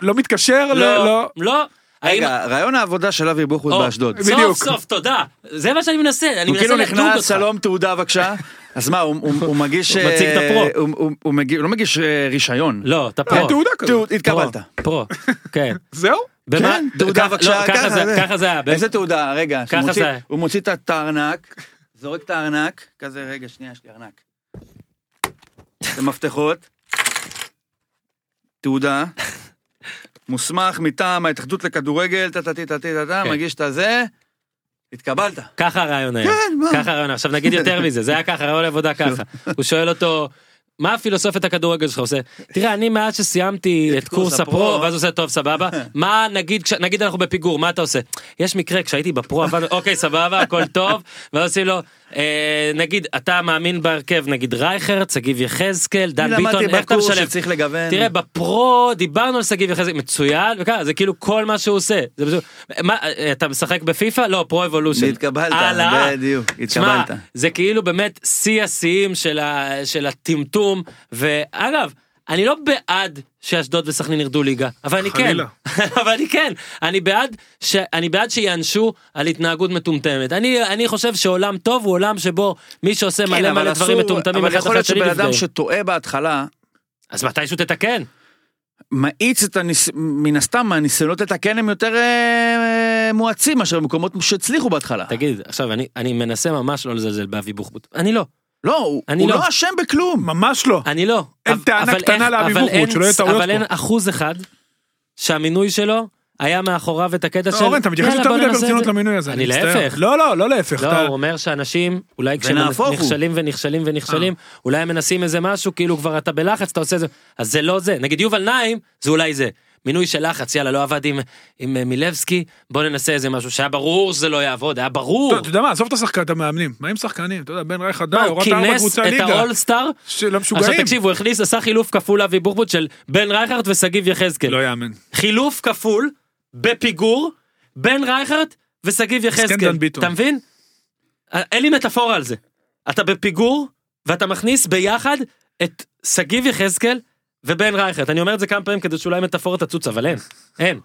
לא מתקשר, ל- לא, לא. לא. האם- רגע, רעיון העבודה של אבי בוחבוט או, באשדוד. סוף בדיוק. סוף, תודה. זה מה שאני מנסה, אני הוא מנסה כאילו לדוג נכנס, אותך. שלום, תעודה בבקשה. אז מה, הוא- הוא הוא מגיש... הוא מציג את אה, הפרו. הוא- הוא- הוא מגיש- הוא לא מגיש אה, רישיון. לא, אתה פרו. אין תעודה כזאת. תעוד- התקבלת. פרו, פרו, כן. זהו? במה- כן, תעודה ככה- בבקשה, לא, ככה זה- ככה זה היה. איזה תעודה, רגע. ככה שמוציא- זה היה. הוא מוציא את הארנק, זורק את הארנק, כזה, רגע, שנייה, יש לי ארנק. זה מפתחות. תעודה. מוסמך מטעם ההתאחדות לכדורגל, טה טה טה טה טה טה, כן. מגיש את הזה, התקבלת. ככה הרעיון היה. כן, מה? כן. ככה הרעיון. עכשיו נגיד [LAUGHS] יותר מזה, זה היה ככה, רעיון עבודה ככה. הוא שואל אותו, מה הפילוסופיית הכדורגל שלך עושה? תראה, אני מאז שסיימתי את קורס הפרו, ואז הוא עושה טוב, סבבה. מה נגיד, כש- נגיד אנחנו בפיגור, מה אתה עושה? יש מקרה, כשהייתי בפרו, עבדנו, [LAUGHS] אוקיי, סבבה, הכל טוב, ואז עושים לו, "אה, נגיד, אתה מאמין בהרכב, נגיד רייכרד, שגיב יחזקאל, דן אני ביטון, למדתי איך אתה בקורס משלב? שצריך לגוון. תראה בפרו דיברנו על שגיב יחזקאל מצוין וככה זה כאילו כל מה שהוא עושה זה פשוט מה אה, אתה משחק בפיפא לא פרו אבולושן התקבלת, הלאה. בדיוק, תשמע, התקבלת. זה כאילו באמת שיא השיאים של, ה, של הטמטום ואגב אני לא בעד שאשדוד וסכנין ירדו ליגה אבל אני כן חלילה. [LAUGHS] אבל אני כן אני בעד שאני בעד שיענשו על התנהגות מטומטמת אני אני חושב שעולם טוב הוא עולם שבו מי שעושה כן, מלא אבל מלא דברים אסור- מטומטמים אבל אחד יכול אחרי להיות השני שבן אדם נפגעים שטועה בהתחלה, אז מתישהו תתקן מאיץ את הניס... מן הסתם הניסיונות לתקן הם יותר אה, אה, מואצים מאשר במקומות שהצליחו בהתחלה. תגיד, עכשיו, אני, אני מנסה ממש לא לזלזל באבי בוחבוט. אני לא. לא, הוא, אני הוא לא. לא אשם בכלום. ממש לא. אני לא. אין אבל- טענה אבל קטנה איך- לאבי אבל בוחבוט, אין- שלא יהיו טעויות אבל אין פה. אחוז אחד שהמינוי שלו היה מאחוריו את הקטע של... לא, אורן, אתה מתייחס יאללה, יותר בוא מדי ננסה את ברצינות זה. למינוי הזה. אני מצטער. להפך. לא, לא, לא להפך. לא, אתה- הוא אומר שאנשים, אולי כשהם ונהפוך הוא. אה. נכשלים ונכשלים ונכשלים, אולי הם מנסים איזה משהו, כאילו כבר אתה בלחץ, אתה עושה את זה, אז זה לא זה. נגיד יובל נעים, זה אולי זה. מינוי של לחץ, יאללה, לא עבד עם, עם אה, מילבסקי, בוא ננסה איזה משהו שהיה ברור שזה לא יעבוד, היה ברור. אתה אתה יודע מה, עזוב את השחקן, את המאמנים. מה עם שחקנים? אתה יודע, בן רייך די, מה, הוא הורדת ארבע כינס קבוצה את ליגה. האולסטאר, של עכשיו המשוגעים. תקשיב, הוא הכניס, עשה חילוף כפול אבי בוחבוט של בן רייכרט ושגיב יחזקאל. לא יאמן. חילוף כפול, בפיגור, בן רייכרט ושגיב יחזקאל. כן דן ביטון. אתה מבין? אה, אין לי מטאפורה על זה. אתה בפיגור, ואתה מכניס ביחד את שגיב יחזקאל ובן רייכרט. אני אומר את זה כמה פעמים כדי שאולי מטאפורה תצוץ, אבל אין. אין.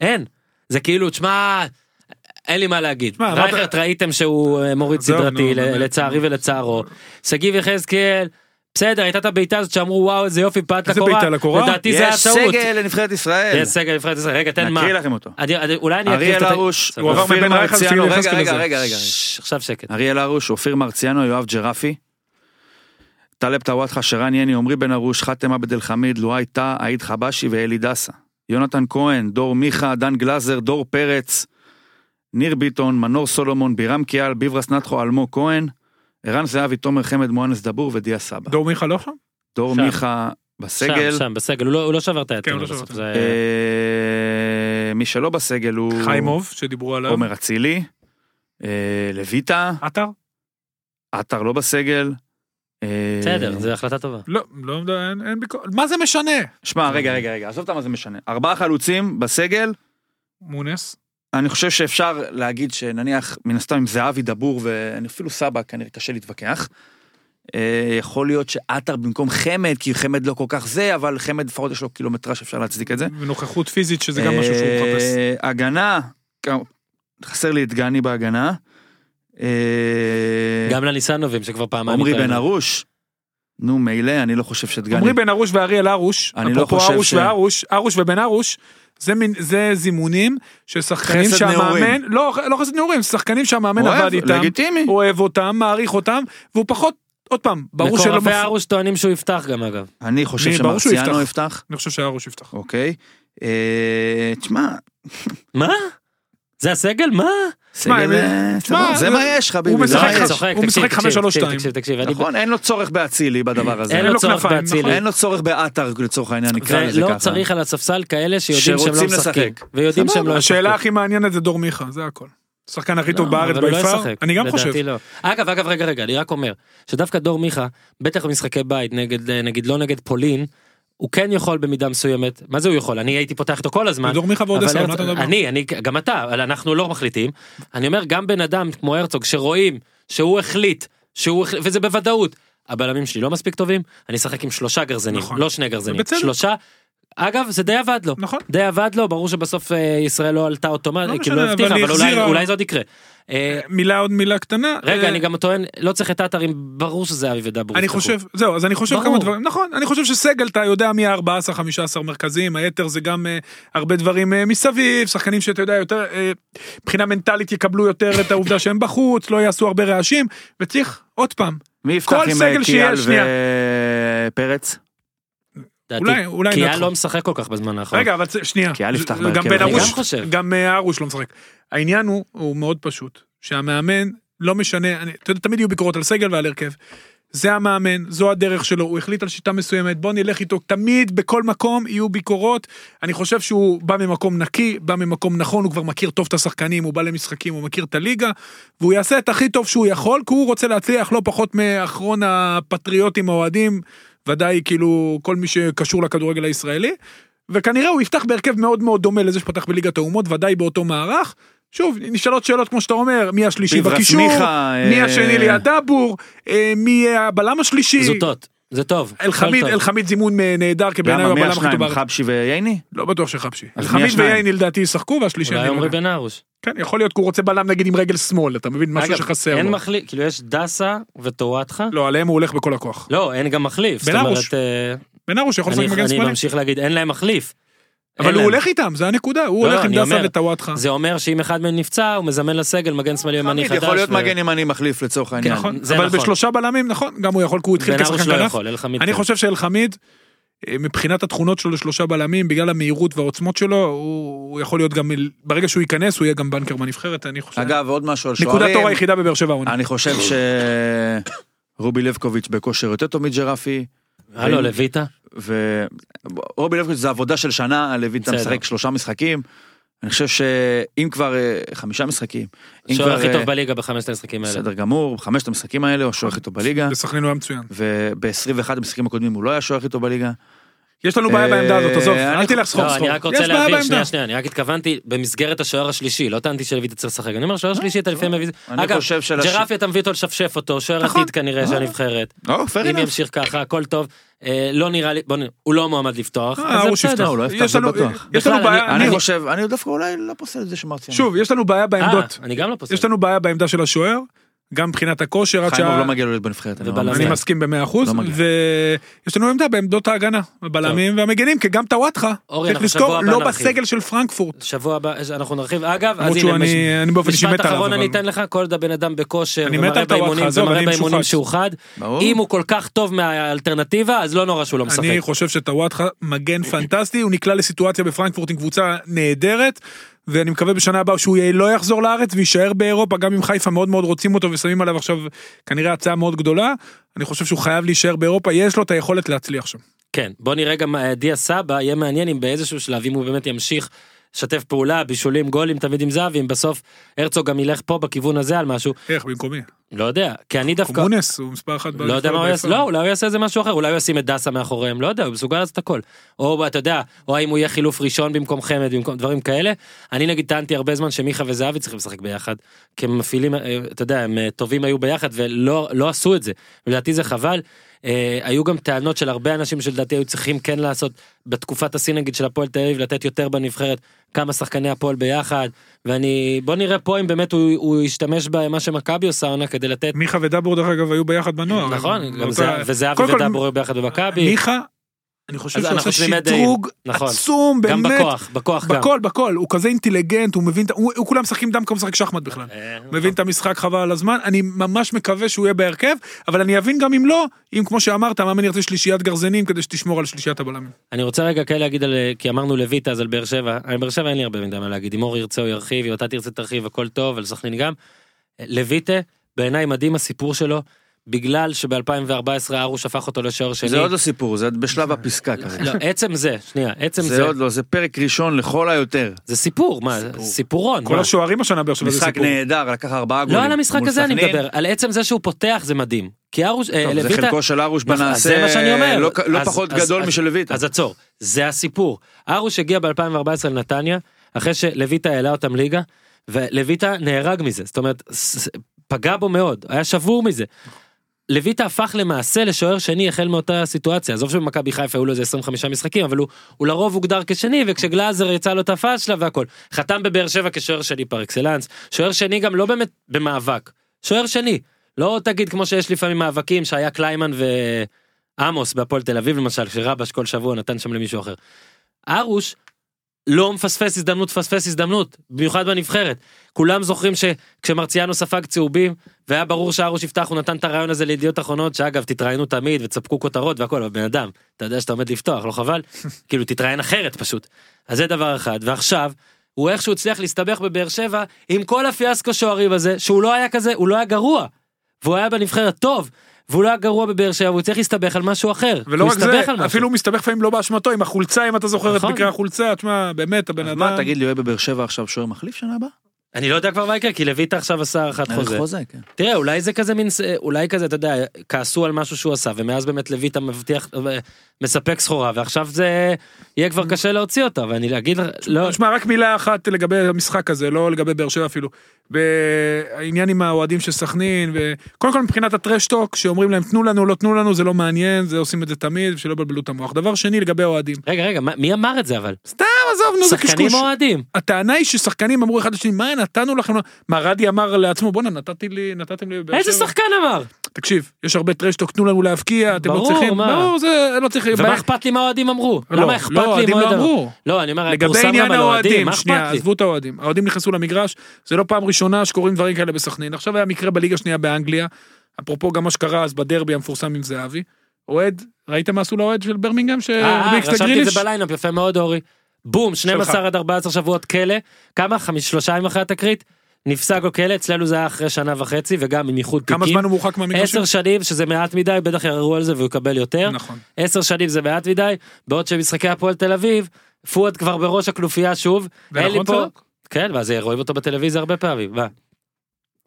אין. זה כאילו, תשמע... אין לי מה להגיד, תשמע, אמרת- רייכרט ראיתם שהוא אה, מוריד עזוב, סדרתי נו, ל- באמת. לצערי ולצערו, שגיב יחזקאל, בסדר הייתה את הבעיטה הזאת שאמרו וואו איזה יופי פעט איזה לקורה, בעיטה לקורה? לדעתי זה היה יש טעות, סגל לנבחרת ישראל. יש סגל נבחרת ישראל, רגע תן מה, נקריא לכם אותו. עדי- עדי- אולי אני אקריא אריאל את הת- הרוש, סבבה. עבר אופיר מבן רייכרד מרציאנו, לסיום רגע, יחזקאל רגע, הזה. רגע, רגע. ששש, עכשיו שקט, אריאל הרוש, אופיר מרציאנו, יואב ג'רפי. טלב טוואטחה, שרן יני, עמרי בן ארוש, חאתם עבד אל חמיד, לואי טאה, עאיד חבשי ואלי דסה. יונתן כהן, דור מיכה, דן גלאזר, דור פרץ, ניר ביטון, מנור סולומון, בירם קיאל, ביברס נטחו, אלמוג כהן, ערן זהבי, תומר חמד, מואנס דבור ודיה סבא. דור מיכה לא שם? דור שם. מיכה בסגל. שם שם בסגל, הוא לא- הוא לא שבר את היד, כן, הוא כנראה לא שבר בסוף, את זה- אה, מי שלא בסגל הוא חיימוב, שדיברו עליו. עומר אצילי, אה, לויטה, עטר? עטר לא בסגל. אה, בסדר, זו החלטה טובה, לא, לא, אין- אין ביקורת. מה זה משנה? שמע, רגע, רגע, רגע, עזוב אותם מה זה משנה. ארבעה חלוצים בסגל, מונס? אני חושב שאפשר להגיד שנניח, מן הסתם, אם זהבי דבור ואפילו סבא, כנראה קשה להתווכח. אה, יכול להיות שעטר במקום חמד, כי חמד לא כל כך זה, אבל חמד לפחות יש לו קילומטרז שאפשר להצדיק את זה. ונוכחות פיזית, שזה גם משהו שהוא אה, מחפש. הגנה, גם- חסר לי את גני בהגנה. אה, גם לניסנובים שכבר פעמיים, עמרי בן התראינו. ארוש. נו, מילא, אני לא חושב שאת גני... עמרי בן ארוש ואריאל הרוש, אני לא אפרופו חושב ש- הרוש והרוש, הרוש ובן ארוש, זה מין- זה זימונים של שחקנים חסד שהמאמן, נעורים. לא לא חסד נעורים, שחקנים שהמאמן אוהב, עבד איתם, לגיטימי. אוהב אותם, מעריך אותם, והוא פחות, עוד פעם, ברור שלא מקורבי מפ... הרוש טוענים שהוא יפתח גם אגב, אני חושב מי- ברור שהוא שמרציאנו יפתח. יפתח. אני חושב שהרוש יפתח. אוקיי. אה, תשמע, מה? זה הסגל? מה? מה, סגל, אה, תשמע, סבבה, זה הוא- מה יש לך, ביבי. הוא זה משחק צוחק, מה חמש- יש. צוחק, הוא תקשיב, משחק תקשיב, 5-3-2. תקשיב, תקשיב, אני- נכון, אין לו צורך באצילי בדבר הזה. אין לו לו צורך כנפיים, נכון. באצילי. אין לו צורך בעטר לצורך העניין, נקרא לזה ככה. ולא צריך על הספסל כאלה שיודעים שהם לא שרוצים משחקים. לשחק. ויודעים שהם לא ישחקו. השאלה הכי מעניינת זה דור מיכה, זה הכל. השחקן הכי טוב לא, בארץ אבל הוא לא ביפר, ישחק, אני גם לדעתי חושב. לא. אגב, אגב, רגע, רגע, אני רק אומר, שדווקא דור מיכה, בטח במשחקי בית, נגד, אה, נגיד לא נגד פולין, הוא כן יכול במידה מסוימת, מה זה הוא יכול? אני הייתי פותח איתו כל הזמן. דור מיכה ועוד אבל עשר, הרצ- מה אתה מדבר? אני, אני, גם אתה, אבל אנחנו לא מחליטים. אני אומר, גם בן אדם כמו הרצוג, שרואים שהוא החליט, שהוא החליט, וזה בוודאות, הבלמים שלי לא מספיק טובים, אני אשחק עם שלושה גרזנים, נכון. לא שני גרזנים, ובצדק. שלושה. אגב, זה די עבד לו. נכון. די עבד לו, ברור שבסוף אה, ישראל לא עלתה לא אוטומטית, משנה, כאילו לא הבטיחה, אבל היא אבל אולי- החזירה. אולי זה עוד יקרה. אה, מילה עוד מילה קטנה. רגע, אה, אני גם טוען, לא צריך את עטרים, ברור שזה אבי ודברו. אני חושב, זהו, אז אני חושב ברור. כמה דברים, נכון, אני חושב שסגל, אתה יודע מי ה-14-15 מרכזיים, היתר זה גם אה, הרבה דברים אה, מסביב, שחקנים שאתה יודע יותר, אה, מבחינה מנטלית יקבלו יותר את העובדה שהם בחוץ, לא יעשו הרבה רעשים, וצריך, עוד פעם, מי יפתח כל עם סגל אה, קיאל שיש, שנייה. ופרץ? אולי, אולי כי נתחו. לא משחק כל כך בזמן האחרון. רגע, אבל צ- שנייה, נכון. כי היה לפתח גם בהרכב, בן אני ארוש, גם חושב. גם אה, ארוש לא משחק. העניין הוא, הוא מאוד פשוט, שהמאמן, לא משנה, אני, אתה יודע, תמיד יהיו ביקורות על סגל ועל הרכב. זה המאמן, זו הדרך שלו, הוא החליט על שיטה מסוימת, בוא נלך איתו, תמיד בכל מקום יהיו ביקורות. אני חושב שהוא בא ממקום נקי, בא ממקום נכון, הוא כבר מכיר טוב את השחקנים, הוא בא למשחקים, הוא מכיר את הליגה, והוא יעשה את הכי טוב שהוא יכול, כי הוא רוצה להצליח לא פחות מאחרון הפטריוטים האוהדים, ודאי כאילו כל מי שקשור לכדורגל הישראלי. וכנראה הוא יפתח בהרכב מאוד מאוד דומה לזה שפתח בליגת האומות, ודאי באותו מערך. שוב, נשאלות שאלות כמו שאתה אומר, מי השלישי ביברס בקישור, מיכה, מי אה, השני ליד דבור, אה, מי הבלם השלישי, זוטות, זה טוב. אלחמיד, הכל טוב. אלחמיד זימון אה, נהדר, כי בעיניי למה הוא מי הבלם הכי טוב השניים? בארץ. חבשי וייני? לא בטוח שחבשי. אז מי אלחמיד השניים? ויין לדעתי ישחקו, והשלישי, אולי אני לא עומרי יודע. בן ארוש. כן, יכול להיות כי הוא רוצה בלם נגיד עם רגל שמאל, אתה מבין, משהו אגב, שחסר אין לו. מחליף, כאילו יש דסה וטוואטחה. לא, עליהם הוא הולך בכל הכוח. לא, אין גם מחליף. זאת בן אומרת, ארוש. אה, בן ארוש יכול אני- לשחק מגן אני שמאלי, ממשיך להגיד, אין להם מחליף. אין אבל הוא להם. הולך איתם, זה הנקודה, הוא לא, הולך עם אני דסה אומר, וטוואטחה. זה אומר שאם אחד מהם נפצע, הוא מזמן לסגל מגן שמאלי ימני חדש. יכול להיות ו- מגן ימני מחליף לצורך העניין. נכון, זה אבל נכון. בשלושה בלמים, נכון, גם הוא יכול, כי הוא התחיל בן כשחקן ארוש לא כנף. יכול, אלחמיד. אני כן. חושב שאלחמיד, אה, מבחינת התכונות שלו לשלושה בלמים, בגלל המהירות והעוצמות שלו, הוא הוא יכול להיות גם, מל- ברגע שהוא ייכנס, הוא יהיה גם בנקר בנבחרת, אני חושב. אגב, עוד משהו על שוערים. נקודת אור היחידה בבאר שבע עונה. אה, אני חושב שרובי לבקוביץ' בכושר יותר טוב מג'רפי, הלו, לויטה? ורובי לבקוביץ' זה עבודה של שנה, לויטה בסדר. משחק שלושה משחקים. אני חושב שאם כבר אה, חמישה משחקים, אם שוער הכי אה, טוב בליגה בחמשת המשחקים האלה. בסדר גמור, חמשת המשחקים האלה הוא השוער הכי טוב בליגה, בסכנין הוא לא היה מצוין. וב-21 המשחקים הקודמים הוא לא היה השוער הכי טוב בליגה. יש לנו בעיה אה, בעמדה הזאת, עזוב, אני אל חו- תלך סחור לא, סחור. אני רק רוצה יש בעיה להבין, שנייה, בעמדה. שנייה, אני רק התכוונתי במסגרת השוער השלישי, לא טענתי שלויטה צריך לשחק, אני אומר שוער שלישי אתה לפעמים מביא... אני אגב, חושב של הש- ג'רפי אתה מביא אותו לשפשף אותו, שוער נכון. עתיד כנראה של הנבחרת, לא, fair אם enough. ימשיך ככה, הכל טוב, אה, לא נראה לי, בוא נראה, הוא לא מועמד לפתוח, אה, אז זה הוא בסדר. שיפתח. לא, הוא לא יפתח, יש זה לנו- בטוח. יש לנו בכלל, בעיה, אני- אני אני- חושב, אני דווקא אולי לא פוסל את זה שמרציאנו. שוב, יש לנו בעיה אה, בעמדות. אני גם לא פוסל. יש לנו בעיה בעמדה של השוער, גם מבחינת הכושר, עד חיימוב שה... לא מגיע לו להיות בנבחרת. אני לא ובלמים. מאמין. אני מגיע. מסכים במאה אחוז, לא מגיע. ויש לנו עמדה בעמדות ההגנה, הבלמים והמגנים, כי גם טוואטחה, אורי, צריך אנחנו שבוע לזכור, הבא לא נרחיב. בסגל של פרנקפורט. שבוע הבא אה, אנחנו נרחיב, אגב, אז למרות שהוא, הנה, מש- אני אני באופן אישי מת משפט עליו. אחרון אני אבל- אתן לך, כל עוד הבן אדם בכושר, אני מת על ומראה טוואטחה, באימונים, עזוב, ומראה אני באימונים משוחד. שהוא חד, ברור. אם הוא כל כך טוב מהאלטרנטיבה, אז לא נורא שהוא לא משחק. אני חושב שטוואטחה מגן פנטסטי, הוא נקלע לסיטואציה בפרנקפורט עם קבוצה נהדרת, ואני מקווה בשנה הבאה שהוא יהיה- לא יחזור לארץ ויישאר באירופה, גם אם חיפה מאוד מאוד רוצים אותו ושמים עליו עכשיו כנראה הצעה מאוד גדולה, אני חושב שהוא חייב להישאר באירופה, יש לו את היכולת להצליח שם. כן, בוא נראה גם אה, דיה סבא, יהיה מעניין אם באיזשהו שלב, אם הוא באמת ימשיך לשתף פעולה, בישולים, גולים, תמיד עם זהב, אם בסוף הרצוג גם ילך פה בכיוון הזה על משהו, איך, במקומי? לא יודע, כי אני דווקא, קומונס הוא מספר אחת. לא יודע מה הוא יעשה, לא, אולי הוא יעשה איזה משהו אחר, אולי הוא ישים את דסה מאחוריהם, לא יודע, הוא מסוגל לעשות הכל. או אתה יודע, או האם הוא יהיה חילוף ראשון במקום חמד, במקום דברים כאלה. אני נגיד טענתי הרבה זמן שמיכה וזהבי צריכים לשחק ביחד, כי הם מפעילים, אה, אתה יודע, הם אה, טובים היו ביחד ולא לא עשו את זה. ולדעתי זה חבל. אה, היו גם טענות של הרבה אנשים שלדעתי היו צריכים כן לעשות בתקופת השיא נגיד של הפועל תל אביב לתת יותר בנבחרת כמה שחקני הפועל ביחד ואני בוא נראה פה אם באמת הוא, הוא ישתמש במה שמכבי עושה עונה כדי לתת מיכה ודבור דרך אגב היו ביחד בנוער. נכון, הם- גם באותה- זה- וזהבי קודם כל, ודברו ביחד במכבי. מיכה אני חושב אז שהוא אנחנו עושה תמימי דעים. שדרוג נכון. עצום, גם באמת. בכוח, בכוח גם. בכל, בכל. הוא כזה אינטליגנט, הוא מבין, את ה- הוא הוא כולם משחקים דם כמו משחק שחמט בכלל. אה, מבין את המשחק חבל על הזמן, אני ממש מקווה שהוא יהיה בהרכב, אבל אני אבין גם אם לא, אם כמו שאמרת, המאמן ירצה שלישיית גרזנים כדי שתשמור על שלישיית הבלמים. אני רוצה רגע כן להגיד על כי אמרנו לויטה אז על באר שבע על באר שבע אין לי הרבה מידע מה להגיד אם אור ירצה הוא ירחיב אם אתה תרצה תרחיב הכל טוב על סכנין גם. אה, לויטה בעיניי מדהים הסיפור שלו בגלל שב2014 ארוש הפך אותו לשוער שני. זה עוד הסיפור, זה בשלב הפסקה כרגע. לא, עצם זה שנייה עצם זה זה עוד לא, זה פרק ראשון לכל היותר. זה סיפור מה סיפורון. כל מה? השוערים השנה באר שבע לא, זה משחק סיפור. נהדר, לקח ארבעה גולים. לא על המשחק מול הזה אני סכנין. מדבר על עצם זה שהוא פותח זה מדהים כי ארוש אה, טוב, זה לויטה חלקו של ארוש נכון, בנעשה, זה מה שאני אומר. לא- לא אז- פחות אז- גדול אז- משל לויטה. אז עצור, זה הסיפור. ארוש הגיע ב-2014 לנתניה, אחרי שלויטה העלה אותם ליגה, ולויטה נהרג מזה, זאת אומרת, ס- ס- פגע בו מאוד, היה שבור מזה. לויטה הפך למעשה לשוער שני החל מאותה סיטואציה, עזוב שבמכבי חיפה היו לו איזה 25 משחקים, אבל הוא, הוא לרוב הוגדר כשני, וכשגלאזר יצא לו את הפאשלה והכל. חתם בבאר שבע כשוער שני פר אקסלנס, שוער שני גם לא באמת במאבק, שוער שני. לא תגיד כמו שיש לפעמים מאבקים שהיה קליימן ועמוס בהפועל תל אביב למשל, שרבש כל שבוע נתן שם למישהו אחר. ארוש לא מפספס הזדמנות, פספס הזדמנות, במיוחד בנבחרת. כולם זוכרים שכשמרציאנו ספג צהובים, והיה ברור שארוש יפתח, הוא נתן את הרעיון הזה לידיעות אחרונות, שאגב, תתראיינו תמיד ותספקו כותרות והכל, אבל בן אדם, אתה יודע שאתה עומד לפתוח, לא [LAUGHS] חבל? כאילו, תתראיין אחרת פשוט. אז זה דבר אחד, ועכשיו, הוא איכשהו הצליח להסתבך בבאר שבע, עם כל הפיאסקו שוערים הזה, שהוא לא היה כזה, הוא לא היה גרוע. והוא היה בנבחרת טוב, והוא לא היה גרוע בבאר שבע, והוא צריך להסתבך על משהו אחר. ולא הוא רק זה, הסתבך על משהו. אפילו הוא מסתבך לפעמים לא באשמתו, עם החולצה, אם אתה זוכר את נכון. מקרה החולצה, תשמע, באמת, הבן אז אדם... מה, תגיד לי, הוא יהיה בבאר שבע עכשיו שוער מחליף שנה הבאה? אני לא יודע כבר מה יקרה, כי לויטה עכשיו עשה הארכת ערך חוזה. חוזה, כן. תראה, אולי זה כזה מין, ס- אה, אולי כזה, אתה יודע, כעסו על משהו שהוא עשה, ומאז באמת לויטה מבטיח, אה, מספק סחורה, ועכשיו זה יהיה כבר קשה להוציא אותה, ואני אגיד, לך- לא, שמע, רק מילה אחת לגבי המשחק הזה, לא לגבי באר שבע אפילו. בעניין עם האוהדים של סכנין, וקודם כל מבחינת הטרשטוק, שאומרים להם תנו לנו, לא תנו לנו, זה לא מעניין, זה עושים את זה תמיד, שלא יבלבלו את המוח. דבר שני, לגבי האוהדים. רגע, רגע, מה- מי אמר את זה אבל? סתם, עזוב, נו, זה שחקנים קשקוש. או אוהדים? הטענה היא ששחקנים אמרו אחד לשני, מה נתנו לכם? לא-" מה, רדי אמר לעצמו, בואנה, נתתי לי, נתתם לי... בבאר איזה שבע." שחקן אמר? תקשיב, יש הרבה טרשטוק, תנו לנו להבקיע, אתם לא ברור, צריכים... מה? ברור, זה לא צריך... ומה אכפת לי מה האוהדים אמרו? לא, למה אכפת לא, לי האוהדים מה לא האוהדים אמרו. לא, אני אומר, לגבי פורסם גם עניין על האוהדים, האוהדים, מה שנייה, אכפת לי? עזבו את האוהדים, האוהדים נכנסו למגרש, זה לא פעם ראשונה שקורים דברים כאלה בסכנין, עכשיו היה מקרה בליגה השנייה באנגליה, אפרופו גם מה שקרה אז בדרבי המפורסם עם זהבי, אוהד, ראית מה עשו לאוהד של ברמינגהם אה, אה, שהדביק את רשמתי את הגריליש? זה בליינאפ, יפה מאוד אורי. בום, 12 עד 14 שבועות כלא, כמה? חמיש- שלושה ימים אחרי התקרית? נפסק לו כלא, אצלנו זה היה אחרי שנה וחצי, וגם עם איחוד תיקים. כמה זמן הוא מורחק מהמגרשים? עשר שנים שזה מעט מדי בטח יערערו על זה והוא יקבל יותר נכון. עשר שנים זה מעט מדי בעוד שמשחקי הפועל תל אביב פואד כבר בראש הכנופיה שוב. זה אין לי נכון, פה- צדוק? כן מה זה רואים אותו בטלוויזיה הרבה פעמים מה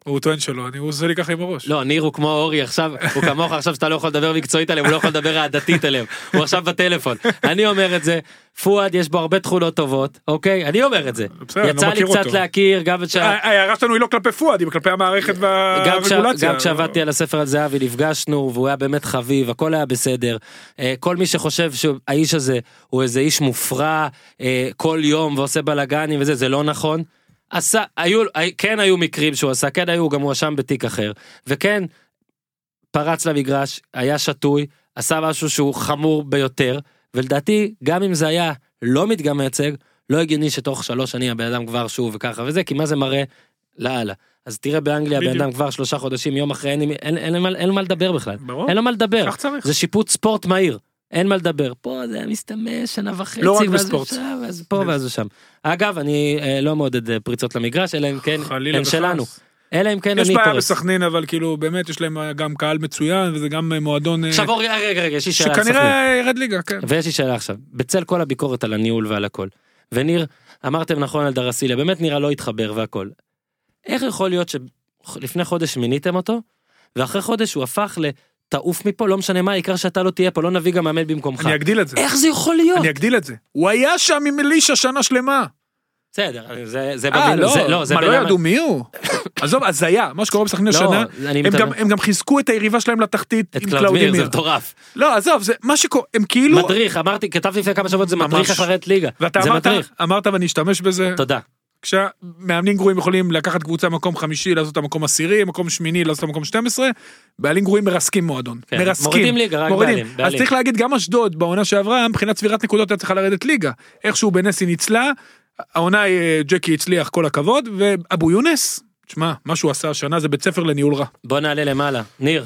הוא טוען שלא, אני- הוא עושה לי ככה עם הראש. לא ניר הוא כמו אורי עכשיו הוא כמוך עכשיו שאתה לא יכול לדבר מקצועית עליהם הוא לא יכול לדבר עדתית עליהם הוא עכשיו בטלפון אני אומר את זה פואד יש בו הרבה תכונות טובות אוקיי אני אומר את זה בסדר, אני לא יצא לי מכיר קצת אותו. להכיר גם את שה... ה- ההערה שלנו היא לא כלפי פואד, היא כלפי המערכת אה, גם, כשה, והרגולציה. גם כשעבדתי על הספר על זהבי נפגשנו והוא היה באמת חביב הכל היה בסדר אה, כל מי שחושב שהאיש הזה הוא איזה איש מופרע אה, כל יום ועושה בלאגנים וזה זה לא נכון. עשה היו הי- כן היו מקרים שהוא עשה כן היו הוא גם הואשם בתיק אחר וכן פרץ למגרש היה שתוי עשה משהו שהוא חמור ביותר ולדעתי גם אם זה היה לא מדגם מייצג לא הגיוני שתוך שלוש שנים הבן אדם כבר שוב וככה וזה כי מה זה מראה לאללה. אז תראה באנגליה הבן בדיוק. אדם כבר שלושה חודשים יום אחרי אין לי- אין- אין מה- אין מה לדבר בכלל ברור. אין לו מה לדבר כך צריך. זה שיפוט ספורט מהיר אין מה לדבר פה זה היה מסתמש שנה וחצי לא רק ואז הוא בספורט. שם, ואז פה ואז הוא שם אגב אני אה, לא מעודד אה, פריצות למגרש אלא אם כן חלילה הם וחס. שלנו אלא אם כן יש אני בעיה פורץ. בסכנין, אבל כאילו, באמת, יש להם גם קהל מצוין, וזה גם אה, מועדון... אה, עכשיו אורי רגע, רגע רגע יש לי שאלה על סכנין. שכנראה ירד ליגה, כן. ויש לי שאלה עכשיו, בצל כל הביקורת על הניהול ועל הכל, וניר, אמרתם נכון על דרסיליה, באמת נראה לא התחבר והכל. איך יכול להיות שלפני חודש מיניתם אותו, ואחרי חודש הוא הפך ל"תעוף מפה, לא משנה מה, העיקר שאתה לא תהיה פה, לא נביא גם מאמן במקומך". אני אגדיל את זה. איך זה יכול להיות? אני אגדיל את זה. הוא היה שם עם אלישע שנה שלמה. בסדר, זה- זה אה, במינוס, לא, זה- לא, זה מה, בין לא המ- ידעו מי [COUGHS] הוא? עזוב, הזיה, מה שקורה בסכנין השנה, לא, אני הם מתאר- גם- הם גם חיזקו את היריבה שלהם לתחתית את עם קלאודמיר, זה קלאודימיר. מטורף. לא, עזוב, זה מה שקורה, הם כאילו... מדריך, אמרתי, כתבתי לפני כמה שבועות, זה ממש. מדריך אחרת ליגה. ואתה זה אמרת, מדריך. אמרת ואני אשתמש בזה, תודה. כשמאמנים גרועים יכולים לקחת קבוצה מקום חמישי, לעשות את המקום עשירי, מקום שמיני, לעשות את המקום 12, בעלים גרועים מרסקים מועדון. כן, מרסקים. מורידים ליגה, רק מורידים. בעלים, אז בעלים. צריך להגיד, גם אשדוד בעונה שעברה, מבחינת צבירת נקודות היה צריכה לרדת ליגה. איכשהו בנס היא ניצלה, העונה אה, ג'קי הצליח, כל הכבוד, ואבו יונס, תשמע, מה שהוא עשה השנה זה בית ספר לניהול רע. בוא נעלה למעלה. ניר,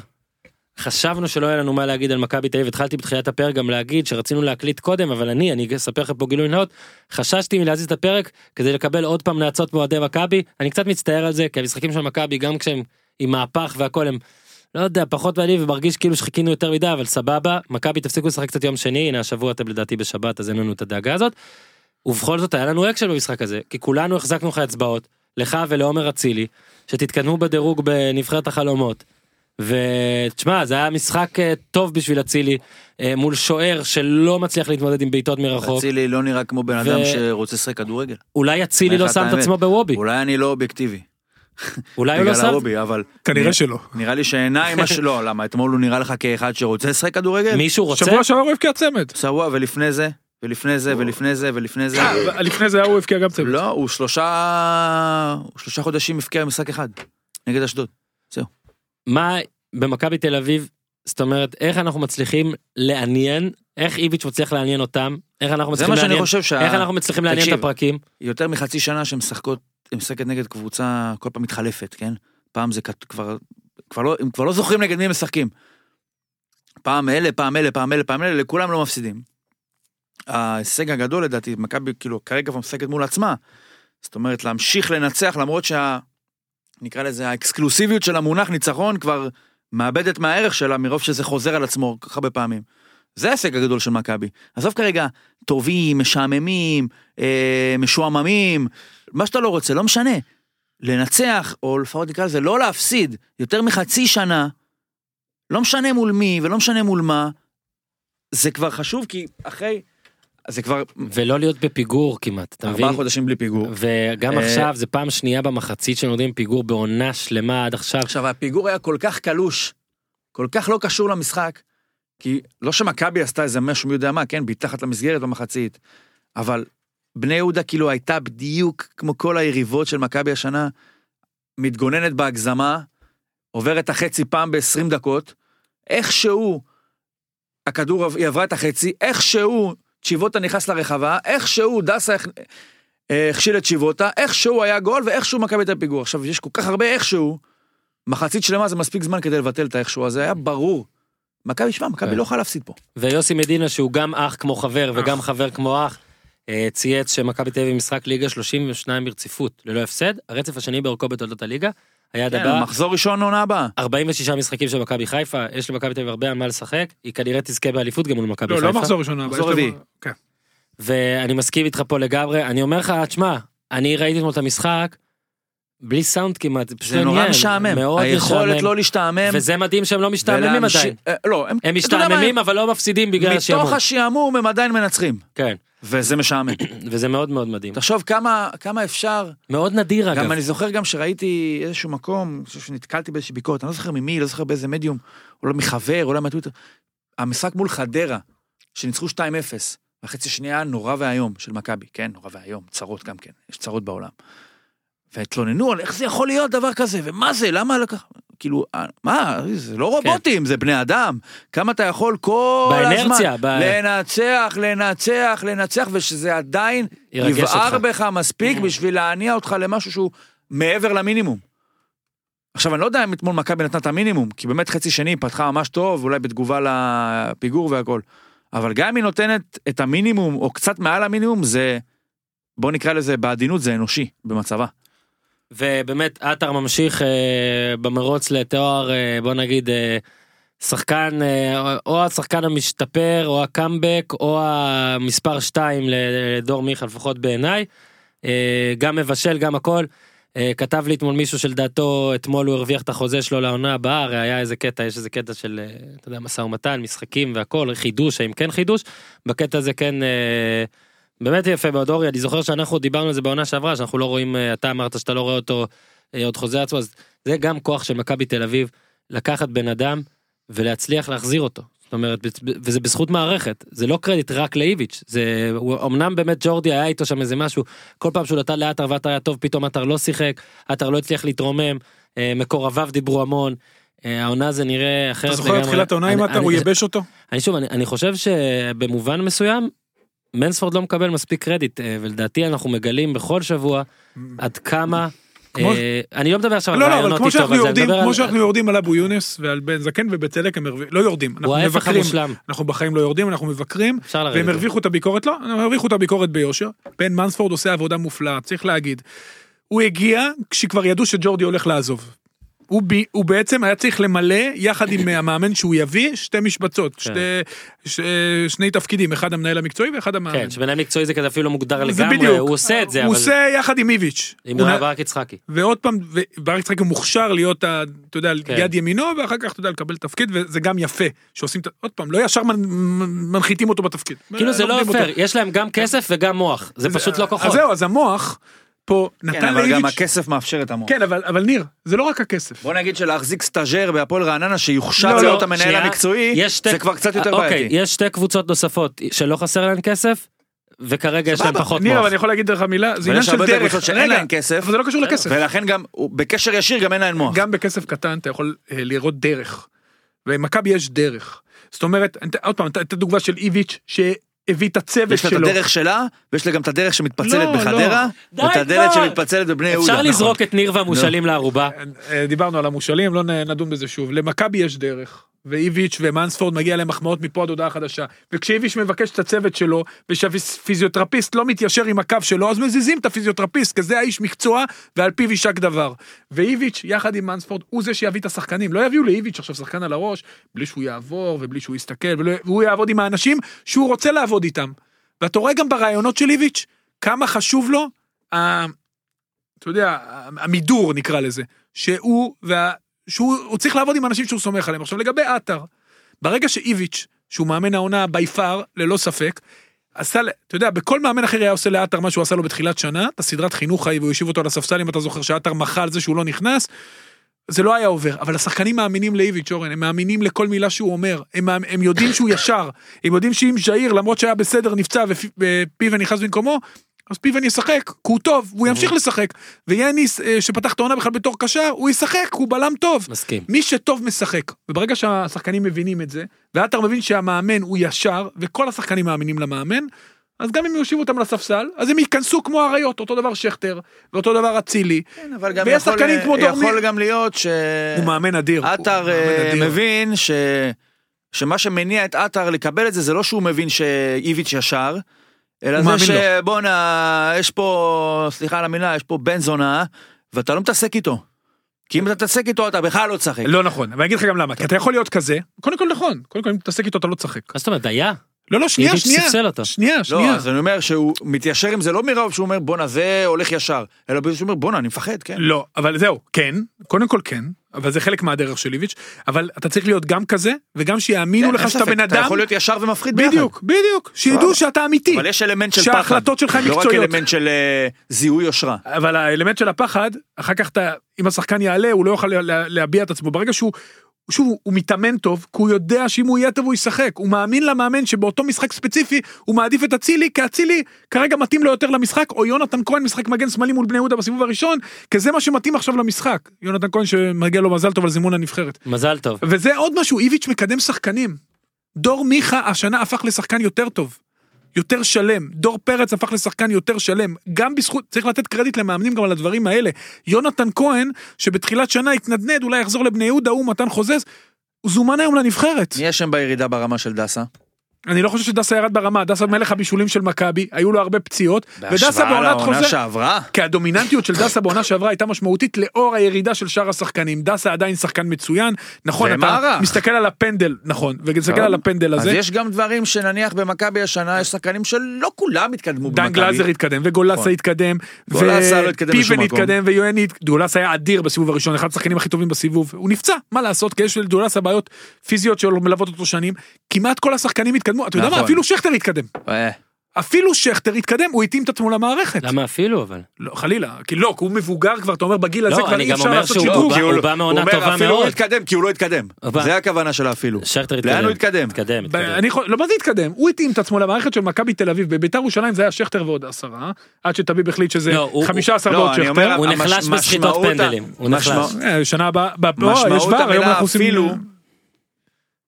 חשבנו שלא היה לנו מה להגיד על מכבי תל אביב, התחלתי בתחילת הפרק גם להגיד שרצינו להקליט קודם, אבל אני, אני אספר לכם פה גילוי נאות, חששתי מלהזיז את הפרק כדי לקבל עוד פעם נאצות מאוהדי מכבי, אני קצת מצטער על זה, כי המשחקים של מכבי, גם כשהם עם מהפך והכל, הם, לא יודע, פחות מעניין ומרגיש כאילו שחיכינו יותר מדי, אבל סבבה, מכבי תפסיקו לשחק קצת יום שני, הנה השבוע אתם לדעתי בשבת, אז אין לנו את הדאגה הזאת. ובכל זאת היה לנו אקשן במשחק הזה, כי כולנו החזקנו לך אצבעות, לך ולעומר אצילי, שתתקדמו בדירוג בנבחרת החלומות. ותשמע, זה היה משחק אה, טוב בשביל אצילי, אה, מול שוער שלא מצליח להתמודד עם בעיטות מרחוק. אצילי לא נראה כמו בן ו- אדם שרוצה לשחק כדורגל. אולי אצילי לא אומר לך שם את את עצמו האמת. בוובי, אולי אני לא אובייקטיבי. אולי הוא לא בגלל שם. הרובי, אבל... כנראה שלא. נראה לי שעיניים... הש- לא, למה? אתמול הוא נראה לך כאחד שרוצה לשחק כדורגל? כן. מישהו רוצה? שבוע שעבר הוא הבקיע צמד. סבבה, ולפני זה, ולפני זה, ולפני זה, ולפני זה. אה, לפני זה הוא הבקיע גם צמד. לא, הוא שלושה... הוא שלושה חודשים הבקיע במשחק אחד. נגד אשדוד. מה במכבי תל אביב, זאת אומרת, איך אנחנו מצליחים לעניין, איך איביץ' מצליח לעניין אותם, איך אנחנו זה מצליחים מה שאני לעניין, חושב שה... איך אנחנו מצליחים לעניין את תקשיב. הפרקים? יותר מחצי שנה שהן משחקות, הן משחקת נגד קבוצה כל פעם מתחלפת, כן? פעם זה כת- כבר, כבר לא, הם כבר לא זוכרים נגד מי הם משחקים. פעם אלה, פעם אלה, פעם אלה, פעם אלה, לכולם לא מפסידים. ההישג הגדול לדעתי, מכבי כאילו כרגע כבר משחקת מול עצמה. זאת אומרת, להמשיך לנצח למרות שה... נקרא לזה האקסקלוסיביות של המונח ניצחון כבר מאבדת מהערך שלה מרוב שזה חוזר על עצמו כל כך הרבה פעמים. זה ההישג הגדול של מכבי. עזוב כרגע, טובים, משעממים, אה, משועממים, מה שאתה לא רוצה, לא משנה. לנצח, או לפחות נקרא לזה, לא להפסיד, יותר מחצי שנה, לא משנה מול מי ולא משנה מול מה, זה כבר חשוב, כי אחרי... זה כבר ולא להיות בפיגור כמעט, אתה מבין? ארבעה חודשים בלי פיגור. וגם אה, עכשיו זה פעם שנייה במחצית שנותנים פיגור בעונה שלמה עד עכשיו. עכשיו, הפיגור היה כל כך קלוש, כל כך לא קשור למשחק, כי לא שמכבי עשתה איזה משהו מי יודע מה, כן, מתחת למסגרת במחצית, אבל בני יהודה כאילו הייתה בדיוק כמו כל היריבות של מכבי השנה, מתגוננת בהגזמה, עוברת את החצי פעם ב-20 דקות, איכשהו הכדור, עב- היא עברה את החצי, איכשהו צ'יבוטה נכנס לרחבה, איכשהו דסה הכ- אה, הכשיל את צ'יבוטה, איכשהו היה גול ואיכשהו מכבי הייתה פיגור. עכשיו, יש כל כך הרבה איכשהו, מחצית שלמה זה מספיק זמן כדי לבטל את האיכשהו הזה, היה ברור. מכבי, שמע, מכבי כן. לא יכולה להפסיד פה. ויוסי מדינה שהוא גם אח כמו חבר וגם חבר כמו אח, אה, צייץ שמכבי תל אביב משחק ליגה 32 ברציפות ללא הפסד, הרצף השני באורכו בתולדות הליגה, כן. היעד הבא, מחזור ראשון עונה הבאה. 46 משחקים של מכבי חיפה, יש למכבי תל אביב הרבה על מה לשחק, היא כנראה תזכה באליפות גם מול מכבי לא, חיפה. לא מחזור ראשון. אבל מחזור יש לו- רביעי. כן. ואני מסכים איתך פה לגמרי, אני אומר לך, תשמע, אני ראיתי אתמול את המשחק, בלי סאונד כמעט, זה פשוט זה נורא עניין, משעמם. מאוד היכולת משעמם. לא להשתעמם. וזה מדהים שהם לא משתעממים ולהמשיך- עדיין. אה, לא, הם הם אתה יודע מה, משתעממים אבל לא מפסידים בגלל השעמום. מתוך השעמום הם עדיין מנצחים. כן, וזה [COUGHS] משעמם. וזה מאוד מאוד מדהים. תחשוב כמה, כמה אפשר, מאוד נדיר אגב. גם אני זוכר גם שראיתי איזשהו מקום, אני חושב שנתקלתי באיזושהי ביקורת, אני לא זוכר ממי, לא זוכר באיזה מדיום, אולי מחבר, אולי מהטוויטר. המשחק מול חדרה, שניצחו 2-0, החצי השנייה היה נורא ואיום של מכבי, כן, נורא ואיום, צרות גם כן, יש צרות בעולם. והתלוננו על איך זה יכול להיות דבר כזה, ומה זה, למה לקח... כאילו, אה, מה, זה לא כן. רובוטים, זה בני אדם. כמה אתה יכול כל באנרציה, הזמן ב- לנצח, לנצח, לנצח, ושזה עדיין ירגש יבער אותך. בך מספיק בשביל להניע אותך למשהו שהוא מעבר למינימום. עכשיו, אני לא יודע אם אתמול מכבי נתנה את המינימום, כי באמת חצי שני היא פתחה ממש טוב, אולי בתגובה לפיגור והכל. אבל גם אם היא נותנת את המינימום, או קצת מעל המינימום, זה, בוא נקרא לזה בעדינות, זה אנושי במצבה. ובאמת עטר ממשיך אה, במרוץ לתואר אה, בוא נגיד אה, שחקן אה, או השחקן המשתפר או הקאמבק או המספר 2 לדור מיכה לפחות בעיניי. אה, גם מבשל גם הכל. אה, כתב לי אתמול מישהו שלדעתו אתמול הוא הרוויח את החוזה שלו לעונה הבאה הרי היה איזה קטע יש איזה קטע של אה, אתה יודע משא ומתן משחקים והכל חידוש האם כן חידוש בקטע הזה כן. אה, באמת יפה מאוד אורי, אני זוכר שאנחנו דיברנו על זה בעונה שעברה, שאנחנו לא רואים, אה, אתה אמרת שאתה לא רואה אותו אה, עוד חוזר עצמו, אז זה גם כוח של מכבי תל אביב, לקחת בן אדם ולהצליח להחזיר אותו. זאת זאת אומרת, בצ- ב- וזה בזכות מערכת, זה לא קרדיט רק לאיביץ', זה, הוא- אמנם באמת ג'ורדי היה איתו שם איזה משהו, כל פעם שהוא נתן לעטר ועטר היה טוב, פתאום עטר לא שיחק, עטר לא הצליח להתרומם, אה, מקורביו דיברו המון, אה, העונה זה נראה אחרת אתה זוכר את תחילת העונה עם כן, אני- עטר, הוא אני- ייבש אותו? אני שוב, אני, אני חושב שבמובן מסוים, מנספורד לא מקבל מספיק קרדיט, אה, ולדעתי אנחנו מגלים בכל שבוע עד כמה... כמו- אה, אני לא מדבר עכשיו על לא, לא, רעיון אבל כמו אותי טוב, שאנחנו אז אני יורדים, מדבר כמו על... שאנחנו יורדים על אבו יונס ועל בן זקן ובצדק הם הרוויחו, לא יורדים, אנחנו הוא ההפך מבקרים, המושלם, אנחנו בחיים לא יורדים, אנחנו מבקרים, אפשר לרדת. והם הרוויחו את הביקורת, לא, הם הרוויחו את הביקורת ביושר. בן מנספורד עושה עבודה מופלאה, צריך להגיד. הוא הגיע כשכבר ידעו שג'ורדי הולך לעזוב. הוא, ב, הוא בעצם היה צריך למלא יחד עם המאמן שהוא יביא שתי משבצות, כן. שתי, ש, שני תפקידים, אחד המנהל המקצועי ואחד המאמן. כן, שמנהל מקצועי זה כזה אפילו לא מוגדר זה לגמרי, בדיוק. הוא עושה את זה, הוא אבל... עושה יחד עם איביץ'. אם הוא אה, לא נ- היה ברק יצחקי. ועוד פעם, וברק יצחקי הוא מוכשר להיות, ה- אתה יודע, כן. יד ימינו, ואחר כך, אתה יודע, לקבל תפקיד, וזה גם יפה, שעושים, את ה- עוד פעם, לא ישר מנ- מנ- מנחיתים אותו בתפקיד. כאילו זה לא לומדים אותו. פייר, יש להם גם כסף וגם מוח, זה פשוט לא אז כוחות. זהו, אז המוח פה כן, נתן אבל גם לאיביץ', הכסף מאפשר את המוח. כן, אבל אבל ניר, זה לא רק הכסף. בוא נגיד שלהחזיק סטאז'ר בהפועל רעננה לא, שיוכשר לא, להיות המנהל שנייה, המקצועי, יש שתי- זה כבר קצת יותר אוקיי, בעייתי. יש שתי קבוצות נוספות שלא חסר להן כסף, וכרגע יש להן כן, פחות ניר, אבל מוח. אני יכול להגיד לך מילה, זה אבל עניין יש של הרבה יותר דרך. קבוצות שאין רגע, להן כסף. אה, אבל זה לא קשור לכסף. ולכן גם, הוא- בקשר ישיר גם אין להם מוח. גם בכסף קטן אתה יכול אה, לראות דרך. במכבי יש דרך. זאת אומרת, אני אתן- עוד פעם, את- את הדוגמה של איביץ' שהביא את הצוות יש לה את שלו. הדרך שלה, ויש לה גם את הדרך שמתפצלת לא, בחדרה, לא. ואת די הדלת כבר. שמתפצלת בבני יהודה. אפשר נכון. לזרוק את ניר והמושאלים לערובה. אה, דיברנו על המושאלים, לא נ- נדון בזה שוב. למכבי יש דרך. ואיביץ' ומנספורד מגיע להם מחמאות מפה עד הודעה חדשה. וכשאיביץ' מבקש את הצוות שלו, ושהפיזיותרפיסט לא מתיישר עם הקו שלו, אז מזיזים את הפיזיותרפיסט, כי זה האיש מקצוע, ועל פיו יישק דבר. ואיביץ', יחד עם מנספורד, הוא זה שיביא את השחקנים. לא יביאו לאיביץ' עכשיו שחקן על הראש, בלי שהוא יעבור, ובלי שהוא יסתכל, ולא- והוא יעבוד עם האנשים שהוא רוצה לעבוד איתם. ואתה רואה גם ברעיונות של איביץ', כמה חשוב לו, ה- אתה יודע, המידור נקרא לזה, שהוא, וה, שהוא הוא צריך לעבוד עם אנשים שהוא סומך עליהם. עכשיו לגבי עטר, ברגע שאיביץ', שהוא מאמן העונה בי פאר, ללא ספק, עשה, ל- אתה יודע, בכל מאמן אחר היה עושה לעטר מה שהוא עשה לו בתחילת שנה, את הסדרת חינוך ההיא, והוא הושיב אותו על הספסל, אם אתה זוכר שעטר מחה על זה שהוא לא נכנס, זה לא היה עובר, אבל השחקנים מאמינים לאיביץ' אורן, הם מאמינים לכל מילה שהוא אומר, הם, מאמ- הם יודעים שהוא ישר, הם יודעים שאם ז'איר, למרות שהיה בסדר, נפצע ופי- ופיבן נכנס במקומו, אז פיבן ישחק, כי הוא טוב, הוא ימשיך לשחק. ויאניס, אה, שפתח את העונה בכלל בתור קשר, הוא ישחק, הוא בלם טוב. מסכים. מי שטוב משחק, וברגע שהשחקנים מבינים את זה, ועטר מבין שהמאמן הוא ישר, וכל השחקנים מאמינים למאמן, אז גם אם יושיבו אותם לספסל, אז הם ייכנסו כמו אריות, אותו דבר שכטר, ואותו דבר אצילי. כן, אבל גם ויש יכול- אה, שחקנים כמו יכול דורמי. גם להיות ש... הוא מאמן אדיר. הוא עטר מאמן אה, אדיר. מבין ש... שמה שמניע את עטר לקבל את זה, זה לא שהוא מבין שאיביץ' ישר, אלא הוא זה מאמין שבואנה, יש פה, סליחה על המילה, יש פה בן זונה, ואתה לא מתעסק איתו. כי אם אתה תתעסק איתו, אתה בכלל לא תשחק. לא נכון, ואני אגיד לך גם למה, כי אתה יכול להיות כזה, קודם כל נכון, קודם כל אם תתעסק איתו אתה לא תשחק. מה זאת אומרת, היה? לא, לא, שנייה, איביץ' שנייה, ספסל אותו. שנייה, לא, שנייה. אז אני אומר שהוא מתיישר עם זה לא מרוב שהוא אומר בואנה זה הולך ישר, אלא בגלל שהוא אומר בואנה אני מפחד, כן. לא, אבל זהו, כן, קודם כל כן, אבל זה חלק מהדרך של איביץ', אבל אתה צריך להיות גם כזה, וגם שיאמינו כן, אין לך שאתה ספק, בן אתה אדם, יכול להיות ישר ומפחיד ביחד. בדיוק, בדיוק, שידעו סבבה. שאתה אמיתי. אבל יש אלמנט של פחד. שההחלטות שלך הן לא מקצועיות. רק אלמנט של אה, זיהוי יושרה. אבל האלמנט של הפחד, אחר כך אתה, אם השחקן יעלה, הוא לא יוכל לה- לה- להביע את עצמו. ברגע שהוא, שוב, הוא- הוא מתאמן טוב, כי הוא יודע שאם הוא יהיה טוב הוא ישחק. הוא מאמין למאמן שבאותו משחק ספציפי, הוא מעדיף את אצילי, כי אצילי כרגע מתאים לו יותר למשחק, או יונתן כהן משחק מגן שמאלי מול בני יהודה בסיבוב הראשון, כי זה מה שמתאים עכשיו למשחק. יונתן כהן שמגיע לו מזל טוב על זימון הנבחרת. מזל טוב. וזה עוד משהו, איביץ' מקדם שחקנים. דור מיכה השנה הפך לשחקן יותר טוב. יותר שלם, דור פרץ הפך לשחקן יותר שלם, גם בזכות, צריך לתת קרדיט למאמנים גם על הדברים האלה. יונתן כהן, שבתחילת שנה התנדנד, אולי יחזור לבני יהודה, הוא מתן חוזז, הוא זומן היום לנבחרת. מי אשם בירידה ברמה של דסה? אני לא חושב שדסה ירד ברמה, דסה מלך הבישולים של מכבי, היו לו הרבה פציעות, ודסה בעונת לעונה חוזז, שעברה? כי הדומיננטיות של דסה בעונה שעברה הייתה משמעותית לאור הירידה של שאר השחקנים. דסה עדיין שחקן מצוין, נכון, ומה אתה רע? מסתכל על הפנדל, נכון, ומסתכל על הפנדל אז הזה, יש גם דברים שנניח במכבי השנה יש שחקנים שלא כולם התקדמו דן במכבי. גלאזר התקדם, וגולסה נכון. התקדם, גולסה לא התקדם לשום ופיבן מקום. התקדם, ויואני, דולסה היה אדיר בסיבוב הראשון, אחד השחקנים הכי טובים בסיבוב, הוא נפצע, מה לעשות, כי יש לדולסה בעיות פיזיות שלו מלוות אותו שנים, כמעט כל השחקנים התקדמו, אתה יודע מה, נכון. אפילו שכטר התקדם. אה, אפילו שכטר התקדם, הוא התאים את עצמו למערכת. למה אפילו אבל? לא, חלילה, כי לא, כי הוא מבוגר כבר, אתה אומר, בגיל הזה לא, כבר אני אי גם אפשר אומר לעשות שהוא לא, שדרוג. בא- הוא בא מעונה טובה אפילו הוא מאוד. התקדם, כי הוא לא התקדם. הוא בא. זה הכוונה של האפילו. שכטר התקדם. לאן הוא התקדם? התקדם, ב- התקדם. אני יכול, לא, מה זה התקדם? הוא התאים את עצמו למערכת של מכבי תל אביב. בביתר ירושלים זה היה שכטר ועוד עשרה, עד שטביב החליט שזה לא, הוא- 15 לא, ועוד אני שכטר. אומר, הוא המש- נחלש בסחיטות משמעות ה- פנדלים, הוא נחלש. משמעות- אה, שנה הבאה, ב- לא, יש משמעות וער, היום המילה אנחנו עושים... אפילו,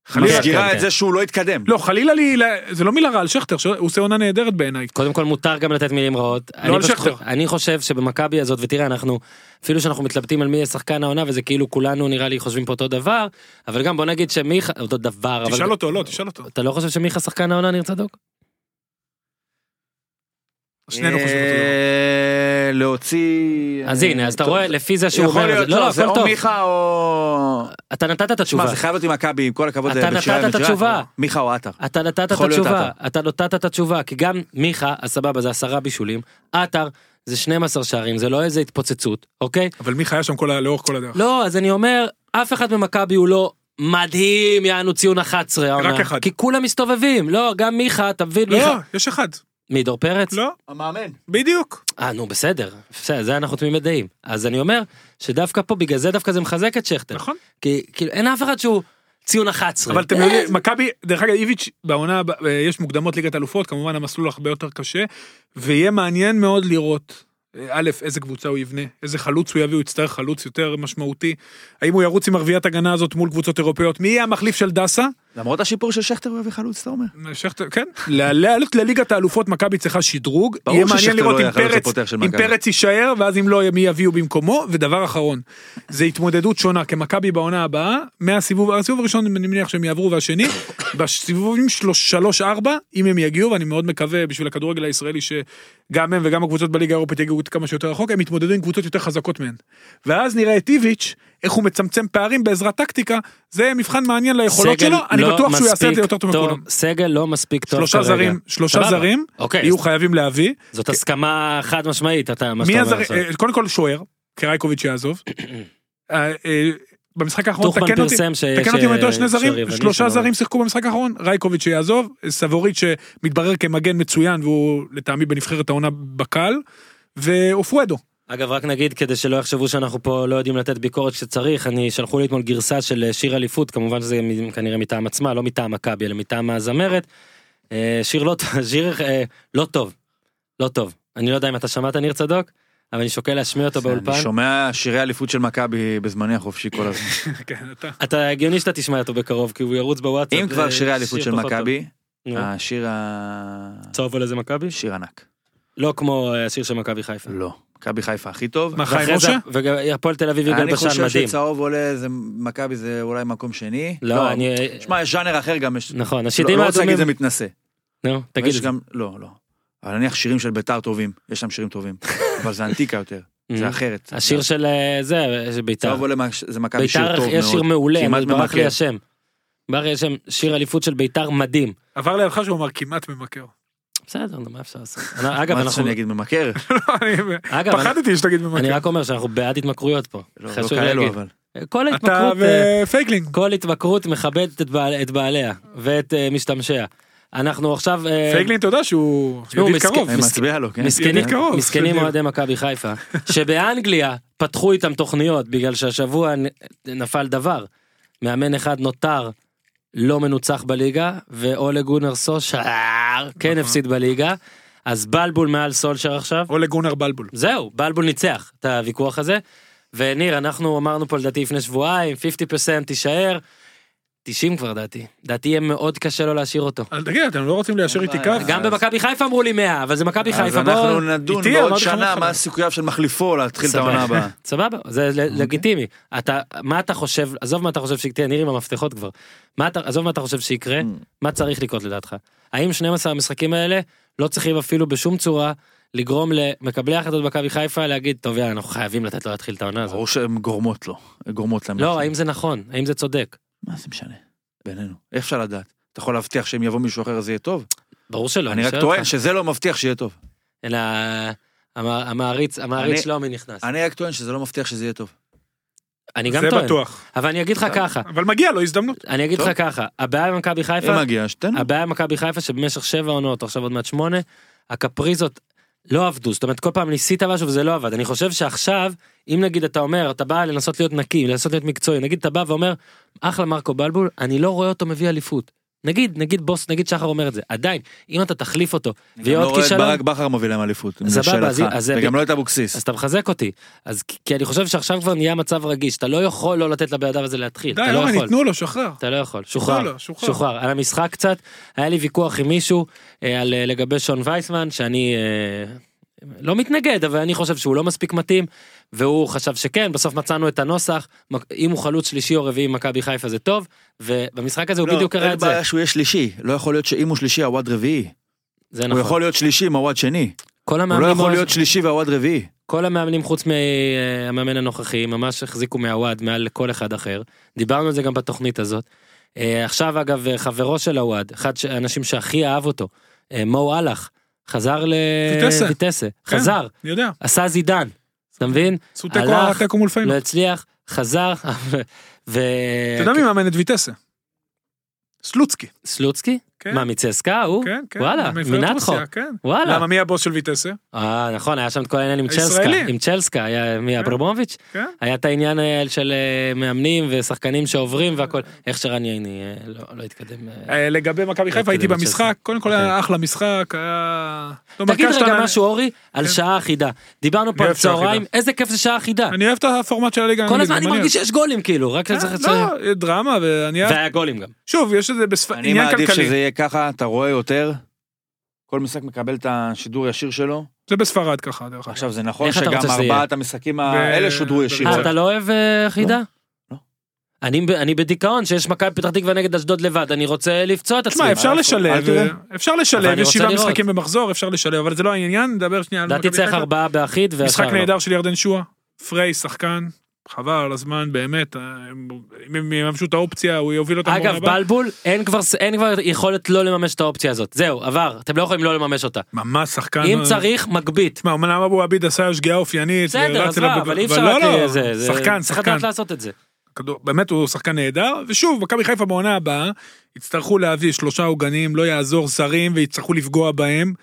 חלילה, מסגירה כן, את כן. זה שהוא לא התקדם. לא, חלילה לי, ל- זה לא מילה רעה על שכטר, שהוא עושה עונה נהדרת בעיניי. קודם כל מותר גם לתת מילים רעות. לא אני על פשוט שכטר. חו- אני חושב שבמכבי הזאת, ותראה, אנחנו, אפילו שאנחנו מתלבטים על מי יהיה שחקן העונה, וזה כאילו כולנו נראה לי חושבים פה אותו דבר, אבל גם בוא נגיד שמיכה, אותו דבר, אבל... תשאל אותו, לא, תשאל אותו. אה, אתה לא חושב שמיכה שחקן העונה ניר צדוק? שנינו אה, חושבים לא נכון. אותו. להוציא... אז הנה, אז אתה אה, טוב, רואה, לפי זה שהוא יכול אומר... את להיות, זה- לא, לא, זה הכל או טוב. מיכה או... אתה נתת את התשובה. תשמע, זה חייב להיות עם מכבי, עם כל הכבוד. אתה לבית נתת את שמש, התשובה. מיכה או עטר. אתה נתת את יכול להיות התשובה, אתה נתת את התשובה, כי גם מיכה, אז סבבה, זה עשרה בישולים, עטר זה 12 שערים, זה לא איזה התפוצצות, אוקיי? אבל מיכה היה שם כל ה- לאורך כל הדרך. לא, אז אני אומר, אף אחד במכבי הוא לא מדהים, יענו ציון 11 העונה. אחד. כי כולם מסתובבים, לא, גם מיכה, אתה מבין, לא, מיכה. יש אחד. מי, דור פרץ? לא, המאמן. בדיוק. אה, נו, בסדר, בסדר, זה אנחנו תמימי דעים. אז אני אומר, שדווקא פה, בגלל זה דווקא זה מחזק את שכטר. נכון. כי כאילו, אין אף אחד שהוא ציון 11. אבל אתם יודעים, מכבי, דרך אגב, איביץ' בעונה, הבאה, אה, יש מוקדמות ליגת אלופות, כמובן המסלול הרבה יותר קשה, ויהיה מעניין מאוד לראות. אה, א', איזה קבוצה הוא יבנה, איזה חלוץ הוא יביא, הוא יצטרך חלוץ יותר משמעותי. האם הוא ירוץ עם ערביית הגנה הזאת מול קבוצות אירופאיות? מי יהיה המחליף של דסה? למרות השיפור של שכטר הוא הביא חלוץ, אתה אומר. שכטר, כן. לעלות לליגת האלופות מכבי צריכה שדרוג. ברור יהיה מעניין ששכטר לראות לא אם היה החלוץ פרץ, הפותח של אם מכבי. פרץ יישאר, ואז אם לא, מי יביאו במקומו. ודבר אחרון, זה התמודדות שונה, כמכבי בעונה הבאה, מהסיבוב, הסיבוב הראשון אני מניח שהם יעברו, והשני, [COUGHS] בסיבובים שלוש- שלוש ארבע, אם הם יגיעו, ואני מאוד מקווה בשביל הכדורגל הישראלי שגם הם וגם הקבוצות בליגה האירופית יגיעו כמה שיותר רחוק, הם יתמודדו עם קבוצות יותר חזקות מהן. ואז נראה את איביץ', איך הוא מצמצם פערים בעזרת טקטיקה, זה מבחן מעניין ליכולות סגל שלו, אני לא בטוח שהוא יעשה את זה מספיק יותר טוב טוב- מכולם. סגל לא מספיק טוב שלושה כרגע. זרים, שלושה סבבה. זרים, אוקיי, יהיו חייבים להביא. זאת הסכמה חד משמעית, אתה, מה מי שאתה אומר הזרים? עכשיו. אה, קודם כל שוער, קרייקוביץ' [CLEARS THROAT] יעזוב. אה, אה, במשחק האחרון, טוחמן תקן אותי, פרסם ש- תקן אותי אם אני טועה, ש- שני זרים, שהיווני שלושה שלו- זרים שיחקו במשחק האחרון, רייקוביץ' שיעזוב, סבורית שמתברר כמגן מצוין והוא לטעמי בנבחרת העונה בקל, ואופואדו. [LAUGHS] אגב, רק נגיד, כדי שלא יחשבו שאנחנו פה לא יודעים לתת ביקורת כשצריך, אני, שלחו לי אתמול גרסה של אה, שיר אליפות, כמובן שזה מ- כנראה מטעם עצמה, לא מטעם מכבי, אלא מטעם הזמרת. אה, שיר לא, ט- [LAUGHS] שיר אה, לא טוב, לא טוב. אני לא יודע אם אתה שמעת ניר צדוק, אבל אני שוקל להשמיע אותו כן, אני באולפן. שומע שירי אליפות של מכבי בזמני החופשי [LAUGHS] כל הזמן. כן, אתה. אתה הגיוני שאתה תשמע אותו בקרוב, כי הוא ירוץ בוואטסאפ. אם זה כבר שירי שיר אליפות של פחות טוב. מכבי, אה. נו, השיר ה... צהוב על איזה מכבי? שיר ענק. לא כמו אה, השיר של מכבי חיפה. לא. מכבי חיפה הכי טוב. מה, חיים ואחרי זה- משה? וגם אה, הפועל תל אביב יגאל אני בשן חושב מדהים. שצהוב עולה, זה- מכבי זה אולי מקום שני. לא, אני... שמע, יש ז'אנר אחר גם, יש... נכון, לא השירים לא רוצה להגיד האדומים... זה מתנשא. נו, תגיד יש את זה. גם, לא, לא. אבל נניח שירים של ביתר טובים, יש שם שירים [LAUGHS] טובים. אבל זה אנטיקה יותר, זה לא- Mhm. אחרת. השיר של אה, זה, של ביתר. צהוב עולה, מה- זה מכבי שיר ביתר טוב מאוד. יש שיר מעולה, כמעט אני- ברח לי ממכר. השם. ברח לי השם, שיר אליפות של ביתר מדהים. עבר לידך שהוא אמר כמעט ממכר. [LAUGHS] בסדר, נו, מה אפשר [LAUGHS] לעשות? אני- אגב, מה זה אנחנו... שאני אגיד ממכר? אני- אגב, כן, אני- פחדתי שתגיד אני ממכר. רק אומר שאנחנו בעד התמכרויות פה. לא לא חשוב כאלו להגיד. אבל. כל אתה ההתמכרות... אה, ופייקלינג. כל התמכרות מכבדת את בעל- את בעליה ואת אה, משתמשיה. אנחנו עכשיו... אה, פייקלינג, אתה יודע שהוא תשמעו, ידיד מסכן. קרוב. אני מס- מצביע לו, כן? מסכנים, ידיד קרוב, מסכנים בדיוק. אוהדי מכבי חיפה, שבאנגליה פתחו איתם תוכניות בגלל שהשבוע נ- נפל דבר. מאמן אחד נותר לא מנוצח בליגה, ואולה גונר סושר כן נכון. הפסיד בליגה, אז בלבול מעל סולשר עכשיו. או לגונר בלבול. זהו, בלבול ניצח את הוויכוח הזה. וניר, אנחנו אמרנו פה לדעתי לפני שבועיים, 50% תישאר, 90 כבר דעתי. דעתי יהיה מאוד קשה לא להשאיר אותו. אל תגיד, אתם לא רוצים ליישר איתי קו? בעיה. גם במכבי חיפה אמרו לי 100, אבל זה מכבי אז חיפה. אנחנו בואו- נדון איתי, בעוד אמרתי לך שנה מההתחלה. מה סיכוייו של מחליפו להתחיל את סבבה. העונה הבאה. [LAUGHS] אוקיי. סבבה, זה ל- לגיטימי. אתה, מה אתה חושב, עזוב מה אתה חושב שיקרה, ניר עם המפתחות כבר. מה אתה, עזוב מה אתה חושב שיקרה, Mm. מה צריך לקרות לדעתך? האם 12 המשחקים האלה לא צריכים אפילו בשום צורה לגרום למקבלי ההחלטות במכבי חיפה להגיד, טוב יאללה, אנחנו חייבים לתת לו להתחיל את העונה הזאת. ברור שהן גורמות לו, גורמות להם. לא, האם זה נכון, האם זה צודק. מה זה משנה? בינינו. איך אפשר לדעת? אתה יכול להבטיח שאם יבוא מישהו אחר אז יהיה טוב? ברור שלא, אני רק שואל טוען אותך. שזה לא מבטיח שיהיה טוב. אלא המע- המעריץ, המעריץ אני- שלומי נכנס. אני רק טוען שזה לא מבטיח שזה יהיה טוב. אני גם זה טוען. בטוח. אבל אני אגיד לך ככה, אבל מגיע לו הזדמנות. אני אגיד לך ככה, הבעיה במכבי חיפה, אם מגיע, שתן. הבעיה במכבי חיפה שבמשך שבע עונות, עכשיו עוד מעט שמונה, הקפריזות לא עבדו, זאת אומרת כל פעם ניסית משהו וזה לא עבד. אני חושב שעכשיו, אם נגיד אתה אומר, אתה בא לנסות להיות נקי, לנסות להיות מקצועי, נגיד אתה בא ואומר, אחלה מרקו בלבול, אני לא רואה אותו מביא אליפות. נגיד, נגיד בוס, נגיד שחר אומר את זה, עדיין, אם אתה תחליף אותו, אני ויהיה לא עוד רואה את כישלון, ברק בכר מביא להם אליפות, סבבה, אז- לשאלתך, אז זה וגם ב- לא את אבוקסיס. אז אתה מחזק אותי. אז כי- כי אני חושב שעכשיו כבר נהיה מצב רגיש, אתה לא יכול לא לתת לבן אדם הזה להתחיל, די, אתה לא אורן, יכול. ייתנו לו, שחרר. אתה לא יכול, שוחרר, לא, שוחרר. שוחרר, על המשחק קצת, היה לי ויכוח עם מישהו אה, על אה, לגבי שון וייסמן שאני אה, לא מתנגד אבל אני חושב שהוא לא מספיק מתאים והוא חשב שכן בסוף מצאנו את הנוסח מק- אם הוא חלוץ שלישי או רביעי עם מכבי חיפה זה טוב ובמשחק הזה הוא לא, בדיוק קרא אין את זה, בעיה שהוא יהיה שלישי, לא יכול להיות שאם הוא שלישי הוואד רביעי. זה הוא נכון, יכול להיות שלישי עם הוואד שני. כל הוא לא המאמנים יכול ממש- להיות שלישי והוואד רביעי. כל המאמנים חוץ מהמאמן הנוכחי ממש החזיקו מהוואד מעל כל אחד אחר דיברנו על זה גם בתוכנית הזאת. אה, עכשיו אגב אה, חברו של הוואד אחד האנשים שהכי אהב אותו אה, מו אהלך חזר ויטסה. לויטסה כן. חזר אני יודע. עשה זידן אתה מבין עשו תיקו הלך, תיקו מול פיינל. לא כן, הצליח חזר [LAUGHS] ו... כן. אתה יודע מי מאמן את ויטסה? סלוצקי. סלוצקי כן, מה מצסקה הוא כן, כן. וואלה מפלגת מנתחו רוסיה, כן. וואלה למה מי הבוס של ויטסה? אה, נכון היה שם את כל העניין עם צ'לסקה הישראלי. עם צ'לסקה היה מי אברמוביץ' כן. היה את העניין האלה של אה, מאמנים ושחקנים שעוברים והכל איך שרן ייני אה, לא לא התקדם. אה. אה, לגבי מכבי חיפה הייתי כדי במשחק, קודם כל היה אחלה משחק, היה... לא, אוקיי. תגיד מרכז רגע שאתה- משהו אורי על כן. שעה אחידה דיברנו פה על אני אוהב שעה צהריים אחידה. איזה כיף זה שעה אחידה אני אוהב את הפורמט של הליגה. כל האנגלית, הזמן זה אני מעניין. מרגיש שיש גולים כאילו רק כן, צריך לציין. לא, דרמה, ואני אוהב... והיה גולים גם. שוב, יש איזה בספ- אני עניין מעדיף שזה כלכלי. יהיה ככה, אתה רואה יותר. כל משחק מקבל את השידור הישיר שלו. זה בספרד ככה, דרך אגב. עכשיו זה נכון איך אתה שגם רוצה שזה יהיה? ארבעת המשחקים האלה שודרו ישיר. אה, בצד. אתה לא אוהב אה, אחידה? לא. אני ב- אני בדיכאון שיש מכבי פתח תקווה נגד אשדוד לבד אני רוצה לפצוע את עצמי. תשמע, אפשר אל לשלב, תראה. אפשר אבל לשלב, אני יש רוצה שבעה לראות. משחקים במחזור, אפשר לשלב, אבל זה לא העניין, נדבר שנייה על לדעתי מכבי צריך חיפה. ארבעה באחיד משחק והשאר לא. נהדר של ירדן שואה, פריי שחקן, חבל על הזמן, באמת, אה, אם הם יממשו את האופציה, הוא יוביל אותם בעונה אגב הבאה. בלבול אין כבר אין כבר יכולת לא לממש את האופציה הזאת זהו עבר אתם לא יכולים לא לממש אותה ממש שחקן. אם אה, צריך מגבית. תשמע, אמנם אבו עביד עשה שגיאה אופיינית, בסדר ורץ אז אליו מה בגול, אבל אי אפשר לא, רק לא, אה, זה זה- שחקן, צריך שחקן, לדעת לעשות את זה. כדור- באמת הוא שחקן נהדר, ושוב, מכבי חיפה בעונה הבאה, יצטרכו להביא שלושה עוגנים, לא יעזור זרים, ויצטרכו לפגוע בהם.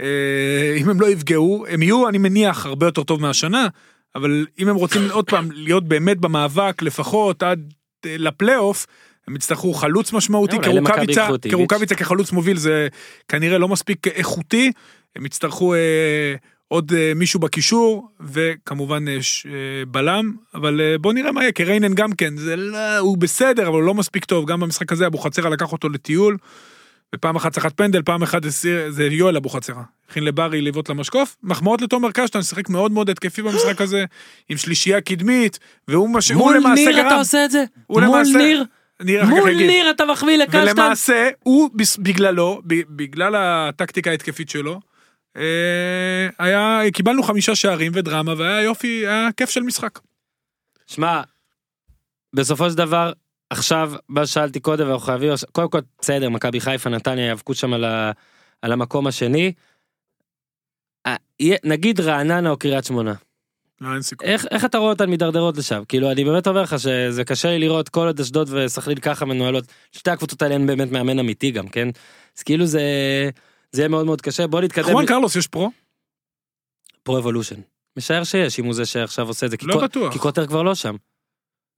אה, אם הם לא יפגעו, הם יהיו, אני מניח, הרבה יותר טוב מהשנה, אבל אם הם רוצים עוד פעם להיות באמת במאבק, לפחות עד אה, לפלייאוף, הם יצטרכו חלוץ משמעותי, אולי למכבי קרוקאביצה, ייקחו את איביץ'. קרוקאביצה כחלוץ מוביל זה כנראה לא מספיק איכותי, הם יצטרכו אה, עוד אה, מישהו בקישור, וכמובן אה, ש- אה, בלם, אבל אה, בוא נראה מה יהיה, כי ריינן גם כן, זה לא, הוא בסדר, אבל הוא לא מספיק טוב, גם במשחק הזה אבוחצירא לקח אותו לטיול, ופעם אחת סחט פנדל, פעם אחת הסיר, זה יואל אבוחצירא, הכין לברי לבעוט למשקוף, מחמאות לתומר קשטן, שיחק מאוד מאוד [GASPS] התקפי במשחק הזה, עם שלישייה קדמית, והוא מש... הוא מול למעשה ניר אתה גרם, עושה את זה? הוא מול למעשה- ניר? ניר אחר כך מול יגיד. ניר אתה מחמיא לקשטן? ולמעשה הוא בס- בגללו, ב- בגלל הטקטיקה ההתקפית שלו, אה, היה, קיבלנו חמישה שערים ודרמה והיה יופי, היה כיף של משחק. שמע, בסופו של דבר, עכשיו, מה ששאלתי קודם, אנחנו חייבים, עכשיו- קודם כל, בסדר, מכבי חיפה, נתניה יאבקו שם על, ה, על המקום השני. אה, יהיה- נגיד רעננה או קריית שמונה, לא, אין סיכוי. איך, איך אתה רואה אותן מידרדרות לשם? כאילו, אני באמת אומר לך שזה קשה לי לראות כל עוד אשדוד וסכנין ככה מנוהלות, שתי הקבוצות האלה אין באמת מאמן אמיתי גם, כן? אז כאילו זה, זה יהיה מאוד מאוד קשה, בוא נתקדם חואן קרלוס יש פרו? לפרו אבולושן. משער שיש, אם הוא זה שעכשיו עושה את זה, כי לא קו- בטוח. כי קוטר כבר לא שם.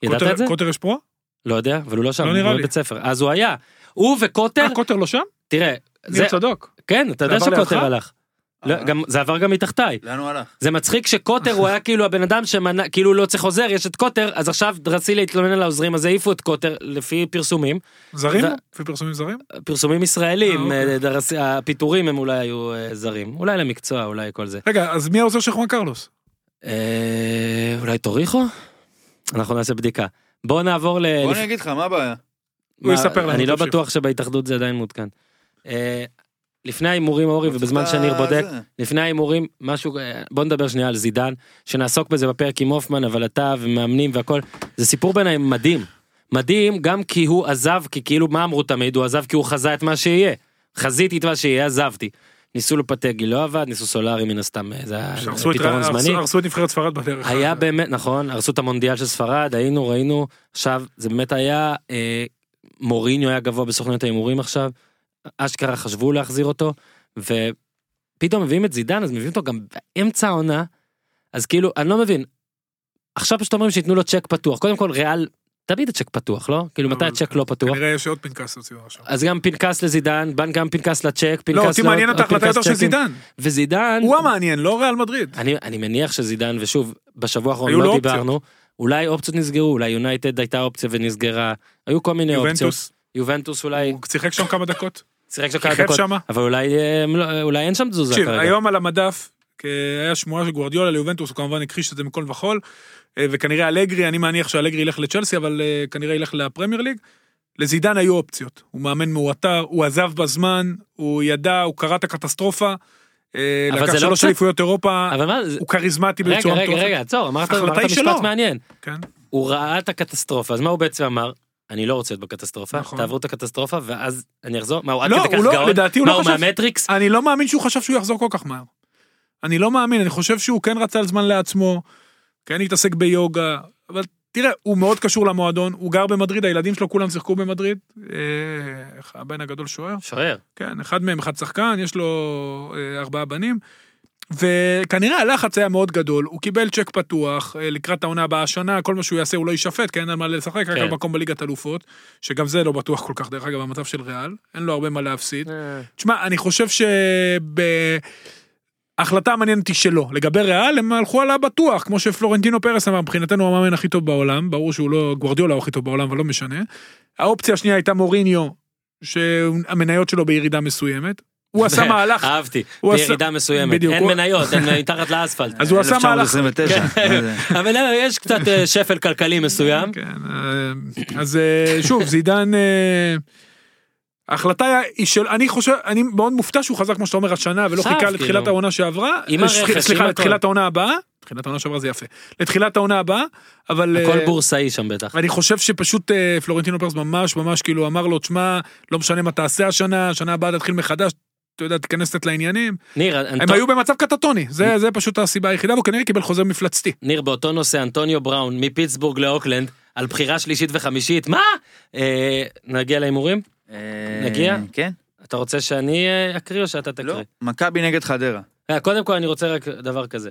ידעת קוטר- את זה? קוטר יש פרו? לא יודע, אבל הוא לא שם, לא הוא נראה לי. בבית ספר. אז הוא היה, הוא וקוטר, אה, קוטר לא שם? תראה, כן. זה, ניר צדוק. כן, אתה יודע זה עבר שקוטר לידך? אה. הלך. לא, גם, זה עבר גם מתחתיי. לאן הוא הלך? זה מצחיק שקוטר הוא היה כאילו הבן אדם שמנע, כאילו לא צריך עוזר, יש את קוטר, אז עכשיו רציתי להתלונן על העוזרים, אז העיפו את קוטר לפי פרסומים, זרים? זה- לפי פרסומים זרים? פרסומים אה, ישראלים, אוקיי. אה, דרס- הפיטורים הם אולי היו אה, זרים, אולי למקצוע, אולי כל זה. רגע, אז מי העוזר של חואן קרלוס? אה, אולי טוריחו? אנחנו נעשה בדיקה. בוא נעבור ל... בוא אה, לפ- אני אגיד לך, מה הבעיה? הוא מה, יספר לנו, אני לא תמשיך. בטוח שבהתאחדות זה עדיין מעודכן. אה, לפני ההימורים אורי ובזמן שניר בודק, זה. לפני ההימורים משהו, אה, בוא נדבר שנייה על זידן, שנעסוק בזה בפרק עם הופמן, אבל אתה ומאמנים והכל, זה סיפור ביניהם מדהים. מדהים גם כי הוא עזב, כי כאילו מה אמרו תמיד, הוא עזב כי הוא חזה את מה שיהיה. חזיתי את מה שיהיה, עזבתי. ניסו לופטגי, לא עבד, ניסו סולארי מן הסתם, אה, זה היה שהרסו את- פתרון הרסו- זמני. הרסו את נבחרת ספרד בדרך. היה באמת, נכון, הרסו את המונדיאל של ספרד, היינו, ראינו, עכשיו, זה באמת היה, אה, מוריניו היה גבוה בסוכניות ההימורים עכשיו, אשכרה חשבו להחזיר אותו, ופתאום מביאים את זידן, אז מביאים אותו גם באמצע העונה, אז כאילו, אני לא מבין, עכשיו פשוט אומרים שייתנו לו צ'ק פתוח, קודם כל ריאל, תמיד הצ'ק פתוח, לא? כאילו, מתי אבל- הצ'ק לא פתוח? כנראה יש עוד פנקס הוציאו עכשיו. אז גם פנקס לזידן, בן גם פנקס לצ'ק, פנקס לא, אותי מעניין את לעוד- ההחלטה פנקס יותר של צ'קים. זידן. וזידן, הוא המעניין, לא ריאל מדריד. אני, אני מניח שזידן, ושוב, בשבוע האחרון היו לו לא אופציות. דיברנו, אולי אופציות נסגרו, אולי יונייטד הייתה אופציה ונסגרה, היו כל מיני אופציות. יובנטוס, יובנטוס אולי, הוא שיחק שם כמה דקות. שיחק שם כמה כיכב דקות, שמה. אבל אולי, אה, הם לא- אולי אין שם תזוזה תקשיב, כרגע. היום על המדף, כי היה שמועה של גוורדיולה ליובנטוס, הוא כמובן הכחיש את זה מכל וכול, אה, וכנראה אלגרי, אני מניח שאלגרי ילך לצ'לסי, אבל אה, כנראה ילך לפרמייר ליג. לזידן היו אופציות, הוא מאמן מעוטר, הוא עזב בזמן, הוא ידע, הוא קרא את הקטסטרופה, אה, אבל לקח זה לא שלוש אופציה? אליפויות אירופה, אבל מה, זה- הוא כריזמטי רגע, בצורה רגע, מטורפת. רגע, עצור, אמרת ההחלטה אמרת היא משפט שלו. מעניין. כן. הוא ראה את הקטסטרופה, אז מה הוא בעצם אמר? אני לא רוצה להיות בקטסטרופה, נכון. תעברו את הקטסטרופה ואז אני אחזור, מה הוא עד לא, כדי כך הוא לא- גאון? לדעתי הוא מה לא הוא חשב- מהמטריקס? אני לא מאמין שהוא חשב שהוא יחזור כל כך מהר. אני לא מאמין, אני חושב שהוא כן רצה זמן לעצמו, כן התעסק ביוגה, אבל תראה, הוא מאוד קשור למועדון, הוא גר במדריד, הילדים שלו כולם שיחקו במדריד. אה, איך הבן הגדול שוער? שוער. כן, אחד מהם, אחד שחקן, יש לו אה, ארבעה בנים. וכנראה הלחץ היה מאוד גדול, הוא קיבל צ'ק פתוח אה, לקראת העונה הבאה השנה, כל מה שהוא יעשה הוא לא יישפט, כי אין על מה לשחק, רק כן. על מקום בליגת אלופות, שגם זה לא בטוח כל כך, דרך אגב, המצב של ריאל, אין לו הרבה מה להפסיד. תשמע, אני חושב שבהחלטה המעניינת היא שלו. לגבי ריאל, הם הלכו על הבטוח, כמו שפלורנטינו פרס אמר, מבחינתנו הוא המאמן הכי טוב בעולם, ברור שהוא לא, גוורדיולה הוא הכי טוב בעולם, אבל לא משנה. האופציה השנייה הייתה מוריניו, שהמניות שלו בירידה מסוימת. הוא [LAUGHS] עשה מהלך, אה, אהבתי, הוא עשה- בירידה מסוימת, בדיוק, אין הוא- מניות, אין מתחת לאספלט. אז הוא עשה מהלך, 1929. מה זה? אבל אה, יש קצת אה, שפל כלכלי מסוים. כן, אה, אז אה, שוב, זידן, אה, ההחלטה היא של, אני חושב, אני מאוד מופתע שהוא חזר, כמו שאתה אומר, השנה, ולא עכשיו, חיכה כאילו. לתחילת העונה שעברה. עם הרכש, סליחה, עם סליחה, הכל. לתחילת העונה הבאה. תחילת העונה שעברה זה יפה. לתחילת העונה הבאה, אבל... הכל אה, בורסאי שם בטח. ואני חושב שפשוט אה, פלורנטינו פרס ממש ממש כאילו אמר לו, תשמע, לא משנה מה תעשה השנה, השנה הבאה תתחיל מחדש, אתה יודע, תיכנס קצת לעניינים. ניר, הם אנטו- היו במצב קטטוני, זה זה פשוט הסיבה היחידה, והוא כנראה קיבל חוזר מפלצתי. ניר, באותו נושא, אנטוניו בראון מפיטסבורג לאוקלנד, על בחירה שלישית וחמישית, מה? אה, נגיע להימורים? אה, נגיע? כן. אתה רוצה שאני אה, אקריא או שאתה תקריא? לא. מכבי נגד חדרה. אה, קודם כל אני רוצה רק דבר כזה.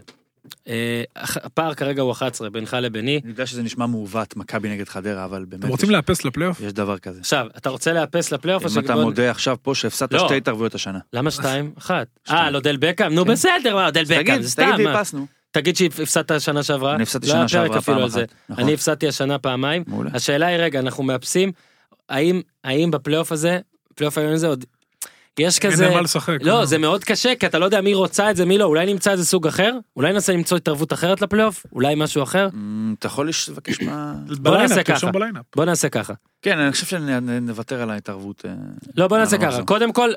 אה, הח- הפער כרגע הוא 11 בינך לביני. אני יודע שזה נשמע מעוות, מכבי נגד חדרה, אבל באמת... אתם רוצים יש- לאפס לפלייאוף? יש דבר כזה. עכשיו, אתה רוצה לאפס לפלייאוף? או אם אתה שבוא- מודה עכשיו פה שהפסדת לא. שתי התערבויות השנה. למה שתיים? אחת. אה, שתיים. לא דל בקאם? נו כן. בסדר, מה, דל תגיד, בקאם? זה סתם. תגיד מה? והפסנו. תגיד שהפסדת שנה שעברה. אני הפסדתי לא היה שנה פרק שעברה אפילו פעם על זה. אחת. נכון. אני הפסדתי השנה פעמיים. מעולה. השאלה היא רגע אנחנו מאפסים האם האם בפלייאוף הזה פלייאוף העליון הזה עוד יש אין כזה להם מה לשחק. אה. לא זה מאוד קשה כי אתה לא יודע מי רוצה את זה מי לא אולי נמצא איזה סוג אחר אולי ננסה למצוא התערבות אחרת לפלייאוף אולי משהו אחר אמ, אתה יכול לש- לבקש מה... נעשה בליינאפ, ככה. תרשום בליינאפ. בוא נעשה ככה כן, אני חושב שנוותר על ההתערבות. אה, לא בוא נעשה לא, לא ככה משהו. קודם כל.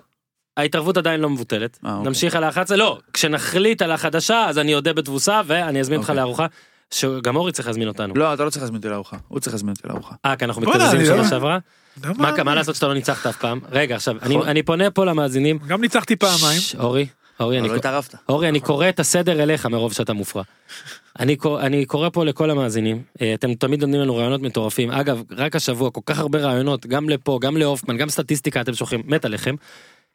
ההתערבות עדיין לא מבוטלת, אה, אוקיי. נמשיך על ה-11, לא, כשנחליט על החדשה אז אני אודה בתבוסה ואני אזמין אותך אוקיי. לארוחה, שגם אורי צריך להזמין אותנו. לא, אתה לא צריך להזמין אותי לארוחה. הוא צריך להזמין אותי לארוחה. אה, כי אנחנו בוא'נה, מתקזזים אני שנה לא- שעברה? אתה יודע מה, מה לעשות שאתה לא ניצחת אף פעם? רגע, עכשיו, אני- נכון. אני פונה פה למאזינים, גם ניצחתי פעמיים. ש- אורי, אורי, אבל אני, לא קור- התערבת. אורי, אני קורא את הסדר אליך מרוב שאתה מופרע. אני, קור- אני קורא פה לכל המאזינים, אה, אתם תמיד נותנים לנו רעיונות מטורפים. אגב, רק השבוע כל כך הרבה רעיונות, גם לפה, גם להופמן, גם סטטיסטיקה אתם שולחים, מת עליכם.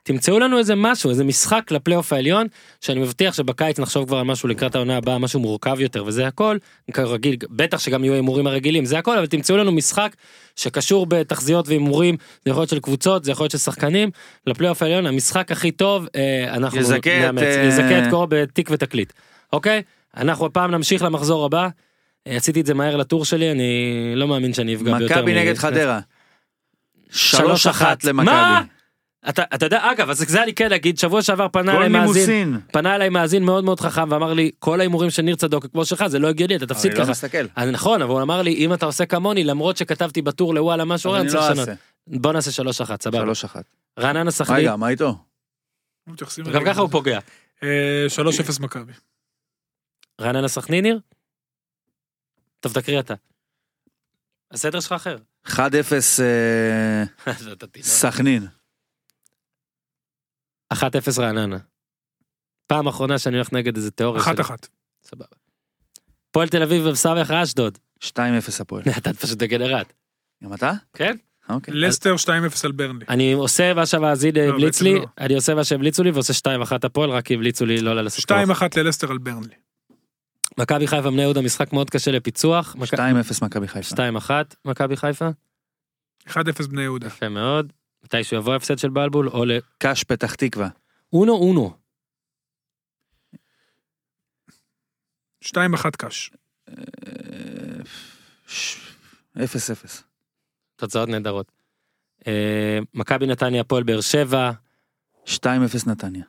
תמצאו לנו איזה משהו, איזה משחק לפלייאוף העליון, שאני מבטיח שבקיץ נחשוב כבר על משהו לקראת העונה הבאה, משהו מורכב יותר, וזה הכל. כרגיל, בטח שגם יהיו ההימורים הרגילים, זה הכל, אבל תמצאו לנו משחק שקשור בתחזיות והימורים, זה יכול להיות של קבוצות, זה יכול להיות של שחקנים, לפלייאוף העליון, המשחק הכי טוב, אה, אנחנו יזכה את, נאמץ. אה, יזכה את קורו בתיק ותקליט, אוקיי? אנחנו הפעם נמשיך למחזור הבא. אה, עשיתי את זה מהר לטור שלי, אני לא מאמין שאני אפגע ביותר. מכבי מ- נגד חדרה. שלוש שלוש אחת. אחת למכבי. מה? אתה, אתה יודע, אגב, אז זה אני כן אגיד, שבוע שעבר פנה גול אליי מאזין, נימוסין. פנה אליי מאזין מאוד מאוד חכם ואמר לי, כל ההימורים של ניר צדוק כמו שלך, זה לא הגיוני, אתה תפסיד אני לא ככה. מסתכל. אז נכון, אבל הוא אמר לי, אם אתה עושה כמוני, למרות שכתבתי בטור לוואלה משהו, אבל אני אני לא צריך לשנות. אעשה. בוא נעשה שלוש אחת, סבבה. שלוש אחת. רעננה סכנין, רגע, מה איתו? מתייחסים גם אליי. ככה הוא פוגע. אה, 3-0 מכבי. רעננה סכנין ניר? טוב תקריא אתה. הסדר שלך אחר. [LAUGHS] 1-0 אה, אז אתה תינוק. סכנין. 1-0 רעננה. פעם אחרונה שאני הולך נגד איזה תיאוריה אחת שלי. אחת. סבבה. הפועל תל אביב וסמך אשדוד. [LAUGHS] 2-0 הפועל. אתה פשוט דגנרט. גם אתה? כן. אוקיי. לסטר 2-0 על ברנלי. אני עושה מה שהמאזין לא, המליץ בעצם לי, לא. אני עושה מה שהמליצו לי ועושה 2-1 הפועל, רק כי המליצו לי לא לעשות 2-1 כוח. ללסטר על ברנלי. מכבי חיפה בני יהודה משחק מאוד קשה לפיצוח. מכ- 2-0 מכבי חיפה. 2-1 מכבי חיפה. 1-0 בני יהודה. יפה מאוד. מתישהו יבוא הפסד של בלבול או קש פתח תקווה. לאונו אונו. 2-1 קאש. אה, ש- 0-0. תוצאות נהדרות. אה, מכבי נתניה הפועל באר שבע. 2-0 נתניה.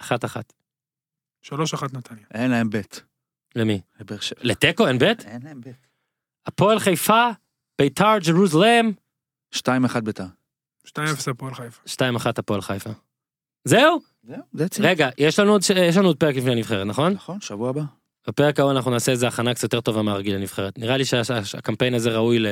אחת אחת. 3-1 נתניה. אין להם בית. למי? לבאר שבע. לתיקו אין בית? אין להם בית. הפועל חיפה, ביתר ג'רוזלם, 2-1 ביתר. 2-0 הפועל חיפה. 2-1 הפועל חיפה. זהו? זהו, זה אצלי. רגע, יש לנו עוד ש- יש לנו עוד פרק לפני הנבחרת, נכון? נכון, שבוע הבא. בפרק ההוא אנחנו נעשה איזה הכנה קצת יותר טובה מהרגיל לנבחרת. נראה לי שה- שה- שהקמפיין הזה ראוי ל...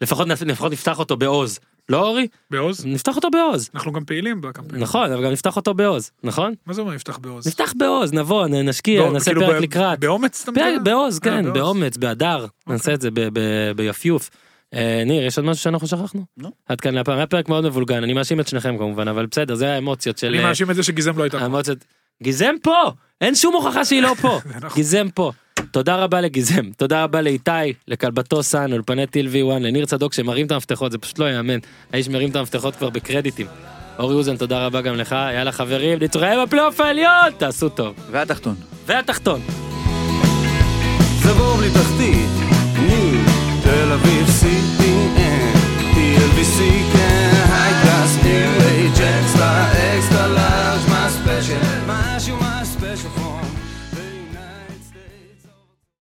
לפחות נפ- לפחות נפתח אותו בעוז. לא אורי? בעוז? נפתח אותו בעוז. אנחנו גם פעילים בקמפיין. נכון, אבל גם נפתח אותו בעוז, נכון? מה זה אומר נפתח בעוז? נפתח בעוז, נבוא, נ- נשקיע, בא- נעשה כאילו פרק ב- לקראת. באומץ אתה פרק מדבר? בעוז, אה, כן, בעוז. אוקיי. באומץ, בהדר, נעשה את זה ב- ב- ביפיוף. אה, ניר, יש עוד משהו שאנחנו שכחנו? לא. עד כאן להפעם, היה פרק מאוד מבולגן, אני מאשים את שניכם כמובן, אבל בסדר, זה האמוציות של... אני אה, מאשים את זה שגיזם לא הייתה. פה. האמוציות... גיזם פה! אין שום הוכחה שהיא לא פה! [LAUGHS] זה נכון. גיזם פה. תודה רבה לגיזם, תודה רבה לאיתי, לכלבתו סאן, אולפני טיל וי וואן, לניר צדוק שמרים את המפתחות, זה פשוט לא יאמן. האיש מרים את המפתחות כבר בקרדיטים. אורי אוזן, תודה רבה גם לך, יאללה חברים, נתראה בפלייאוף העליון! תעשו טוב. והתחתון. והתחתון. זה בור בלי תחתית